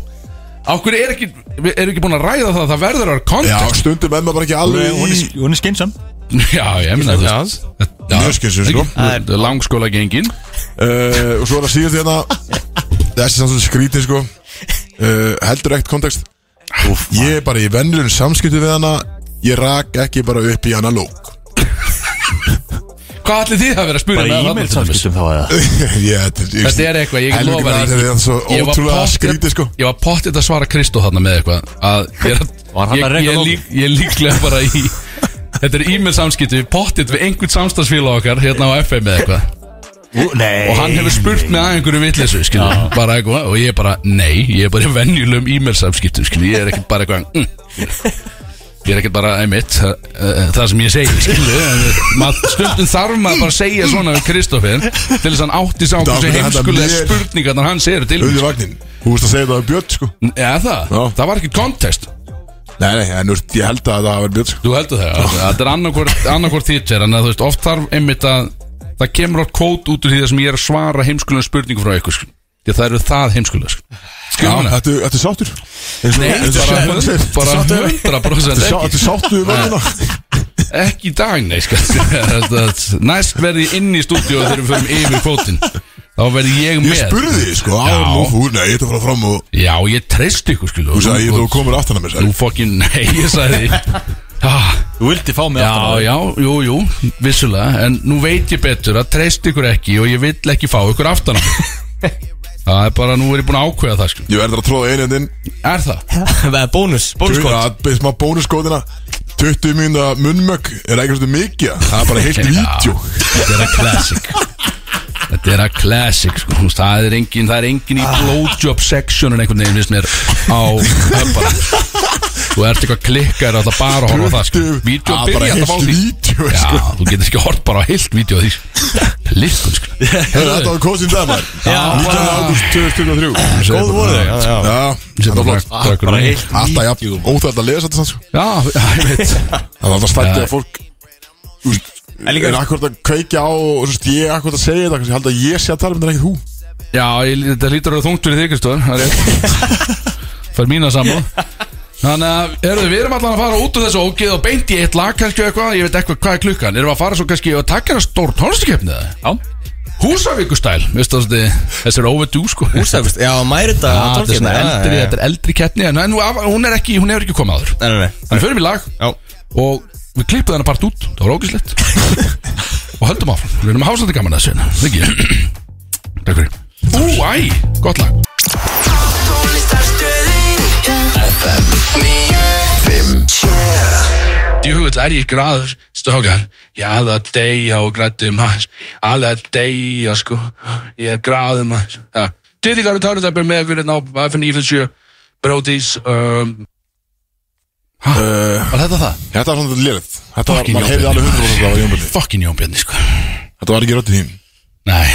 á hverju er ekki, við erum ekki búin að ræða það það verður að vera
Já,
kontekst
stundum er maður bara ekki alveg
Hún
í
er- Hún er skynsam
já, ég minna
Já.
það
Mjög skynsum, sko.
langskóla gengin
Eh, Og svo er það síðast hérna Þessi samt svolítið skrítið sko Eh, Heldur ekkert kontekst Ég er bara í vennilegum samskipti við hana Ég rak ekki bara upp í hana lók
hvað allir þið að vera að spura
Bara
með þarna
e-mail
til dæmis?
samskiptum þá eða
Þetta
Þetta er eitthvað, ég get
sko. Helvíti
lofa
maður, þetta er svo ótrúlega skrítið, sko.
Ég var pottið að svara Kristó þarna með eitthvað að ég, er að-
Var hann
ég,
að reka
ég,
lófið?
lík, ég er líklega bara í Þetta er e-mail samskipti Við pottið við einhvern samstagsfélag okkar Hérna á FM með eitthvað
Nei
Og hann hefur spurt mig að einhverju vitleysu skilur, Bara eitthvað og ég er bara Nei, ég er bara í venjulegum e-mail samskiptum skilur, Ég er ekkert bara eitthvað mm, Ég er ekkert bara einmitt uh, uh, Það sem ég segi skilur, en, mað, Stundum þarf maður bara að segja svona Við Kristoffer til þess að hann átti sá Hversu
Dákun, þetta
heimskulega
mér-
spurningarnar hans eru til
Auði vagnin Þú veist að segja þetta um Björn sko
Já það,
Já.
það var ekki kontest
Nei, nei, en þú veist, ég held að það var Björn sko
Þú heldur það, já. þetta er annarkvort annarkvort þýttir En að þú veist, oft þarf einmitt að Það kemur átt kót út úr því það sem ég er að svara heimskulegum spurningum frá ykkur sko. Því að það eru það heimskulega sko. Skilur
Já,
það?
Þetta þetta er sáttur
Nei, bara, bara 100%
Þetta
ekki,
er sáttur við vannina
ekki í dag, nei sko. Þetta- Næst verði ég inn í stúdíu þegar við förum yfir kótin Þá verði ég með
Ég spurði þig sko áður
Já.
nú, þú- Nei, ég ætla að fara fram og
Já, ég treyst ykkur skilu
Þú sagði, ég þú komur aftan að mér sagði.
Þú fokkin, nei, ég sagði Ah,
Þú vildi fá mig
Já,
aftan
já, jú, jú, vissulega En nú veit ég betur að treyst ykkur ekki Og ég vill ekki fá ykkur aftan á mig. Það er bara, nú er ég búin að ákveða það sko.
Ég verður að tróða einu inn
Er það?
Það er bónus Bónuskot
Bónuskot Smá bónuskotina 20 mínúna munnmökk Er ekki svolítið mikið Það er bara heilt vídeo
Þetta er að classic Þetta er að classic sko. Þú veist, Það er engin, það er engin
Ah.
í blowjob sectionin einhvern veginn, finnst mér Á höfnum Þú ert eitthvað klikkar alltaf bara að horfa á það sko. Vídeó
Það er Ah, bara
byrja alltaf á
heilt
því
vídeo
Já,
sko.
þú getur ekki hort bara á heilt vídeo því sko. Klikkun sko
Heyrðu, Þetta var kosin dag maður 19. ágúst 2023
Góð voru þau
Já,
Sem
þetta var
bara
flott
flott Bara heilt
Alltaf jafn Óþægt að lesa þetta samt, sko.
Já, ég veit
Það er alltaf stættið
Já.
að fólk þú veist,
líka-
Er akkurat að kveikja á og, þú veist, Ég er akkurat að segja þetta Ég held að ég sé að tala um þetta en ekki þú
Já, ég, þetta lítur að vera þungt fyrir þig, Kristofur Það er rétt Fær mína saman Þannig að, herruðu, við erum allan að fara út úr þessu ógeð og beint í eitt lag kannski og eitthvað, ég veit eitthvað hvað er klukkan Erum við að fara svo kannski og taka hérna stór tónlistakefni það? Já Húsavíkustæl, veistu það svolítið, þessi er overdue sko
Úrstækust Já, mæri þetta
Já, þetta er svona eldri, þetta er eldri keppni En nú, af- hún er ekki, hún hefur ekki komið áður
Nei, nei, nei
Þannig förum við í lag
Já.
Og við klippum þennan part út Það var ógislegt Og höldum áfram Við erum að hásætti gaman að þessu hérna. Það ekki Takk fyrir Ú, æ, gott lag
Djúvill er ég græður, stókar. Ég er að deyja og grættu maður. Alla að deyja, sko. Ég er græður maður. Ja. Dýrlingar og törnudabur með ykkur hérna á FN97. Bróðís, um,
Var þetta það?
Þetta var svona lélegt Þetta var,
Fucking
maður heyrði alveg 100% að það var Jón
Jónbjörni
Bjarni
Fucking Jónbjörni, sko
Þetta var ekki röddinn hím
Nei,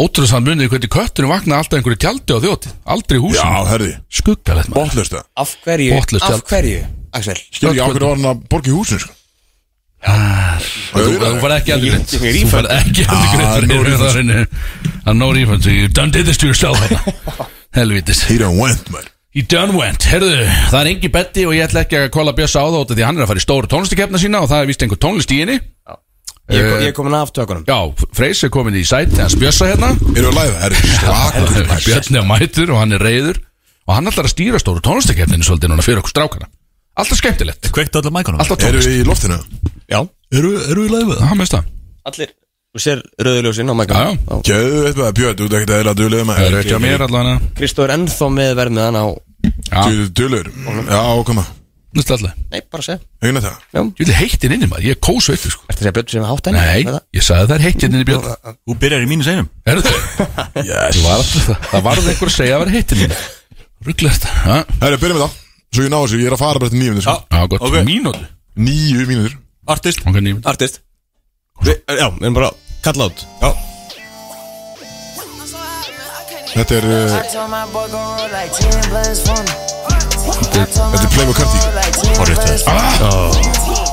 ótrúlega samt munið hvernig kötturinn vaknaði alltaf einhverju tjaldi á þjóti Aldrei í
Já,
húsinu
herði
Skuggalegt maður
Bottlust það
Af hverju,
Botlaust
af
tjald.
hverju, Axel
Skil ekki ákveður var hann að borga í húsinu sko.
Þú þú færð ekki aldrei greitt
Ég- ég-
Þú færð ekki aldrei
Ah,
greitt
no
fyrir
refund.
það reyni Það er Ah, no refund so You done did this to yourself Helvitis
He done went, man
He done went Herðu, það er engi betti og ég ætla ekki að kolla Bjössa á það út af Því að hann er að fara í stóru tónlistikefna sína og það er vist einhver tónlist í henni
Ég
Eh.
ég er komin af tökunum
Já, Freys er komin í sæti hans Bjössa hérna
Erum við að læða, herri Slaka
Björn er mætur og hann er reyður og hann ætlar að stýra stóru tónlistakefninu svolítið núna fyrir okkur strákana Alltaf skemmtilegt,
Kveikt allar mækunum
alltaf
Erum
tónlist
við í loftinu?
Eru eru við læfið?
Það meðst það
Allir, þú sér rauðljósin á
Já,
mækana
já.
Gjöðu veit maður, Björn, þú ert ekkert eðla duðlega
Það
maður
eru ekki á mér allavega
Kristóð er ennþá með vermiðan á
Já,
Þú ert duðlegur Já, koma
næstu allavega
Nei, bara segja
Eginn að það
Ég vil heittin inni maður, ég er kósveitur sko
Ertu að segja blötu sem er hátt enn?
Nei, ég sagði það er heittin inni Björn
Þú byrjar í mínu seinum
Herðu,
Yes
þú var alltaf það Það varð einhver að segja að vera heittin inni Rugglar þetta, ha?
Herri, byrjum við það Svo ég ná þessu, ég er að fara bara til nýjum sko.
já, gott,
Ok.
mínútu
Nýju mínútur
Artist
Ok, nýjum
Artist
Já, við erum bara kalla át
Þetta er, uh, þetta er Playboy Cardi
Horrið það
Ah.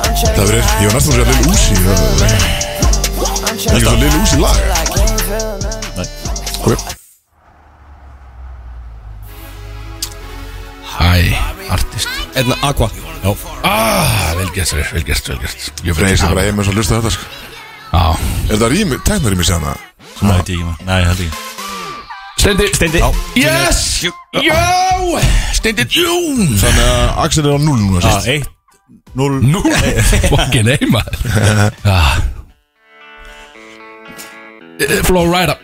Það verður, ég var næstum að segja Lil Uzi Það er ekki svo Lil Uzi lag Ok,
Æ, artist
Einna Aqua
Ah, vel gert, Sverrir, vel gert, vel gert Ég
Freyr sem
Já,
bara heim og svo lusta þetta sko.
já.
Er það rými, teknar rými séðan það?
Nei, þetta ekki maður Nei, þetta ekki
Steindi Steindi Yes Já Steindi Jún
Þannig að Axel er á 0 núna sérst
Það, Ah, eitt Eh, Núl
Nú Fokkin heima ah. Eh, Flow Rider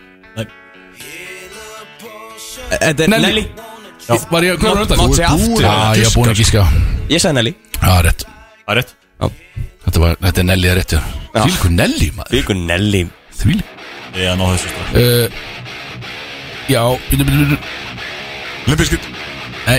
Þetta er
Nelly.
Nelly
Var ég hvað var undan?
Mátt segja
búin
aftur
Já, ég er búin að gíska
Ég sagði Nelly
Já, rétt
Það er rétt
Þetta var, þetta er Nelly, það er rétt Því líku Nelly, maður
Byggur Nelly
Því
Ég er að ná þessu strax
líku Já, byrju, byrju, byrju
Limpiskit
Nei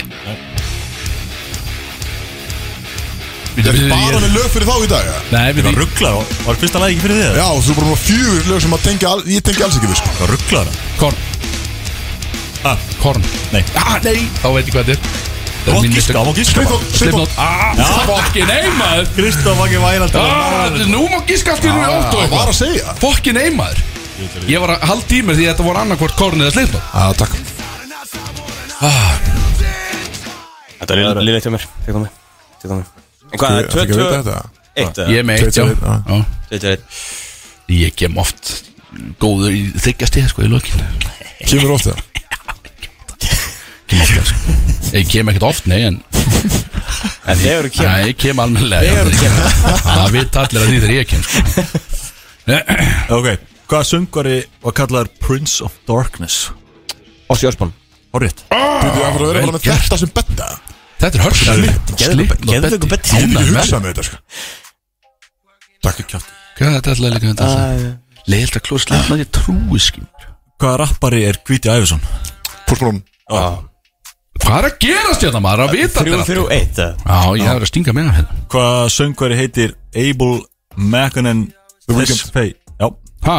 Byrju,
Þetta
byrju,
er bara
ég
með lög fyrir þá í dag ja?
Nei,
Ég var
byrju
rugglar og Var fyrsta lagi ekki fyrir þið?
Já, þú er bara með fjögur lög sem að tengja al, Ég tengja alls ekki við sko.
Ég var rugglar
Korn
Ha?
Korn
Nei.
Ah, nei Þá veit ég hvað þetta er
Þú var gíska, þú var gíska
Slip
bara.
on, slip on
Slipnót Ah, fokkin heimaður
Kristof Vaki Vælandi
Ah, Nú má gíska allt í hennu átt
Það Ah,
og
var
eitthvað
að segja
Fokkin heimaður Ég var að halda í mér því að þetta voru annarkvort korn eða slipnót
Já, takk
Þetta er liðlega til mér Þegar komið Þegar komið En hvað,
Ég ætla ekki að vita
2-2
þetta
Eitt
Ég er með
Tveit,
eitt, já
tveit, já.
Já.
Þetta er
Ég kem oft góður í þykjast ég sko í lokin
Kemur ofta
Kem oft, sko. Ég kem ekkert oft, nei en
En þegar þú kemur
Nei, ég kem almennilega
Þegar þú kemur.
Það vita allir að því þegar ég kem sko
Ok, hvaða söngvari var kallaður Prince of Darkness?
Ossi Osborn
Horrið
Þú er að fara að vera
vel
bara með
gert.
þetta sem betta
Þetta er hörst
Geðvöku
Slipnót
betti
Ég hef ekki
Ánægður með
hugsað með þetta sko.
Takk ekki kjátt
Hvað er þetta allir líka þetta allir Leilt að klóra slipnót, ég trúi skil
Hvaða rappari er Gvíti Æfesson?
Póstmálum
Hvað er að gerast hérna maður að vita allir allt?
3-3-1
Já, ég er að stinga mig af hérna
Hvaða söngvari heitir Abel Maconan Despay? Já,
Ha?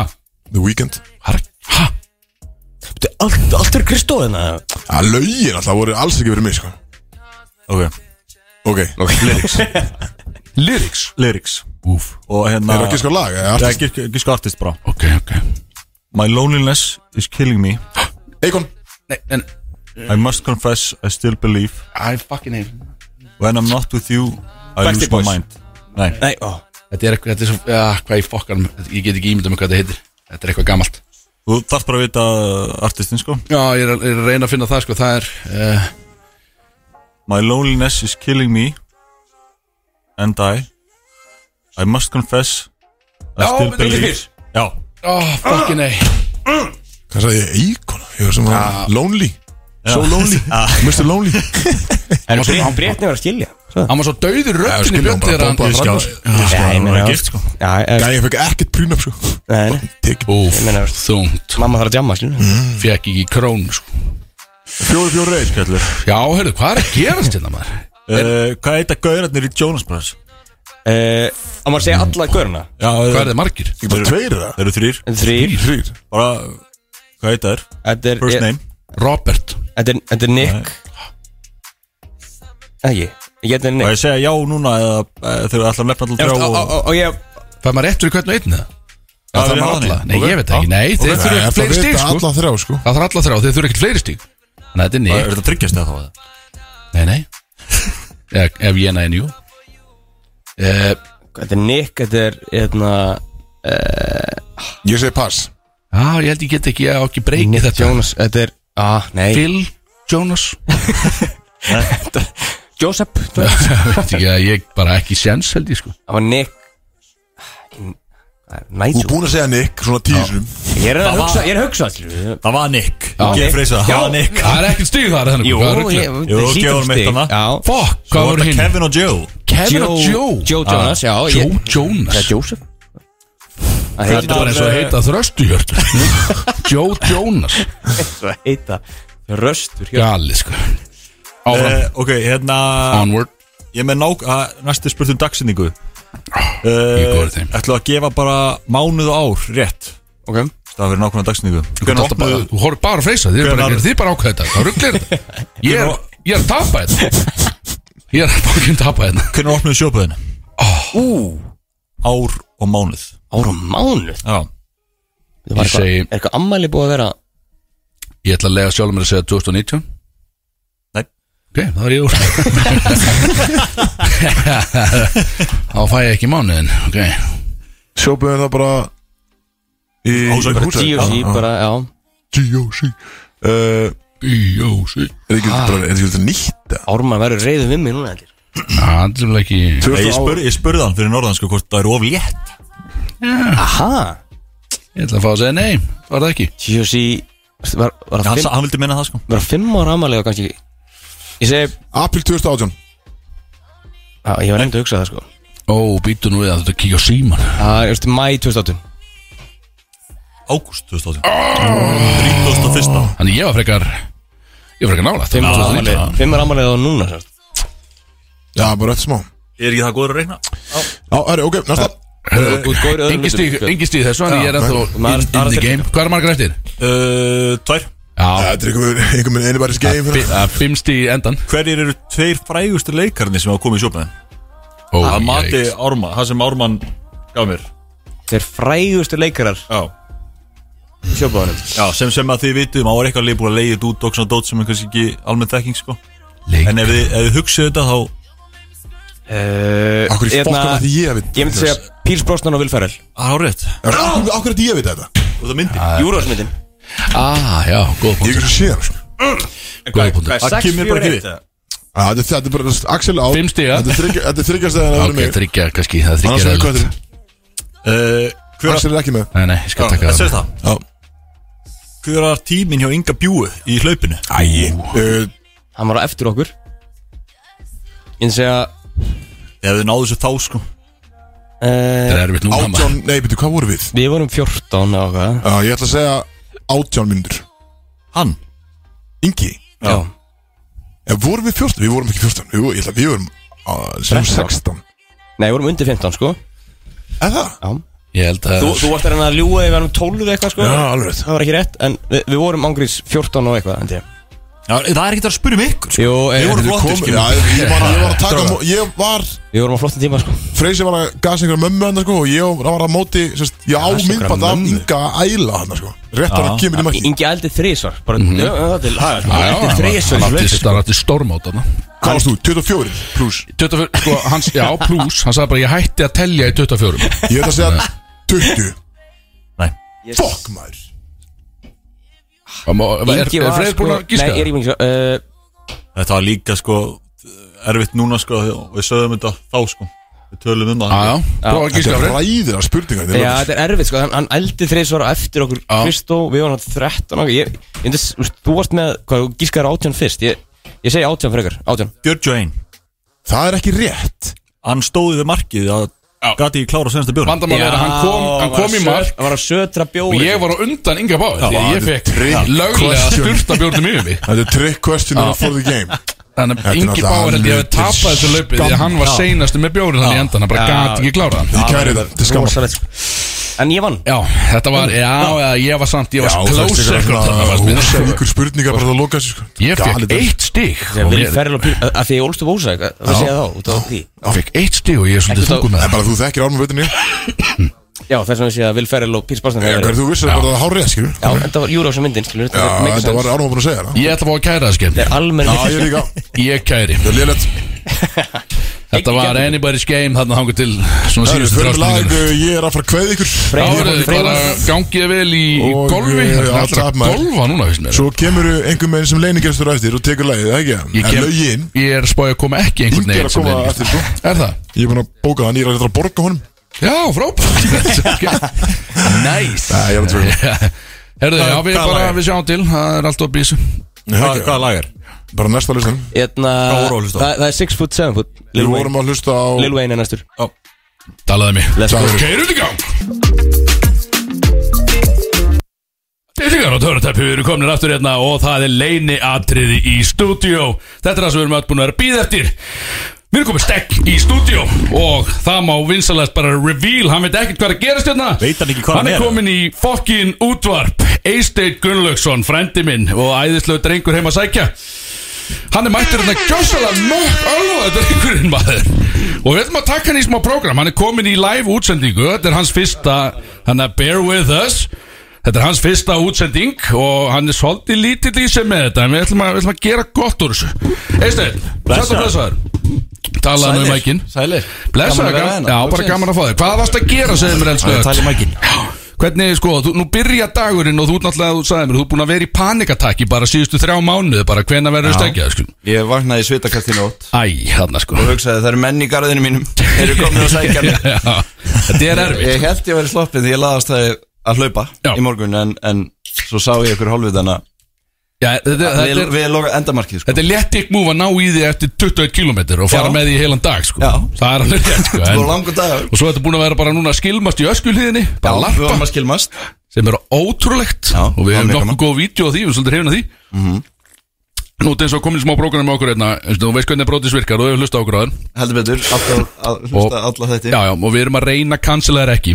The Weeknd
Hvað er að- Ha?
Þetta er allt, allt fyrir hérna. Kristóðina
Að Ah, lögin alltaf voru alls ekki verið mig sko.
ok
Ok Lyrics
Lyrics
Lyrics
Úf
Og hérna
Er það ekki sko lag? eða
Já,
artist?
gíska- gíska artist bara
Ok, ok
My loneliness is killing me
Akon
Nei, en
I must confess I still believe
I fucking hate
When I'm not with you I
Backstreet
lose my
Boys.
mind Nei,
Nei, ó
Þetta er eitthvað, þetta er svo, ja, hvað ég fokkar Ég get ekki ímyndað mig hvað þetta heitir Þetta er eitthvað gamalt
þú þarf bara að vita uh, artistinn sko
Já, ég er, er að reyna að finna það, sko, það er uh,
My loneliness is killing me And I I must confess I
Já, þetta
still
er
believe
Lífis.
Já,
Ah. Ó, fucking nei
Hvað sagði ég? Akon Ég var sem að Lonely So lonely Mr. Lonely
En breytni var að skilja svo.
Hann var svo
Já,
dauður röttin í
skilja, hann
björn
bara
þegar hann
bombaði fram.
Já, ég meina
gift, sko.
Já, eh,
Gæði fekk ekkert prýnaf sko
nei, nei.
Tekið
Úf,
Ég meina, veist,
þungt
Mamma þarf að jamma, skilur
Fekk ekki krón sko.
Fjóri fjóri reyn
Kallur
Já, heyrðu, hvað er að gerast hérna maður?
Uh, Hvað heita gaurarnir í Jonas Brothers?
Eh, Á maður að segja alla görna
Já,
Hvað er
þeir
þið margir?
Ég bara tveir það
eru þrýr
Þrýr
Þrýr
Bara, hvað heita þær?
Þetta er
First
ég-
name
Robert
Þetta er- þetta er Nick Ekki Ég heiti
Og
Nick
ég segja já núna eða eh, þeir eru alltaf nefna alltaf
Ég veist,
þrjá
og-
og
og- Og ég
Fæði maður réttur í hvern og einn eða?
Já,
Það
við
þarf maður
hafa
alla
þannig.
Nei, ég veit það ekki, nei, þeir þurfa
Nei,
ekki
Það
fleiri stík
vita
sko
alla þrjá sko
Það þarf alla þrjá, þeir þurfa ekki fleiri stík Þannig að þetta er
Er
nýtt
þetta tryggjast eða þá eða?
Nei, nei Ef ef ég næði njú Eh,
Þetta er Nick Þetta er hérna
Ég segi pass
Já, ég held ég get ekki að ekki breyki
Nick
þetta
Jonas Þetta er Ah, nei
Phil Jonas
Joseph
Ég veit ekki að ég bara ekki séns held ég sko
Það var Nick Hvað er-
Þú er
Nigel
búin að segja Nick Svona tísum
Ég er að hugsa Ég er að hugsa skilurðu.
Það var Nick
Já.
Ég freysa, það var Nick
Það er ekkert stík þar þannig
Jú
hvað er ruglið?
ég-
Jú,
þetta hlýtur
gefur honum eitt
stig.
hana.
Já
Fuck,
Svo
hvað
var
voru
þetta
hinn?
Kevin og Joe
Kevin og Joe
Joe Jonas, já
Joe
ég-
Jonas
Það er Joseph Það
Þetta er bara eins og að heita þröstuhjörn Joe Jonas
svo að heita Röstur hjá
Gali sko Áfram
Eh, Ok, hérna
Onward
Ég er með nák að næstu spurt um dagsinningu
er góður í þeim.
Ætlu að gefa bara mánuð og ár rétt
Ok
Það verið nákvæmna dagsinningu
Þú ert alltaf bara- þú horfir bara að freysa Þið er bara,
Hvenær-
þið er bara ákveð þetta Það rugglir þetta Ég er, ég er að tapa þetta Ég er að bókin tapa þetta
Hvernig opnuðu sjópaðinu?
Ah.
Ú Ár og mánuð
Ára mánuð
Já
Það var
Ég segi-
eitthvað, er eitthvað ammæli búið að vera
Ég ætla að lega sjálf mér að segja 2019
Nei.
Ok, það er ég úr Þá fæ ég ekki mánuðin Ok
Sjópaði það bara Í
Ásakar,
Húsavík.
G.O.C.
Já, já.
bara, já
G.O.C. Uh,
Bíjósi
Er ekki bara Er ekki þetta nýtt eða?
Ármann verður reyðu við mig núna heldur
Það er sem ekki
Nei,
2000
Ég, spur, ég spurði hann fyrir norðan sko hvort það eru of létt
Aha
Ég ætla að fá að segja nei Var það ekki
G.O.C. var, var að
hann, sa-
fimm,
hann vildi minna það sko
var að fimm ára ammæli og kannski Ég segi,
April 2018
á, ég var nefndi að hugsa það sko
Ó, býtu nú við að þetta kíkja á síman
Það er, veistu, mæ 2008
Ágúst 2018
Ah.
31.
Þannig ég var frekar Ég var frekar nála
Fimm ára ammæli, fimm ára ammæli og núna sko. sérst
Já, bara eftir smá Já,
Ég er ekki það góður að reyna
herri, ok, næsta
Engi stíg, engi stíg þessu En ég er ennþá
maður-
in, in the
maður-
game Hvað er margar eftir?
uh, Tvær
Já,
Þetta er einhver- einhver minn einibæris game hérna.
það er fimm stíg í endan
Hverjir eru tveir frægustu leikarnir sem hafa komið í sjópaðin?
Ó,
Það mati
jæks.
Ármann, það sem Ármann gaf mér
Þeir frægustu leikarar
Já,
sjópaðunum
Já sem, sem að þið vitið um, á er eitthvað leið búin að leiðið út og svona dót sem er kannski ekki almennt þekking sko
Leik.
En ef þið, ef þið hugsið þetta þá
Akkur
Akkur
í fokkan að því ég veit
Eh, Hérna, Ég myndi segja Píls Brosnan og Will Ferrell
Árið,
Akkur að því ég veit þetta
og það myndi
Júrósmyndin
Ah, já, góð
Ég er ekki
punktur
svo síðan sko.
Góð punktur
Það kemur bara ekki við
Já, Þetta er- þetta er bara Axel á
Fimm stiga.
Þetta er þriggja- þetta er þryggjast að það verður
Ok,
mig
þryggja, kannski Það
Annars verður
þryggja
hvað þetta
Uh,
er
Hver
Axel er ekki með
Nei, nei, ég skal taka
að
það
segja það?
Já.
Hver var tíminn hjá Inga Bjúu í hlaupinu?
Æi uh,
Hann var á eftir okkur Ég myndi segja
Ef þið náðu þessu þá sko
uh,
Það er erfitt núna maður.
Átján, nei, betur, hvað voru við?
Við vorum 14 og hvað
Já, ég ætla að segja átján myndur
Hann
Ingi
Já,
Já, vorum við 14? Við vorum ekki 14 Jú, ég ætla að við vorum uh, sem 16
Nei, við vorum undir 15 sko
Er það?
Já
Ég held að
Þú, þú varst að reyna að ljúa því við erum 12 eða eitthvað sko
Já, alveg rétt.
Það var ekki rétt En við, við vorum ángriðs 14 og eitthvað held ég.
Já, Það er ekkert að spyrja um ykkur sko.
Jú, e,
Við vorum
Þetta er
flottir,
komið-
skilur.
Já, ég var, ég var að taka á mó- Ég var
við vorum á flottin tíma sko
Freysi var að gasa einhverja mömmu hann sko, og ég var að móti sérst, ég á
Gasa einhverja
myndband af
mömmu?
Inga Æla hann sko. rétt hann að kemur í marki
Ingi ældi þrísvar Bara mm -hmm. það til haga sko
Já,
Ældi þrísvar í leik, sko.
Það er alltaf stórmót þarna.
Hvað varst þú? 24 pluss
24, sko, hans, já, plus Hann sagði bara, ég hætti að telja í 24
Ég ætla að segja 20
Nei
Fuck maður
Það má- Er, er
Ingi var
Freyr búin að gíska?
Nei, ég er ekki sko uh,
Þetta var líka sko erfitt núna sko og við sögðum þetta þá sko
Við tölum um það
Já, já, prófa að
Þetta
gíska
er
fyrir
ræðilega spurningar
Já,
þetta
þetta er erfitt sko, hann, hann eldi þreysvara eftir okkur
Já.
Kristó, við varum hann 13 og ég, ég, myndi s- þú veist, þú varst með, hvað, þú gískaðar átján fyrst Ég, ég segi átján frekar, átján
Björn Join
er- Það er ekki rétt
Hann stóði við markið að
Já.
Gati ekki klára sensta björn
Vandamál er að hann kom, hann kom í mark
Hann var að sötra
Og
bjóri
ég var á undan Inga Báð Því að ég
þetta
fekk
er
löglega
question.
styrta bjórnum yfir mig
Þetta er trick question for the game
Þannig
Þetta er
að Ingi
náttúrulega
Báður held ég að
alveg
tapa þessu laupi Því að hann var seinastu með bjórin þannig í endan Hann bara gat ekki klára hann
Ég kæri þetta, þetta er skamma
Rosalegt, sko. En ég vann
Já, þetta var, já, já, ég var samt, ég
Já,
var
það er
close
stikar
second þarna, fannst mér.
húsavíkur spurningar bara að loka sér sko
Ég fekk
Galið er.
eitt stig
Þegar
og
Vili
mér-
Ferrell og Píl, að því ég ólst upp ósa Það segja þá, út af því
Ég fekk eitt stig og ég er svolítið
Ekkert
þungur með
En
það
bara þú þekkir ánum veitinni
Já, þess vegna sé að Vili Ferrell og Píl Sparsson
Hvað er þú vissir bara að það er hárið, skilur
Já, en það var júra á sem myndin, skilur
Já,
þetta makes
þetta
sense.
var ánum búin að segja það
Ég ætla að fá að kæra það
Þetta er
skemmt
almenn
Já, ég líka
Ég kæri
Það er liðlegt
Þetta var anybody's game þarna hangur til Svona
Það er
síðustu
fyrir lag,
þrásningur
uh, ég er að fara að kveða ykkur
Árið bara gangið vel í í
Og,
golfi
eh,
Það er alltaf
allt
að
maður.
golfa núna, veist mér
Svo kemur einhver meginn sem leinigestur á eftir og tekur lagið, það ekki?
Ég
En
kem-
lögin,
Ég er spáið að koma ekki einhvern
Ingi er
veginn
að
sem
koma
vinur.
eftir sko
Er það?
Ég er búin að bóka hann, ég er að reyna að borga honum
Já, frábært Næs
Nei, ég er að tvöga
Herðu, já, við
hvað
bara,
lag er?
við sjáum til Það er alltaf að bísu
Hvað
Hvaða lag er?
Bara næsta listan
Eitna,
voru að
Hérna,
hlusta á?
það, það er 6 foot 7 foot Lil
Við
Wayne,
vorum að hlusta á
Lil Wayne er næstur
Talaðu mig
Let's go
Keirum í gang Íslingar og törutæpi, við erum komin aftur hérna og það er leiniatriði í stúdíó Þetta er það sem við erum öll búin að vera býð eftir Við erum komið stekk í stúdíó og það má vinsalast bara reveal Hann veit ekkert hvað er að gerast hérna
Veit hann ekki hvað hann
er
er?
komin í fokkin útvarp Eisteit Gunnlaugsson, frendi minn og æðislegu drengur heima að sækja Hann er mættur hérna gjössalega nokk alveg drengurinn maður Og við ætlum að taka hann í smá prógram Hann er komin í live útsendingu Þetta er hans fyrsta, hann er Bear With Us Þetta er hans fyrsta útsending og hann er svolítið lítill í sig með þetta en við ætlum að, við ætlum að gera gott úr þessu Eisteinn, sætt og blessaður Talaðu nú í mækin
Sælir
Blessaður,
Gaman að vera
gaman,
hérna.
já, bara
Loksins.
gaman að fá þig Hvað varst að gera, segðu mér elsku öll?
Tali mækin
Hvernig, sko, þú, nú byrja dagurinn og þú ert náttúrulega, þú sagði mér, þú er búin að vera í panikataki bara síðustu þrjá mánuði, bara hvena verður stekjað, sko
Ég vaknaði í svitakast í nótt
Æ, þarna sko
og hugsaði það eru menn í garðinu mínum eru komin að sækja mig Eh,
Já, Þetta er erfitt
Ég held ég verið sloppið því ég laðast það að hlaupa
Já.
í morgun en, en svo sá ég ykkur hálfvitana
Já, þetta,
við,
þetta, er,
við loka endamarkið sko.
þetta er létt ykkur múf að ná í því eftir 21 km og fara
Já.
með því í heilan dag sko.
Já.
Það er alveg rétt sko,
Það var
en,
langur dag
Og svo er þetta búin að vera bara núna að skilmast í öskulíðinni Bara
Við varum
larpa
að skilmast
Sem er ótrúlegt
Já,
Og
það
við
er
hefum
mjög gaman.
nokkuð
Mhm.
góð vídeo á því Við erum svolítið hefna því mm -hmm. Nú, þetta er eins og komin í smá prógram með okkur einna, Þú veist hvernig brótis virkar og þau hlusta okkur á þenn
heldur betur alltaf að hlusta alla þetta
Já, já, og við erum að reyna að cancela þær ekki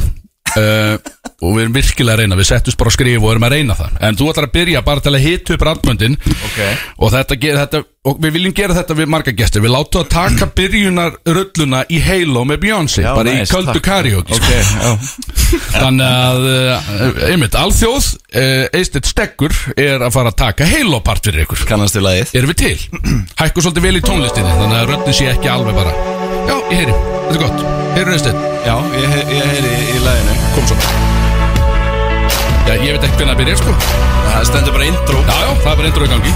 uh, Og við erum virkilega að reyna Við settumst bara að skrifa og erum að reyna það En þú ætlar að byrja bara til að hita upp randmöndin okay. Og þetta gera þetta Og við viljum gera þetta við marga gestir Við látum að taka byrjunar rulluna í Halo með Beyoncé
Já,
Bara
nice,
í köldu
takk.
karióki
Ok, já.
Þannig að, uh, einmitt, alþjóð uh, Eistett Steggur er að fara að taka Halo part fyrir ykkur
kannast við lagið
Erum við til? Hækku svolítið vel í tónlistinni Þannig að röddin sé ekki alveg bara Já, ég heyri, þetta er gott Heyrðu Eistett
Já, ég, he- ég heyri í, í laginu
kom svo Já, ég veit ekki hvernig að byrja, sko
Það stendur bara intro
Já, já, það er bara endur á gangi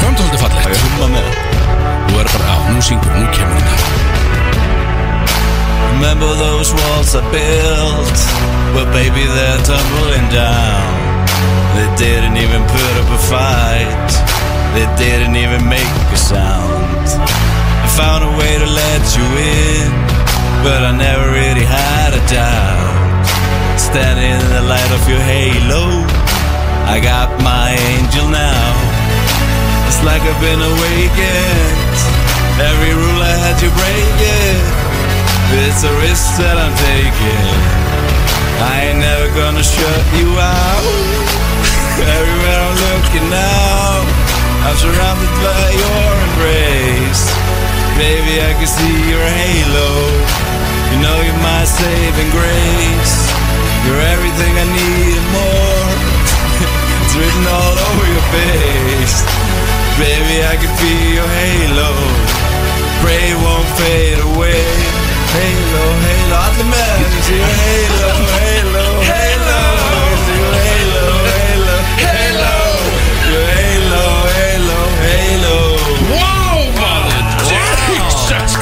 Hjóndu svolítið fallegt
Humma með
Þú er bara, já, nú syngur, nú kemur þetta
Remember those walls I built? Well, baby, they're tumbling down. They didn't even put up a fight. They didn't even make a sound. I found a way to let you in, but I never really had a doubt. Standing in the light of your halo, I got my angel now. It's like I've been awakened. Every rule I had you break it. It's a risk that I'm taking. I ain't never gonna shut you out. Everywhere I'm looking now, I'm surrounded by your embrace. Baby, I can see your halo. You know you're my saving grace. You're everything I need and more. it's written all over your face. Baby, I can be your halo pray it won't fade away. Halo, halo, allir með Ég sé halo, halo, halo Ég sé halo, halo, halo Ég halo, halo, halo
Wow, maður Jesus Christ,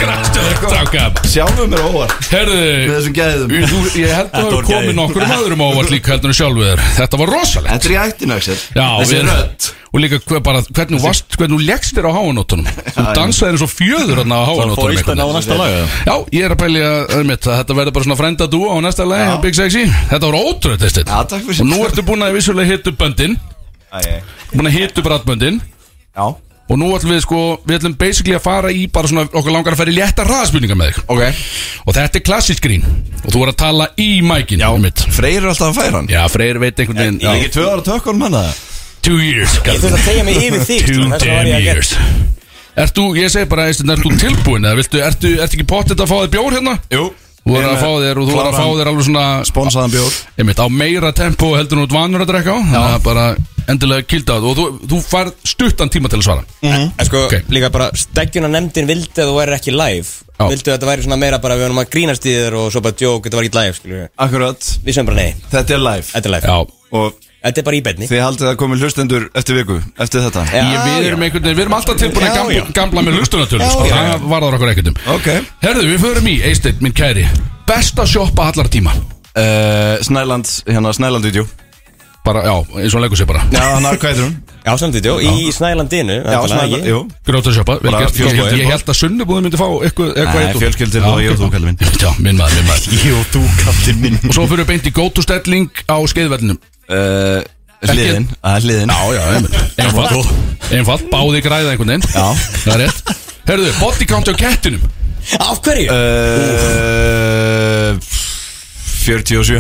stráka
sjálfum mér á óvart með
Herðu,
þessum gæðum
þú- ég held að
Þetta
það
var
hafi komið
gæði.
nokkrum öðrum ávart líka heldur en sjálfu þér Þetta var rosalegt
Þetta er í ættinu, Axel
Já,
Þessi
við-
rödd
Og líka hver, bara, hvernig, þú varst, hvernig þú leggst þér á háanóttunum Þú dansaði eins og fjöður þarna á háanóttunum einhvern veginn.
næsta laga
Já, ég er að pælja mitt, að þetta verður bara svona frænda dú á næsta lagi, Big Sexy Þetta voru ótrúið testið
Já, takk fyrir
Og nú ertu búin að vissulega hitta upp böndin
Æ, æ.
Búin að hitta upp ratböndin
Já,
Og nú ætlum við sko, við ætlum basically að fara í bara svona, okkur langar að fara í létta raðspurningar með þig
ok
Og þetta er klassisk grín Og þú voru að tala í mækin Já, mitt
Freyr er alltaf að færa hann
Já, Freyr veit einhvern veginn
Ég er
já.
ekki tvö ára tökkunum hann að
Two years,
Ég
kallinn.
þurfti að tegja mig yfir þig
Two
sko, þess vegna var
damn
ég að gera-
years Ert þú, ég segi bara, Eysteinn, ert þú tilbúin eða viltu, ertu, ertu ekki pottet að fá þér bjór hérna?
Jú
Þú voru að fá þér og þú voru að fá þér alveg svona
Sponsaðan bjór
einmitt, á meira tempo heldur en þú ert vanur að drekka á Þannig að bara endilega kilda á það og þú, þú far stuttan tíma til að svara
En sko,
Ok.
líka bara steggjuna nefndin vildi að þú væri ekki live
Já.
Vildu að þetta væri svona meira bara við varum að grínast í þér og svo bara djók, þetta var ekki live, skilju
Akkurat
Við sem bara nei,
Þetta er live
þetta er live
Já,
Og
Þetta er bara í benni
þið haldið að komi hlustendur eftir viku Eftir þetta
Já,
ég, við erum einhvern veginn, við erum alltaf tilbúin að
Já,
gamla,
já.
gamla með hlustunartölum sko,
já.
það varðar okkur ekkert um
Ok
Herðu, við förum í, Eysteinn, minn kæri Besta sjoppa allar tíma
uh, Snæland Hérna Snæland vídeo
Bara, já, eins og hann leggur sér bara
Já, hann er hvað heitir hún?
Já, samt þetta, í Snælandinu
Já,
væntanlega,
Snæland
ekki?
Jú
Gróta sjoppa, vel
Bara
gert Ég-
fjölskyldu.
Ég held að sunnubúðum myndi fá eitthvað eitthvað
Nei,
eitt og-
fjölskyldur
Já,
og ég og
ok.
þú, kallinn minn.
Já, minn maður, minn maður
Jú, þú kallið minn
Og svo fyrir við beint í gótustelling á skeiðvellinum
uh, Hliðin Það er hliðin
Já, já, einmitt Einfalt, einfalt, báði græða einhvern veginn
Já.
Það er rétt Herðu, body count á kettinum
Af hverju?
Eh, Uh, 47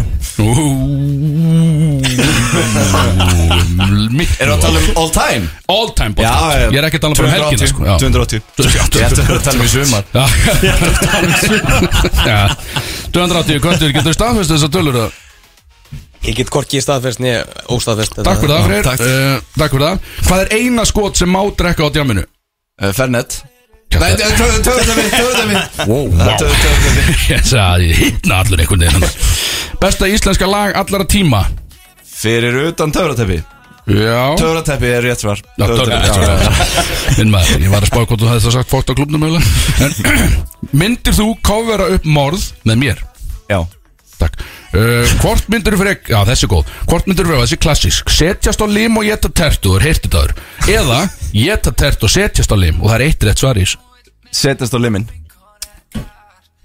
Miklu
Erum við að tala um all time?
All time body count Ég er ekki að tala bara um helgina sko. Já.
280 Ég ætti að vera að tala um í sumar
Já. Já. 280 kvöldur, getur staðfest þessar tölur að
Ég get hvorki í staðfest niður óstaðfest
Takk fyrir það, Freyr Eh, Takk fyrir það Hvað er eina skot sem má drekka á djáminu?
Uh, Fernet Nei, töðu þetta við, töðu þetta við
Wow.
Töðu þetta við
Ég sagði, ég hittna allur einhvern veginn Besta íslenska lag allara tíma
Fyrir utan töfrateppi
Já
Töfrateppi er rétt svar
Já, törnir, já, já, já. Minn maður, ég var að spá hvort þú hefði það sagt fórt á klubnum mögulega En myndir þú kofvera upp morð með mér?
Já
Takk uh, Hvort myndir þú fyrir, já þessi er góð Hvort myndir þú fyrir, þessi er klassísk Setjast á lim og geta tertu, þú er heyrtið þaður Eða, geta tertu og setjast á lim Og það er eitt rétt svar í þessu
Setjast á limin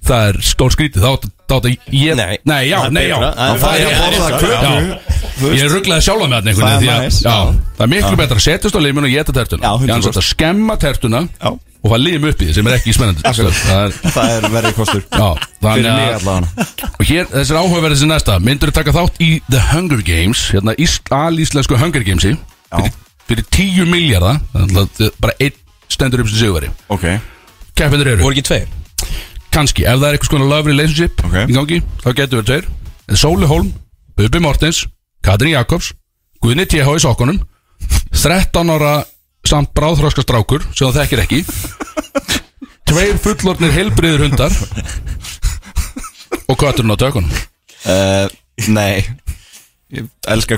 Það er stór skrítið, þá þá átt að ég
Nei.
nei, já,
Það er
nei, já
betra. Það er-
Það er að borða köku
Já. Ég rugglaði sjálfa með hann einhvern
Það er
veginn því að-
næs.
já, Það er miklu betra að setjast á limin og geta tertuna
Já,
Ég
100%.
hans að skemma tertuna
Já.
Og fá lim upp í því sem er ekki spennandi Sko, Það er
Það er verið kostur
Já,
Fyrir
þannig
mig
að
allavega
Og hér, þessi er áhugaverðið sem næsta Myndur þú taka þátt í The Hunger Games Hérna ísl- alíslensku Hunger Gamesi fyrir, fyrir tíu miljardar Bara einn stendur upp sem sigurveri
Ok
Keppindur eru,
Voru ekki tveir?
kannski Ef það er eitthvað svona love relationship
Ok.
í gangi Þá getur við tveir En Sóli Holm, Bubi Mortens Katrin Jakobs, Guðni T.H. í sokkunum 13 ára samt bráðþróska strákur sem það þekkir ekki Tveir fullornir heilbriður hundar og kötturinn á tökunum
Uh, Nei Ég elska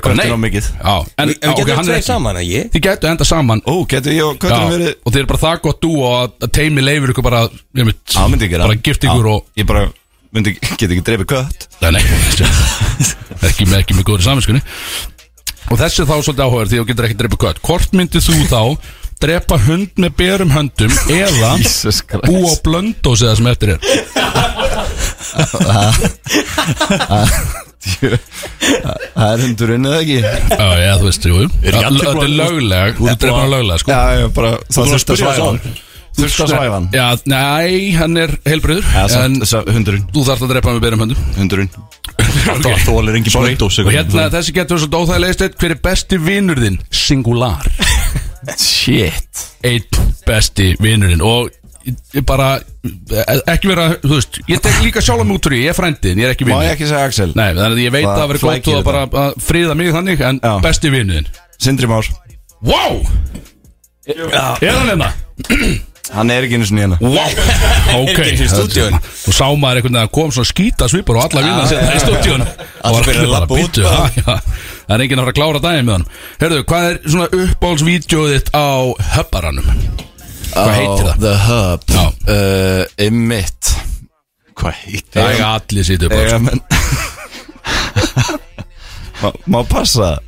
Nei.
kvöldin á mikið
Já, en
Við við
ok,
getum
hann er
tveir
ekki
saman, að ég?
Þið getur enda saman
Ó, getur ég og
já,
kvöldin verið
Og þið eru bara það gott dú og að- að teimi leifir ykkur bara ég mynd,
Já, myndi ég gera
Bara gift ykkur
Já,
og
Ég bara myndi, get ekki dreipið kött
Nei, nei Ekki með, ekki með góður saminskunni Og þessi er þá svolítið áhugaður því þú getur ekki drepa kött Hvort myndið þú þá drepa hund með berum höndum eða
Jesus Christ.
búa á blöndós eða sem eftir er
Það er hundur unnið ekki Já,
Já, já, þú veist, jú, jú Já, l- Þetta er lögleg, þú drepa hann lögleg sko.
já, bara Það þurft að svæfa hann Þurft að svæfa hann
Já, nei, hann er heilbröður
Já,
En
samt- sa- hundurinn
þú þarf að drepa hann með berum höndum
Hundurinn
Ok.
Þú alveg engin blöndós
Og hérna þessi getur svolítið óþægilegist eitt Hver er besti vinur þinn? Singular Shit Eitt besti vinur þinn Og ég bara Ekki vera, þú veist Ég tek líka sjálf mig út úr því Ég er frændin, ég er ekki
Má
vinur
ég ekki segja Axel?
Nei, þannig að ég veit
Það
að það verið gott
flækir
og að bara að friða mig þannig En
Já.
besti vinur þinn
Sindri Már
Wow Er hann hérna?
Hann er ekki einu sinni hérna
Wow Ok
ekki í stúdíóinu.
Og sá maður einhvern veginn að kom svona skýta svipur og alla vinna sér það í stúdíun
Allir byrja að labba út bara.
Það er enginn að fara að klára daginn með hann Herðu, hvað er svona uppbólsvídeóð þitt á höpparanum? Hvað heitir það?
The Hub
Já.
uh, Emmitt Eh, Hvað heitir
Það er allir sitt upp á,
Eiga
sko.
menn Má, má passa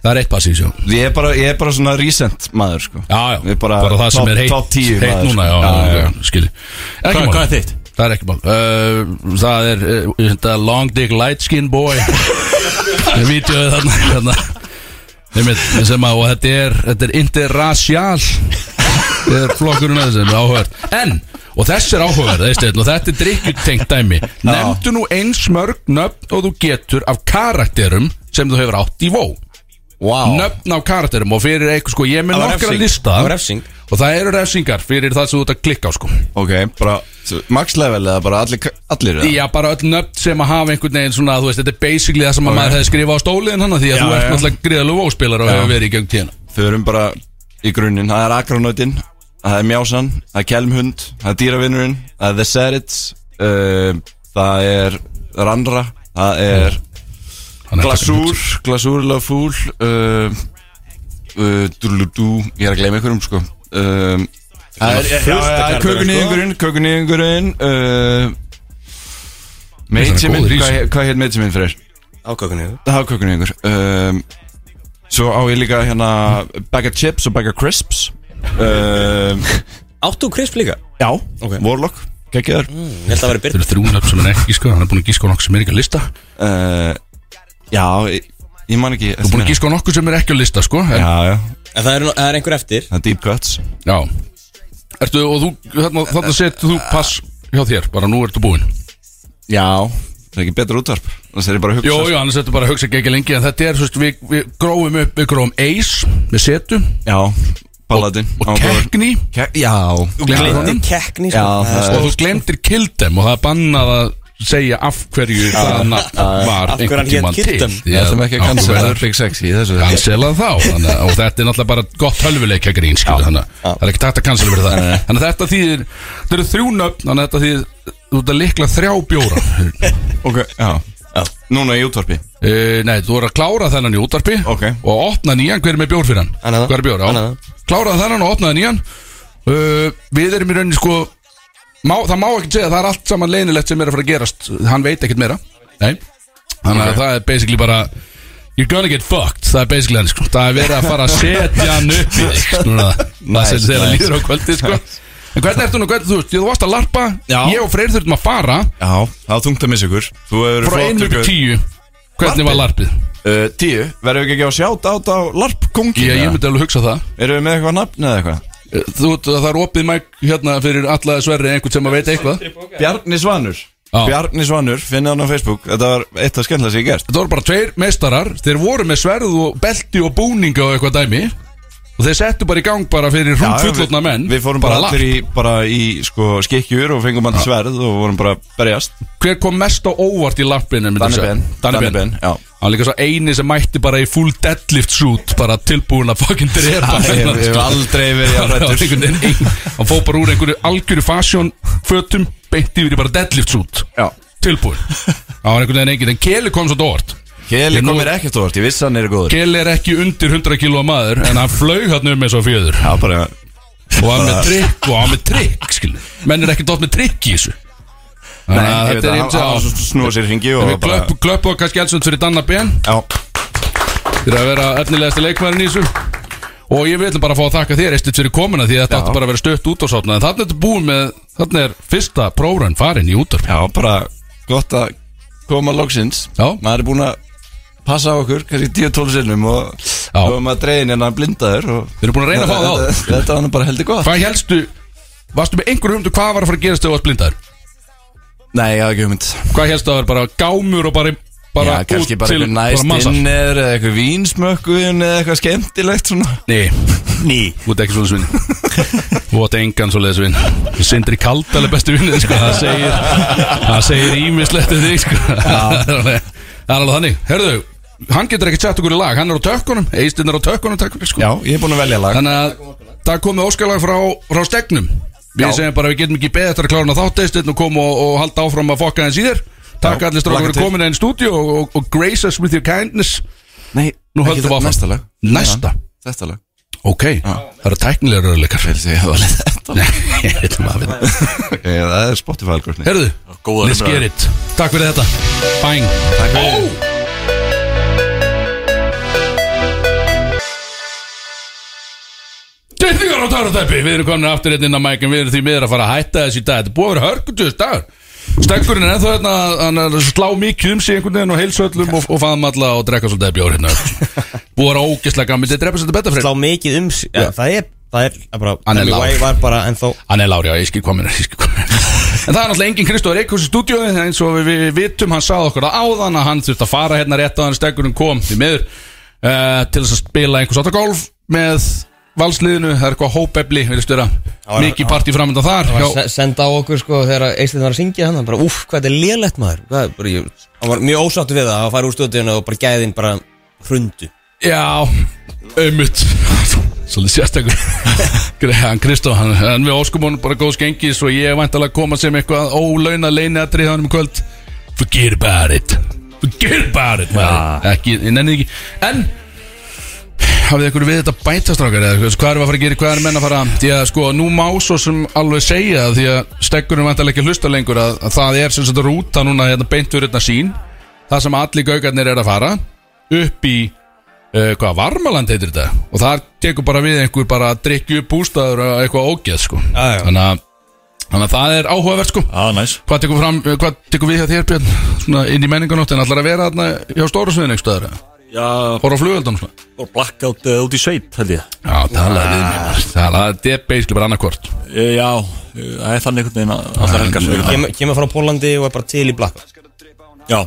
Það er eitt pass í sjó
Ég er bara, ég er bara svona recent maður sko
Já, já,
Ég er bara,
það sem
top,
er heitt
Top 10
Heitt
maður,
núna, já,
sko.
já, já, skilji Ekki mál,
er þitt?
það er ekki mál uh, Það er uh, þetta Long Dick Light Skin Boy Ég vítjóði þarna, þarna. Einmitt, sem að, og þetta er, þetta er interracial Þetta er flokkurinn að þessum áhugavert En, og þess er áhugavert þessi, og þetta er drikkjutengt dæmi Nefndu nú eins mörg nöfn og þú getur af karakterum sem þú hefur átt í vó
Wow
Nöfn af karakterum og fyrir eitthvað sko Ég er með
Það var
nokkra
refsing.
lista
Það var refsing.
Og það eru refsingar fyrir það sem þú ert að klikka á sko
Ok, bara svo, Max level eða bara allir, allir eða?
Já, bara öll nöfn sem að hafa einhvern veginn svona, þú veist, þetta er basically það sem að maður hefði skrifað á stóliðin hann því að
Já,
þú ert
já.
náttúrulega gríðalegu vóspilar og hefur verið í gegn tíðina
Þau erum bara í grunninn Það er Akronautin Það er Mjásan Það er Kelmhund Það er Dýravinnurinn Það er The Serits uh, Það er Randra Það er
Þannig að þetta er
Glasúr Glasúr Love Fool uh, uh, Dúludú Ég er að gleyma einhverjum sko um, Það er sko.
fullt af karakterum,
Kökunýðingurinn Kökunýðingurinn uh,
Þetta er
Meitjiminn
góður í
Hvað
þessu.
hvað heit Meitjiminn fyrir?
Ákökunni
hafkökunni ykkur um, Svo á ég líka hérna Bag of chips og bag of crisps um,
Áttu krisp líka?
Já,
Ok.
Warlock Kekkiðar
Ég held að vera
Þetta
byrð
eru þrjú nöfn sem er ekki, sko, hann er búin að gíska á nokkuð sem er ekki á lista Þú
uh, Já, ég, ég man ekki Þú
er búin að gíska á nokkuð sem er ekki á lista, sko en,
Já, já,
En það er, það er einhver eftir
það er deep cuts
já. Ertu, og þú, þarna, þarna setur þú pass hjá þér, bara nú ertu búinn
Já Það er ekki betra útvarp Það er ég bara að hugsa
Jó, jó, annars ertu bara að hugsa ekki ekki lengi en þetta er, þú veist, við, við grófum upp, við grófum Ace með setu
Já, Paladin
og Kekni
kek Já
Gleimti kekkni
Já, það er
og þú glemtir Kill Them og það er bannað að segja af hverju það nafn var
Af hverju hann hét
einhvern tíman
Kill
til
Them?
Því
Það sem ekki að
af hverju
cancela
verður
Big Sexy í þessu
cancelað þá þannig, að- og þetta er náttúrulega bara gott hölvuleika grín skilur, þannig, að það er ekki takt að cancela fyrir það þannig að þetta þýðir, þetta eru þrjú nöfn þannig að þetta þýðir, þú ert að likla þrjá bjóra
Ok, já Núna í útvarpi
e, nei, þú ert að klára þennan í útarpi
Ok.
og opna nýjan, hver er með bjór fyrir hann?
Annan.
hver er bjór,
Annan.
já, klára þennan og opna nýjan e, við erum í rauninni sko má, það má ekki segja, það er allt saman leynilegt sem er að fara að gerast, hann veit ekkert meira nei, þannig að það er basically bara You're gonna get fucked, það er basically hann sko Það er verið að fara að setja hann upp í þig sko, núna. Það sem þeirra líður á kvöldi sko En hvernig ertu nú, hvernig þú veist, ég þú varst að larpa
Já.
Ég og Freyr þurftum að fara
Já, það var þungt að missa ykkur Þú hefur
Frá
flott
einu upp í
ykkur.
tíu Hvernig var larpið?
Uh, tíu, verðum við ekki að sjá dát á larpkongin?
Ég, ég myndi alveg hugsa það Eh,
Erum við með eitthvað nafn eða eitthvað?
Þú veit að það er opið mæk hérna fyrir alla sverri einhvern sem að veit eitthvað
Bjarni Svanur
Já.
Bjarni Svanur, finnið hann á Facebook Þetta var eitt af skemmtilega sem ég gert
Þetta voru bara tveir meistarar Þeir voru með sverð og belti og búninga og eitthvað dæmi Og þeir settu bara í gang bara fyrir hún fullotna menn
Við fórum bara,
larp.
allir í, bara í sko, skikkjur og fengum hann sverð og vorum bara að berjast
Hver kom mest á óvart í lappinu
Danni Ben
Danni Ben
já
Hann er líka svo eini sem mætti bara í full deadlift suit Bara tilbúin að fucking drepa
Ég
þennan,
ég
sko.
hef aldrei verið að
Það var
rættur
einhvern veginn ein- Hann fóð bara úr einhverju algjöru fasjón Fötum beint yfir í bara deadlift suit
Já.
Tilbúin Það var einhvern veginn engin En Keli kom svo dórt Ég
Keli
nú-
kom mér ekkert óvart, ég vissi að hann er góður
Keli er ekki undir 100 kílóa maður En hann flaug hann um eins og fjöður
Já, bara
Og hann með trikk og hann með trikk skilu. Menn er ekki dótt með trikk í þessu
Nei,
Þannig að
ég veit
þetta er
að hann-
eins og-
hann snúið sér hringi
En
og
Við
bara
klöpp- klöppum okkar skjálsönd fyrir Danna Ben
Já,
Fyrir að vera efnilegasti leikmærin í þessu Og ég vil bara fá að þakka þér Eistut fyrir komuna því að þetta
Já.
átti bara að vera stött út og sátna En þannig er þetta búið með Þannig er fyrsta prófrann farin í útarp
já, bara gott að koma loksins
Já.
Maður er búin að passa á okkur, kannski 10-12 sinnum og
Já.
og maður dregin en hann blindaður og
Við erum búin að reyna að fá það á
Þetta- Þetta var nú bara heldur gott
Hvað helstu Varstu með einhverjum humdu hvað var að fara að gerast þegar þú varst blindaður?
Nei, ég hafði ekki hugmynd
Hvað helstu að það var bara gámur og bara, bara
Já, kannski bara eitthvað næst
mansal?
innir eða eitthvað vínsmökkun eða eitthvað skemmtilegt svona
Nei,
Ný
þú ert ekki svona svinn Þú ert engan svo leiðis vinn Sindri Kaldal er bestu vinnið sko. Það segir Það segir ímislegt um þig sko. Það er alveg það er alveg þannig Herðu, hann getur ekki sett okkur í lag Hann er á tökkunum, eistinn er á tökkunum takk fyrir, sko.
Já, ég er búin að velja lag
Þannig að það komið óskalag frá, frá stegnum Við segjum bara að við getum ekki beðið eftir að klára þá teistinn og koma og, og halda áfram að fokka hans í þér Takk
Já,
allir strákur
hlakka
fyrir
til.
komin einn stúdíu og, og, og grace us with your kindness
Nei,
Nú
ekki
höldum við
þetta-
áfram
Næsta lag
Næsta
Þetta lag
Ok, það eru tæknilega röðleikar
Fyrir því að það var leitt þetta
Nei, ég veit um að við
Ok, Það er Spotify algoritmi
Herðu,
Góða
let's
umræða.
get it Takk fyrir þetta Bang Takk fyrir Dyrningar á Tárutæpi Við erum komin aftur hérna inn á mækin Við erum því miður að fara að hætta þessu í dag Þetta er búið að vera hörgutust dagur Stengurinn er ennþá hérna Hann er að slá mikið um sig einhvern veginn Og heilsöllum og, og faðum alla og drekka svolítið af bjór hérna Búið að vera ógeðslega gaman Þetta er drepa svolítið betra fyrir
slá mikið um sig ja, það er, það er að bara
Hann er
Tommy
lágur.
Wiseau var bara en þó
Hann er Lári, já, ég skil komin, ég skil komin En það er náttúrulega engin Kristóður Eikhús í stúdíói eins og við, við vitum, hann sagði okkur að áðan að hann þurfti að fara hérna rétt á hann stegurinn kom því miður uh, til þess að spila einhvers átta golf með valsliðinu, það er eitthvað hópefli við styrir að mikið partí framönda þar
var
já,
se- senda á okkur sko þegar Eistin var að syngja hann hann bara uff hvað þetta er lélegt maður Það er bara, ég, hann var mjög ósáttu við það að fara úr stöðinu og bara gæðin bara hrundu
já, auðmut Svolítið sérstakur Hann Kristó, hann, hann við óskum honum bara góðs gengis og ég er vantalega að koma sem eitthvað ólauna leiniatri hann um kvöld Forget about it Forget about it maður. Ekki, ég nenni því ekki En hafið ykkur við þetta bætastrákar eða þú veist, hvað erum við að fara að gera, hvað erum menn að fara því að sko nú má svo sem alveg segja því að stekkurum vantarlega ekki að hlusta lengur að, að það er sem sagt rúta núna hérna beintur hérna sín það sem allir gaugarnir er að fara upp í uh, hvað varmaland heitir þetta og það tekur bara við einhver bara að drikju upp bústæður og eitthvað ógeð sko
Já, já.
þannig að, þannig að það er áhugavert sko
Já, næs
Hvað tekur, fram, eh, hvað tekur við hjá þér Björn svona inn í menninganóttin allar að vera þarna hjá stóra sviðin einhver stöður
Já,
horfa á flugöldunum svona
og blackout uh, út í sveit, held ég
Já, talaði við mér maður. talaði, þetta er basically bara annarkvort
Eh, Já, eh, það er þannig einhvern veginn að allar helgar
sko.
sem eru
Kem, kemur frá Pólandi og er bara til í blakk
Já,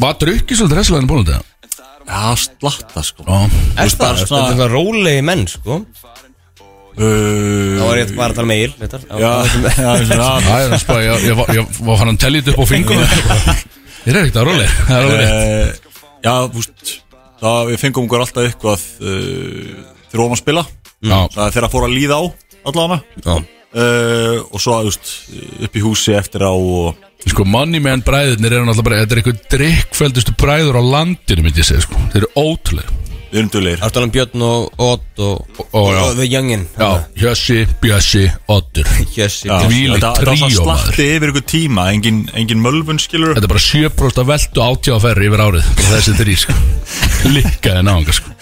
Var drukkið svolítið hérna resluðinu búin þetta?
já, slatta sko
Já,
er það,
bara
þetta
svona-
er svona rólegi menn sko þá
Það
var ég bara að tala með Egil reyndar.
Eh, Já, já, já
það er spá, ég, ég, var- ég var hann að tellja þetta upp á fingur Þetta er ekkert að róli Það er alveg rétt
Eh, Já, þú veist Það við fengum okkur alltaf eitthvað uh, Þegar við vorum að spila
Já,
Það er þegar að fóra að líða á allavega
já.
uh, Og svo, þú veist Upp í húsi eftir á og,
Sko, money man bræðirnir eru náttúrulega bara Þetta er eitthvað drikkfældustu bræður á landinu myndi ég segja, sko Þeir eru ótrúlega
Undulegir
Það var talað um Björn og Ott og,
Ó, já.
og The Youngin
Já, Hjössi, Bjössi, Oddur
Hjössi
Já,
Þvílíkt
þetta- þetta var svona
tríó, maður.
slatti yfir ykkur tíma Engin, engin mölvun skilur
Þetta er bara 7% að veltu átjá að ferri yfir árið Bara Þessi þrý, sko Likkaði náðunga, sko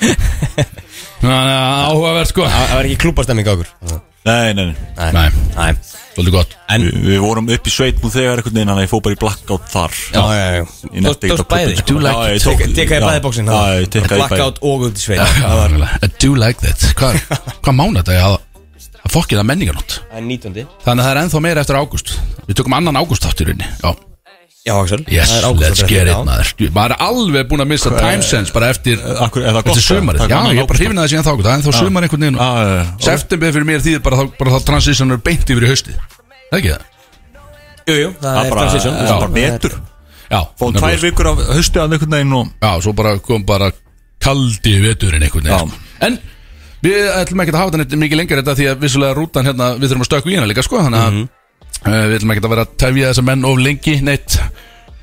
Þannig að áhugavert, sko
Það það var ekki klúbastemming á okkur
Nei, nei, nei
Nei,
Nei
svolítið gott
En
Vi, Við vorum upp í sveit nú þegar einhvern veginn Þannig að ég fóð bara í blackout þar
Já, já, já
Ég nefndi
Tókst
ekki á
bæði
klubben, sko. Já, ég tók-
Tekkaði
já.
bæði bóksin
Já, ég tikkaði í bæði.
Blackout og út í sveit Það var
I do like that Hvað, hvað mánu þetta er að að fokkið að menningarnótt
Það er 19.
Þannig að það er ennþá meira eftir ágúst Við tökum annan ágúst átt í rauninni Já,
Já, Axel
yes,
Það er ágúst
let's
að
get
frétta,
it
já.
maður Jú, Maður er alveg búin að missa time sense bara eftir
Akkur, er það gott? Ah,
Eftir sumarið, já, ég er bara hrifin að það síðan þá Það er ennþá sumar einhvern veginn og-
hrifin
September fyrir mér þýðir bara þá, bara þá transition er beint yfir í haustið Það er ekki það?
Jú, jú, það er
bara-
transition
það er bara betur.
Já,
Fóðum
nefnilega,
tvær vikur af haustu að einhvern veginn og
sko. Já, svo bara kom bara kaldi veturinn einhvern
Já.
veginn sko. En við ætlum ekki að hafa þetta mikið lengur þetta því að vissulega rútan hérna, við þurfum að stökku í hérna líka sko, þannig að
Mhm.
Uh, við ætlum ekki að vera að tefja þessa menn of lengi Neitt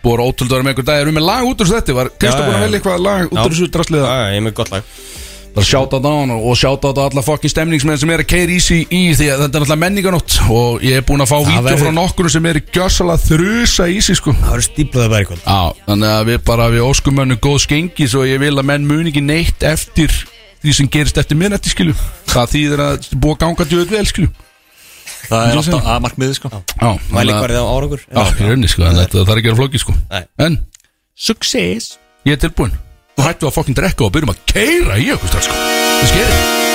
Búið ótrúld að vera með einhver dag Erum við með lag út úr þessu þetta Var Kristó
Já,
búin að
já,
velja
já.
eitthvað lag út úr þessu drastlið
Já, já, ég er með gott lag
Bara sjáta á hann og sjáta á alla fokkin stemningsmenn Sem er að keira í sig í því að þetta er alltaf menninganótt Og ég er búin að fá vídeo
verður-
frá nokkur Sem er gjössalega þrusa í sig sko
Það eru stíplaði bara í kvöld
Já, þannig að við bara við óskum önnu góð skengis og ég vil að menn muni ekki neitt eftir því sem gerist eftir minnætti skilu það þýðir að þetta er búið að ganga djöðu vel skilu
það er
Ég sé.
alltaf að markmiði sko
Já,
Mæli
þannig að-
hverðið á árangur
Já, í rauninni sko, þannig að þetta þarf ekki að gera flóki sko
Nei.
En Success Ég er tilbúinn Nú hættu að fokkin drekka og byrjum að keira í okkur strax sko Það skerir